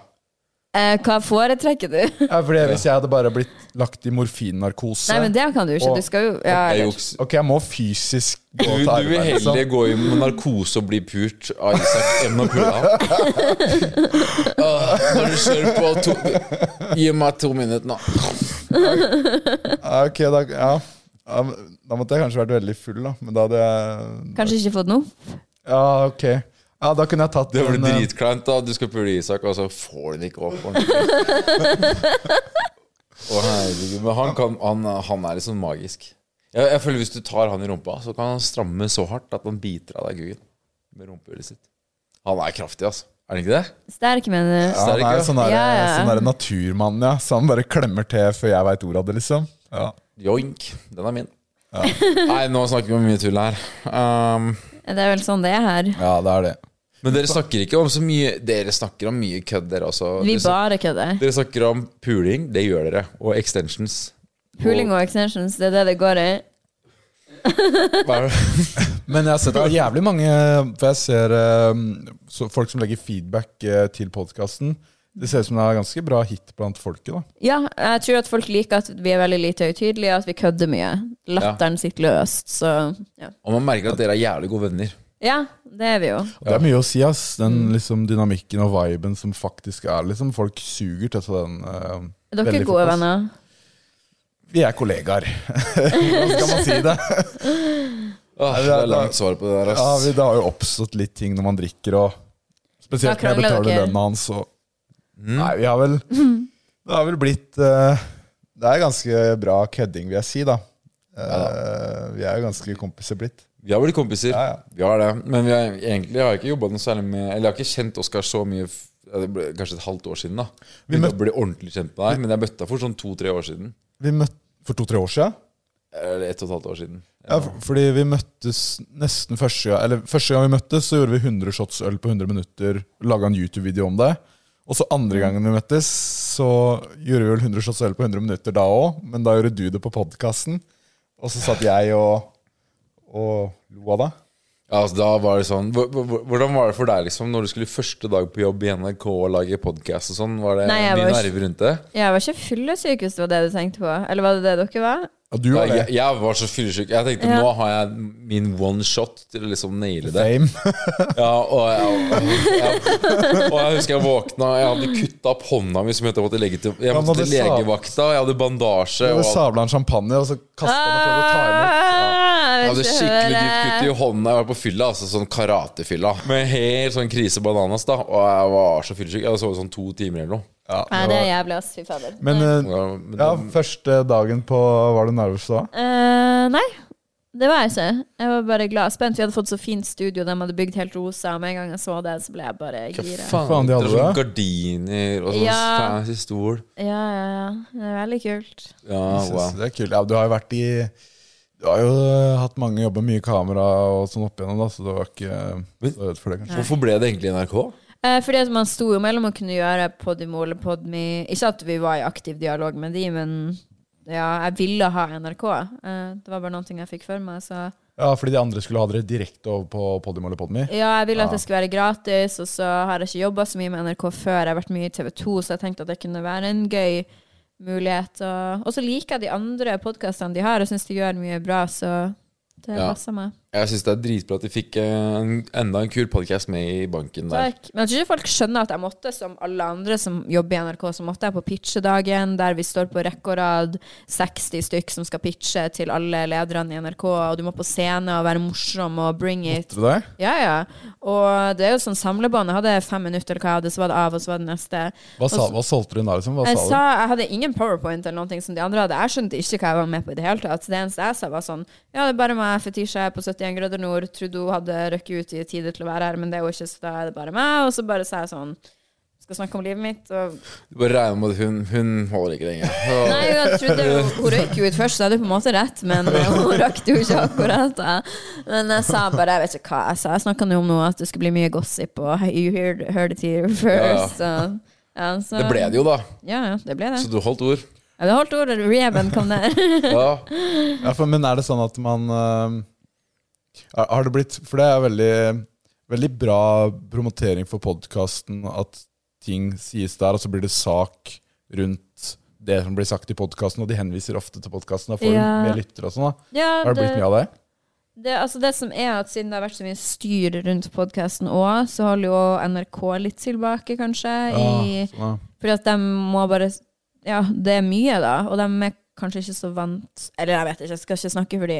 F: Eh, hva foretrekker du?
C: Ja, fordi Hvis jeg hadde bare blitt lagt i morfinnarkose
F: Nei, men det kan du jo ikke. Du skal jo ja,
D: Jeg
F: eller-
D: juks.
C: Ok, jeg må fysisk gå
D: Du,
C: til
D: du vil
C: arbeid.
D: heller
C: liksom.
D: gå i med narkose og bli pult av Isak enn å pule
F: <laughs>
D: han. Ah, Åh, Bare kjør på. To, gi meg to minutter nå.
C: Ja, ok, da, ja. Ja, men da måtte jeg kanskje vært veldig full, da. Men da hadde jeg
F: Kanskje ikke fått noe?
C: Ja, ok. Ja, da kunne jeg tatt
D: Det blir
C: den, eh,
D: dritkleint da. Du skal pule Isak, og så får du den ikke opp ordentlig. Å, herregud. Men han, kan, han, han er liksom magisk. Jeg, jeg føler Hvis du tar han i rumpa, så kan han stramme så hardt at han biter av deg guggen med rumpehullet sitt. Han er kraftig, altså. Er han ikke det?
F: Sterk, eh, mener du?
C: Ja, han er jo
D: Sterk, ja.
C: sånn der,
F: Ja, ja.
C: sånn der naturmann, ja. Så han bare klemmer til før jeg veit ordet av det, liksom. Ja.
D: Joink. Den er min. Nei, nå snakker vi om mye tull her. Um,
F: Det er vel sånn det er her.
C: ja, det er det.
D: men dere snakker ikke om så mye Dere snakker om mye kødd, dere også.
F: Vi
D: Dere snak-
F: bare kødder.
D: dere snakker om puling, det gjør dere. Og extensions.
F: Puling og extensions, det er det det går i.
D: Hva er det?
C: Men jeg har sett det er jævlig mange For jeg ser eh, så folk som legger feedback eh, til podkasten. Det ser ut som det er ganske bra hit blant folket. da
F: Ja, jeg tror at folk liker at vi er veldig lite høytidelige, at vi kødder mye. Latteren sitter løst, så ja.
D: Og man merker at dere er jævlig gode venner.
F: ja, det er vi jo.
C: Det er mye å si, ass. Den liksom, dynamikken og viben som faktisk er liksom Folk suger til seg den. eh,
F: Dere
C: veldig
F: er
C: fort,
F: gode
C: ass.
F: venner.
C: Vi er kollegaer. <laughs> Hvordan skal man si det?
D: Åh, det
C: det er-
D: er langt svar på det der,
C: Ja,
D: ass.
C: vi, det har jo oppstått litt ting når man drikker, og spesielt
F: Da
C: når jeg
F: krangler
C: betaler
F: dere.
C: lønna hans. Og, nei, vi har vel Det har vel blitt eh, Det er ganske bra kødding, vil jeg si, da. Eh, vi er jo ganske kompiser blitt.
D: Vi har blitt kompiser.
C: Ja, ja.
D: Vi har det. Men vi har, egentlig har jeg ikke jobbet noe særlig med Eller jeg har ikke kjent Oskar så mye f- ja, det ble Kanskje et halvt år siden, da. Vi
C: møtte-
D: ble ordentlig kjent med deg, men jeg møtte deg for sånn to-tre år siden.
C: Vi møtte for to-tre år siden.
D: Eller ett og et halvt år siden.
C: Ja, for- fordi vi møttes nesten første gang Eller første gang vi møttes, så gjorde vi 100 shots øl på 100 minutter. Laga en YouTube-video om det. Og så andre gangen vi møttes, så gjorde vi vel 100 shots øl på 100 minutter da òg. Men da gjorde du det på podkasten. Og så satt jeg og, og lo av deg.
D: Ja, altså, da var det sånn hvor- hvor- Hvordan var det for deg liksom når du skulle første dag på jobb i NRK og lage podkast og sånn? Var det
F: Nei, jeg
D: mye
F: var-
D: nerver rundt det?
F: Jeg var ikke fyllesyk, hvis det var det du tenkte på. Eller var det det dere var?
C: Ja, du
D: Ja,
C: var det.
D: jeg, jeg var så fyllesyk. Jeg tenkte
F: Ja.
D: nå har jeg min one shot til å liksom naile det.
C: Fame. <laughs>
D: Ja, og jeg, og jeg husker jeg våkna Jeg hadde kutta opp hånda mi, som jeg måtte legge til Jeg
C: Ja,
D: måtte
C: men
D: til
C: det sa-
D: legevakta, jeg hadde bandasje
C: Du
D: og alt.
C: <laughs> sabla en champagne, og så kasta han og prøvde å ta imot.
F: Ah,
D: Jeg hadde
F: vil ikke
D: skikkelig dypt
F: høre.
D: kutt i hånda. Jeg var på fylla, altså sånn karatefylla. Med helt sånn krise bananas, da. Og jeg var så fyllesyk. Jeg hadde sovet sånn to timer eller noe.
F: Nei, det er jævlig, ass. Fy fader.
C: Men eh,
D: Ja, men
C: ja,
D: da-
C: første dagen på Var du nervøs da?
F: Eh, nei, det var jeg ikke. Jeg var bare glad og spent. Vi hadde fått så fint studio, de hadde bygd helt rosa, og med en gang jeg så det, så ble jeg bare gira.
D: Faen,
C: Faen, de
D: det
C: hadde
D: er sånn
C: det.
D: gardiner og sånn
F: Ja.
D: fancy stol.
F: Ja, ja, ja. Det er veldig kult.
D: Ja,
C: Jeg synes
D: Ah, wow.
C: Det er kult. Ja, du har jo vært i Du har jo eh, hatt mange jobber, mye kamera og sånn opp igjennom, da, så du var ikke eh, så redd for det, kanskje.
D: Hvorfor ble det egentlig NRK?
F: Eh, fordi at man sto jo mellom å kunne gjøre Podimo eller Podme Ikke at vi var i aktiv dialog med de, men ja, jeg ville ha NRK. Eh, det var bare noen ting jeg fikk for meg, så
C: Ja, fordi de andre skulle ha dere direkte over på Podimo eller Podme.
F: Ja, jeg ville at det skulle være gratis, og så har jeg ikke jobba så mye med NRK før. Jeg har vært mye i TV 2, så jeg tenkte at det kunne være en gøy mulighet. Og og så liker jeg de andre podkastene de har, og syns de gjør mye bra, så det
D: Ja.
F: passer meg.
D: Jeg syns det er dritbra at de fikk eh, en, enda en kul podcast med i banken der.
F: Takk. Men jeg tror ikke folk skjønner at jeg måtte, som alle andre som jobber i NRK, så måtte jeg på pitchedagen, der vi står på rekke og rad, 60 stykk som skal pitche til alle lederne i NRK, og du må på scene og være morsom og bring it.
C: Tror du det?
F: Ja, ja. Og det er jo sånn samlebånd. Jeg hadde fem minutter, eller hva jeg hadde, så var det av, og så var det neste.
C: Hva, sa, hva solgte du da, liksom? Hva
F: Jeg sa,
C: sa du?
F: jeg hadde ingen powerpoint eller noe som de andre hadde. Jeg skjønte ikke hva jeg var med på i det hele tatt. Det eneste jeg sa, var sånn Ja, det er bare meg, Fetisha er på 71 grader nord. Trudeau hadde røkket ut i tide til å være her, men det er jo ikke, så da er det bare meg. Og så bare sa jeg sånn Skal snakke om livet mitt, og
D: Du bare regner med at hun, hun holder ikke lenger. Og-
F: Nei, jeg trodde jo- hun røyk jo ut først, så jeg hadde jo på en måte rett, men eh, hun rakk det jo ikke akkurat. da. Men jeg sa bare Jeg vet ikke hva jeg sa. Jeg snakka om noe at det skulle bli mye gossip, og you heard, heard it here first. og- ja, så,
D: Det ble det jo, da.
F: Ja, ja, det ble det.
D: Så du holdt ord.
F: Ja, det holdt ordet. Reben kom der. <laughs>
D: Ja.
C: Ja, for, men er det sånn at man eh, har- Har det blitt For det er veldig, veldig bra promotering for podkasten at ting sies der, og så blir det sak rundt det som blir sagt i podkasten, og de henviser ofte til podkasten og får
F: Ja.
C: mer lyttere og sånn. da.
F: Ja,
C: Har det blitt mye av det?
F: Det, altså det som er at Siden det har vært så mye styr rundt podkasten òg, så holder jo NRK litt tilbake, kanskje. I,
C: sånn, ja.
F: fordi at de må bare Ja, det er mye, da. Og de er kanskje ikke så vant Eller jeg vet ikke, jeg skal ikke snakke for de.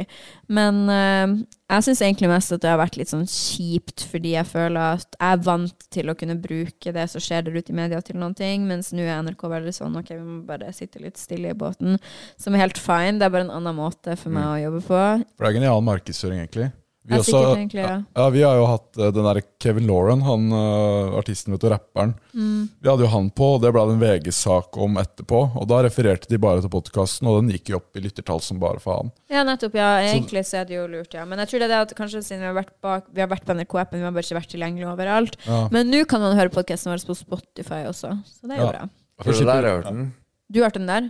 F: Men eh, jeg syns egentlig mest at det har vært litt sånn kjipt, fordi jeg føler at jeg er vant til å kunne bruke det som skjer der ute i media, til noen ting, mens nå er NRK veldig sånn OK, vi må bare sitte litt stille i båten. Som er helt fine. Det er bare en annen måte for meg å jobbe på.
C: For det er genial markedsføring, egentlig. Vi,
F: Ja,
C: også,
F: sikkert egentlig, ja.
C: ja. vi har jo hatt eh, den der Kevin Lauren, han eh, artisten vet du, rapperen.
F: Mm.
C: Vi hadde jo han på, og det ble det en VG-sak om etterpå. Og da refererte de bare til podkasten, og den gikk jo opp i lyttertall som bare faen.
F: Ja, nettopp. Ja,
C: Sånn-
F: egentlig så er det jo lurt, ja. Men jeg tror det er det at kanskje siden vi har vært, bak, vi har vært på NRK-appen, vi har bare ikke vært tilgjengelig overalt. Men nå kan man høre podkasten vår på Spotify også, så det er jo
C: Ja.
F: bra.
D: <laughs> For det der har jeg hørt den.
F: Du hørte den der?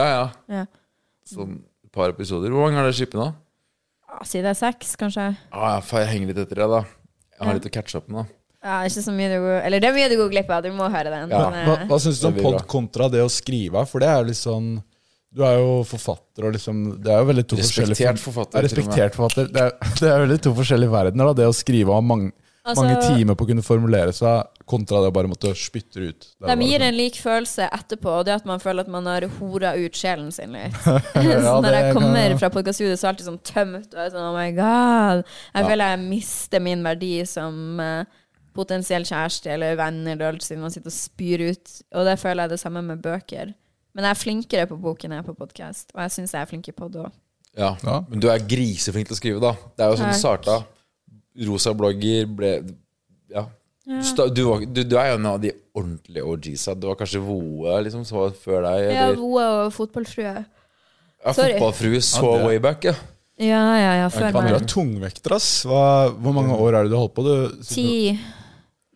D: Ja, ja.
F: Ja.
D: Sånn et par episoder. Hvor mange har dere shippet nå?
F: Ah, Si det er seks, kanskje?
D: Ah, ja, faen, jeg henger litt etter deg, da. Jeg har litt å catche opp med, da.
F: Ja, ikke så mye du går Eller det er mye du går glipp av, du må høre den.
D: Ja.
F: Men,
C: Hva,
F: eh,
C: hva syns du om
D: Det blir
C: pod kontra det å skrive? For det er jo litt sånn Du er jo forfatter, og liksom Det er jo veldig to
D: Respektert
C: forskjellige Ja,
D: forfatter. til og med.
C: respektert forfatter. Det er, <laughs> det er veldig to forskjellige verdener, da. Det å skrive og ha mange,
F: Altså-
C: mange timer på å kunne formulere seg, kontra det å bare måtte spytte det ut. Det er
F: de
C: bare
F: gir
C: sånn.
F: en lik følelse etterpå, og det at man føler at man har hora ut sjelen sin litt.
C: <laughs>
F: så
C: Ja,
F: når jeg
C: det kan-
F: kommer fra podkaststudio, så er jeg alltid sånn tømt. Og jeg er sånn, oh my god. Jeg føler jeg mister min verdi som eh, potensiell kjæreste eller venn eller alt, siden man sitter og spyr ut. Og det føler jeg det samme med bøker. Men jeg er flinkere på boken enn jeg er på podkast, og jeg syns jeg er flink i pod òg.
D: Ja.
C: Ja.
D: Men du er griseflink til å skrive, da. Det er jo sånn du starta. Rosa blogger ble Ja. Sta- Du, var, du, du er jo en av de ordentlige OGs-a. Du var kanskje Voe liksom, som var før deg.
F: Ja,
D: Eller,
F: Voa og fotballfrue.
D: ja,
F: sorry.
D: Fotballfrue så
C: Ja, det-
D: way back, ja.
F: Ja, ja, ja,
C: Faen,
F: før
C: dere
F: meg.
C: er tungvekter, ass. Hva, hvor mange år er det du har holdt på? Du,
F: Ti.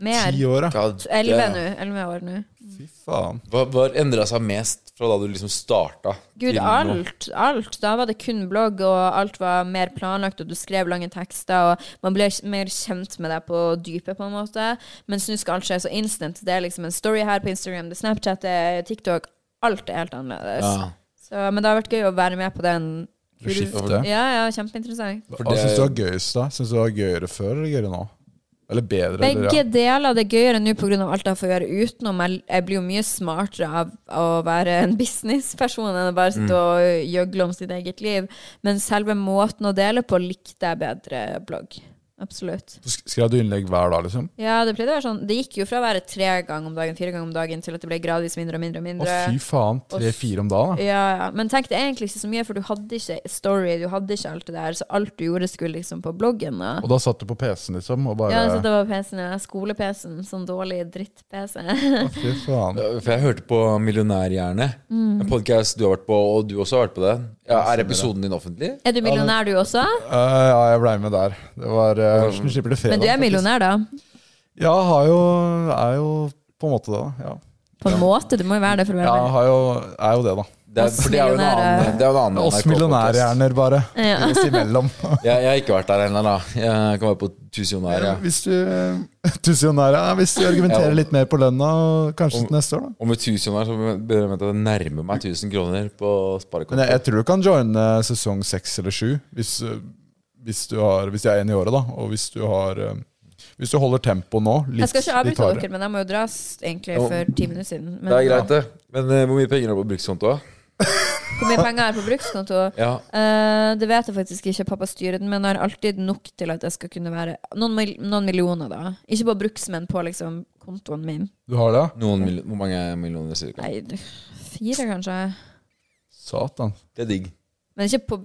F: Mer.
C: Ti år, ja.
D: Ja, det-
F: Elleve nå. Elleve år nå.
C: Fy faen.
D: Hva, hva endra seg mest fra da du liksom starta?
F: Gud, alt, alt. Da var det kun blogg, og alt var mer planlagt, og du skrev lange tekster, og man ble k- mer kjent med deg på dypet, på en måte. Mens nå skal alt skje så instant. Det er liksom en story her på Instagram, det er Snapchat, det er TikTok. Alt er helt annerledes.
D: Ja.
F: Så, men det har vært gøy å være med på den.
C: Du skifter.
F: Ja, ja, kjempeinteressant.
D: For
C: Hva
D: det-
C: syns du var gøyest, da? Syns du det var gøyere før eller gøyere nå? Eller bedre? Eller,
F: Begge
C: ja.
F: deler. Det er gøyere nå pga. alt jeg får gjøre utenom. Jeg, jeg blir jo mye smartere av å være en businessperson enn å bare sitte
C: Mm.
F: og gjøgle om sitt eget liv. Men selve måten å dele på likte jeg bedre blogg. Absolutt.
C: Så sk- Skrev du innlegg hver dag, liksom?
F: Ja, det pleide å være sånn. Det gikk jo fra å være tre ganger om dagen, fire ganger om dagen, til at det ble gradvis mindre og mindre
C: Å,
F: og mindre.
C: fy faen. Tre-fire om dagen, da.
F: Ja, ja. Men tenk det er egentlig ikke så mye, for du hadde ikke story, du hadde ikke alt det der, så alt du gjorde skulle liksom på bloggen. da.
C: Og da satt du på PC-en, liksom, og bare
F: Ja, så det var PC-en, ja. skole-PC-en, sånn dårlig dritt-PC. <laughs>
C: Fy faen.
D: Ja, Øh, For jeg hørte på Millionærhjerne, en podcast du har vært på, og du også har vært på det. Ja, er episoden din offentlig?
F: Er du millionær du også?
C: Eh, ja, jeg blei med der. Det var eh, Hvordan slipper det fredag?
F: Men du er
C: faktisk?
F: millionær, da?
C: Ja, har jo, er jo på en måte det, da. Ja,
F: På en måte. Du må jo være det for å
C: ja
F: være med.
C: har jo, er jo det, da.
D: Det er,
F: Oss
D: for det er jo en
F: millionærer.
D: annen, det er jo en annen
C: Oss
D: NRK-podcast.
C: millionærhjerner, bare.
F: Ja.
C: Oss <laughs> imellom.
D: Jeg, jeg har ikke vært der ennå, da. Jeg kan være på tusenjonær. Ja.
C: Hvis du, <laughs> tusenjonær, ja, hvis du argumenterer
D: Ja.
C: litt mer på lønna, og kanskje til neste år, da.
D: Og med tusenjonær så begynner jeg med at jeg nærmer meg 1000 kroner på
C: Men jeg,
D: sparekonto.
C: jeg tror du kan joine sesong seks eller sju, hvis, eh, hvis, du har, hvis de er én i året, da, og hvis du har eh, Hvis du holder tempoet nå litt,
F: <laughs> Jeg skal ikke
C: litt
F: avbryte
C: hardere.
F: dere, men jeg må jo dras egentlig
D: Ja.
F: for ti minutter siden. Men
D: Det er greit, det. Men eh, hvor mye penger er det på brukskontoa?
F: hvor mye penger er på brukskonto?
C: <laughs>
D: Ja.
F: Eh, det vet jeg faktisk ikke, pappa styrer den, men jeg har alltid nok til at jeg skal kunne være Noen, mil noen millioner, da. Ikke på bruks, men på liksom kontoen min.
C: Du har det? ja?
D: Noen mil hvor mange millioner cirka?
F: Nei, du- fire kanskje.
C: Satan.
D: Det er digg.
F: Men ikke på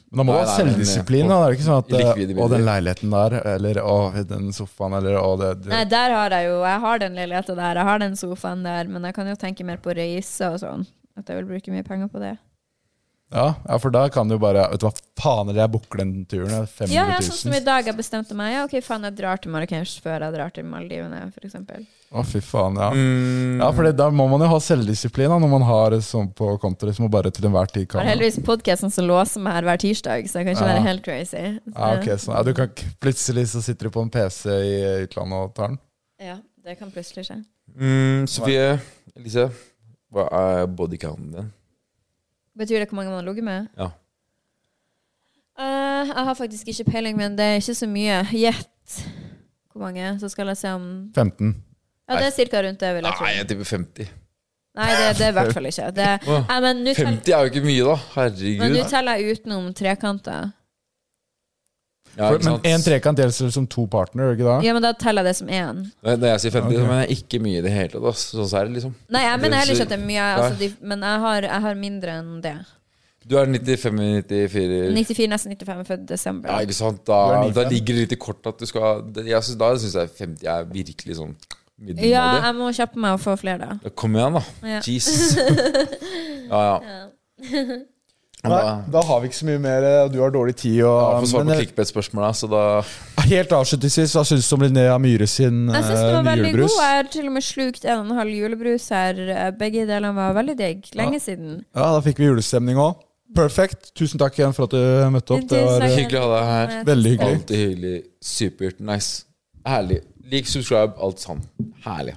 C: Men da må du
D: Nei,
C: ha
D: nei, men- eh,
C: selvdisiplin. da. Det er jo ikke sånn at eh,
D: Likvide
C: 'Å,
D: midler.
C: den leiligheten der', eller 'Å, den sofaen', eller 'Å, det, det.
F: Nei, der har jeg jo Jeg har den leiligheta der, jeg har den sofaen der, men jeg kan jo tenke mer på reise og sånn. At jeg vil bruke mye penger på det.
C: Ja, ja, for da kan du bare Vet du hva faen, eller jeg booker den turen. det er
F: Ja,
C: 500
F: ja, sånn som i
C: 000.
F: dag. Jeg bestemte meg. Ja, ok, faen, jeg drar til Marrakech før jeg drar til Maldivene, for eksempel.
C: Å, fy faen, ja.
D: Mm,
C: Ja, for det, da må man jo ha selvdisiplin da, når man har sånn på kontoret som man bare til enhver tid
F: Jeg
C: kan.
F: har heldigvis podkasten som låser meg her hver tirsdag, så jeg kan ikke
C: Ja.
F: være helt crazy. Så,
C: Ja, ok, sånn. ja, du kan ikke, plutselig så sitter du på en PC i utlandet og tar den.
F: ja, det kan plutselig skje.
D: Mm, Sofie, Elise, hva er bodycounten din?
F: Betyr det hvor mange man har ligget med?
D: Ja.
F: Eh, jeg har faktisk ikke peiling, men det er ikke så mye. Gjett hvor mange, så skal jeg se om
C: 15.
F: Ja, det er cirka rundt det, vil jeg tro.
D: Nei, jeg tipper 50.
F: Nei, det, det er i hvert fall ikke. Det,
D: Åh,
F: nei, men nå tell-
D: 50 er jo ikke mye, da.
F: men
D: Herregud.
F: nå teller jeg utenom trekanter.
D: Ja,
C: For,
D: ikke
C: men
D: sant?
C: en trekant gjelder selv som to partner, gjør det ikke det?
F: Ja, men da teller jeg det som én.
D: Når når jeg sier 50,
C: Ok.
D: så mener jeg ikke mye i det hele tatt. ass. Sånn så er det liksom.
F: Nei, jeg mener heller ikke at det er mye,
D: Nei.
F: altså, de, men jeg har, jeg har mindre enn det.
D: Du er 95-94
F: 94, nesten 95 født desember.
D: Ja, ikke sant?
C: Du
D: Da,
C: er 95.
D: da ligger det litt i kortet at du skal det- jeg synes, Da syns jeg 50 er virkelig sånn middelmådig.
F: Ja, jeg må kjappe meg og få flere, da.
D: Ja, Kom igjen, da.
F: Ja. <laughs>
D: Jesus. Ja, ja. Men
C: Nei,
D: da-
C: da har vi ikke så mye mer. eh, Du har dårlig tid. Og,
D: Ja, Få svar på
C: men, eh,
D: clickbait-spørsmålet, så da
C: helt avslutningsvis, hva syns du om Linnea Myhre sin
F: Jeg syns den
C: eh,
F: var
C: nye
F: veldig god.
C: julebrus?
F: Jeg har til og med slukt en og en halv julebrus her. Eh, Begge delene var veldig digg. Lenge siden.
C: Ja, da fikk vi julestemning òg. Perfect. Tusen takk igjen for at du møtte opp. Det var eh,
D: hyggelig å ha deg her.
C: veldig hyggelig.
D: Alltid hyggelig. Supert. Nice. Herlig. Lik, subscribe, alt sammen. Herlig.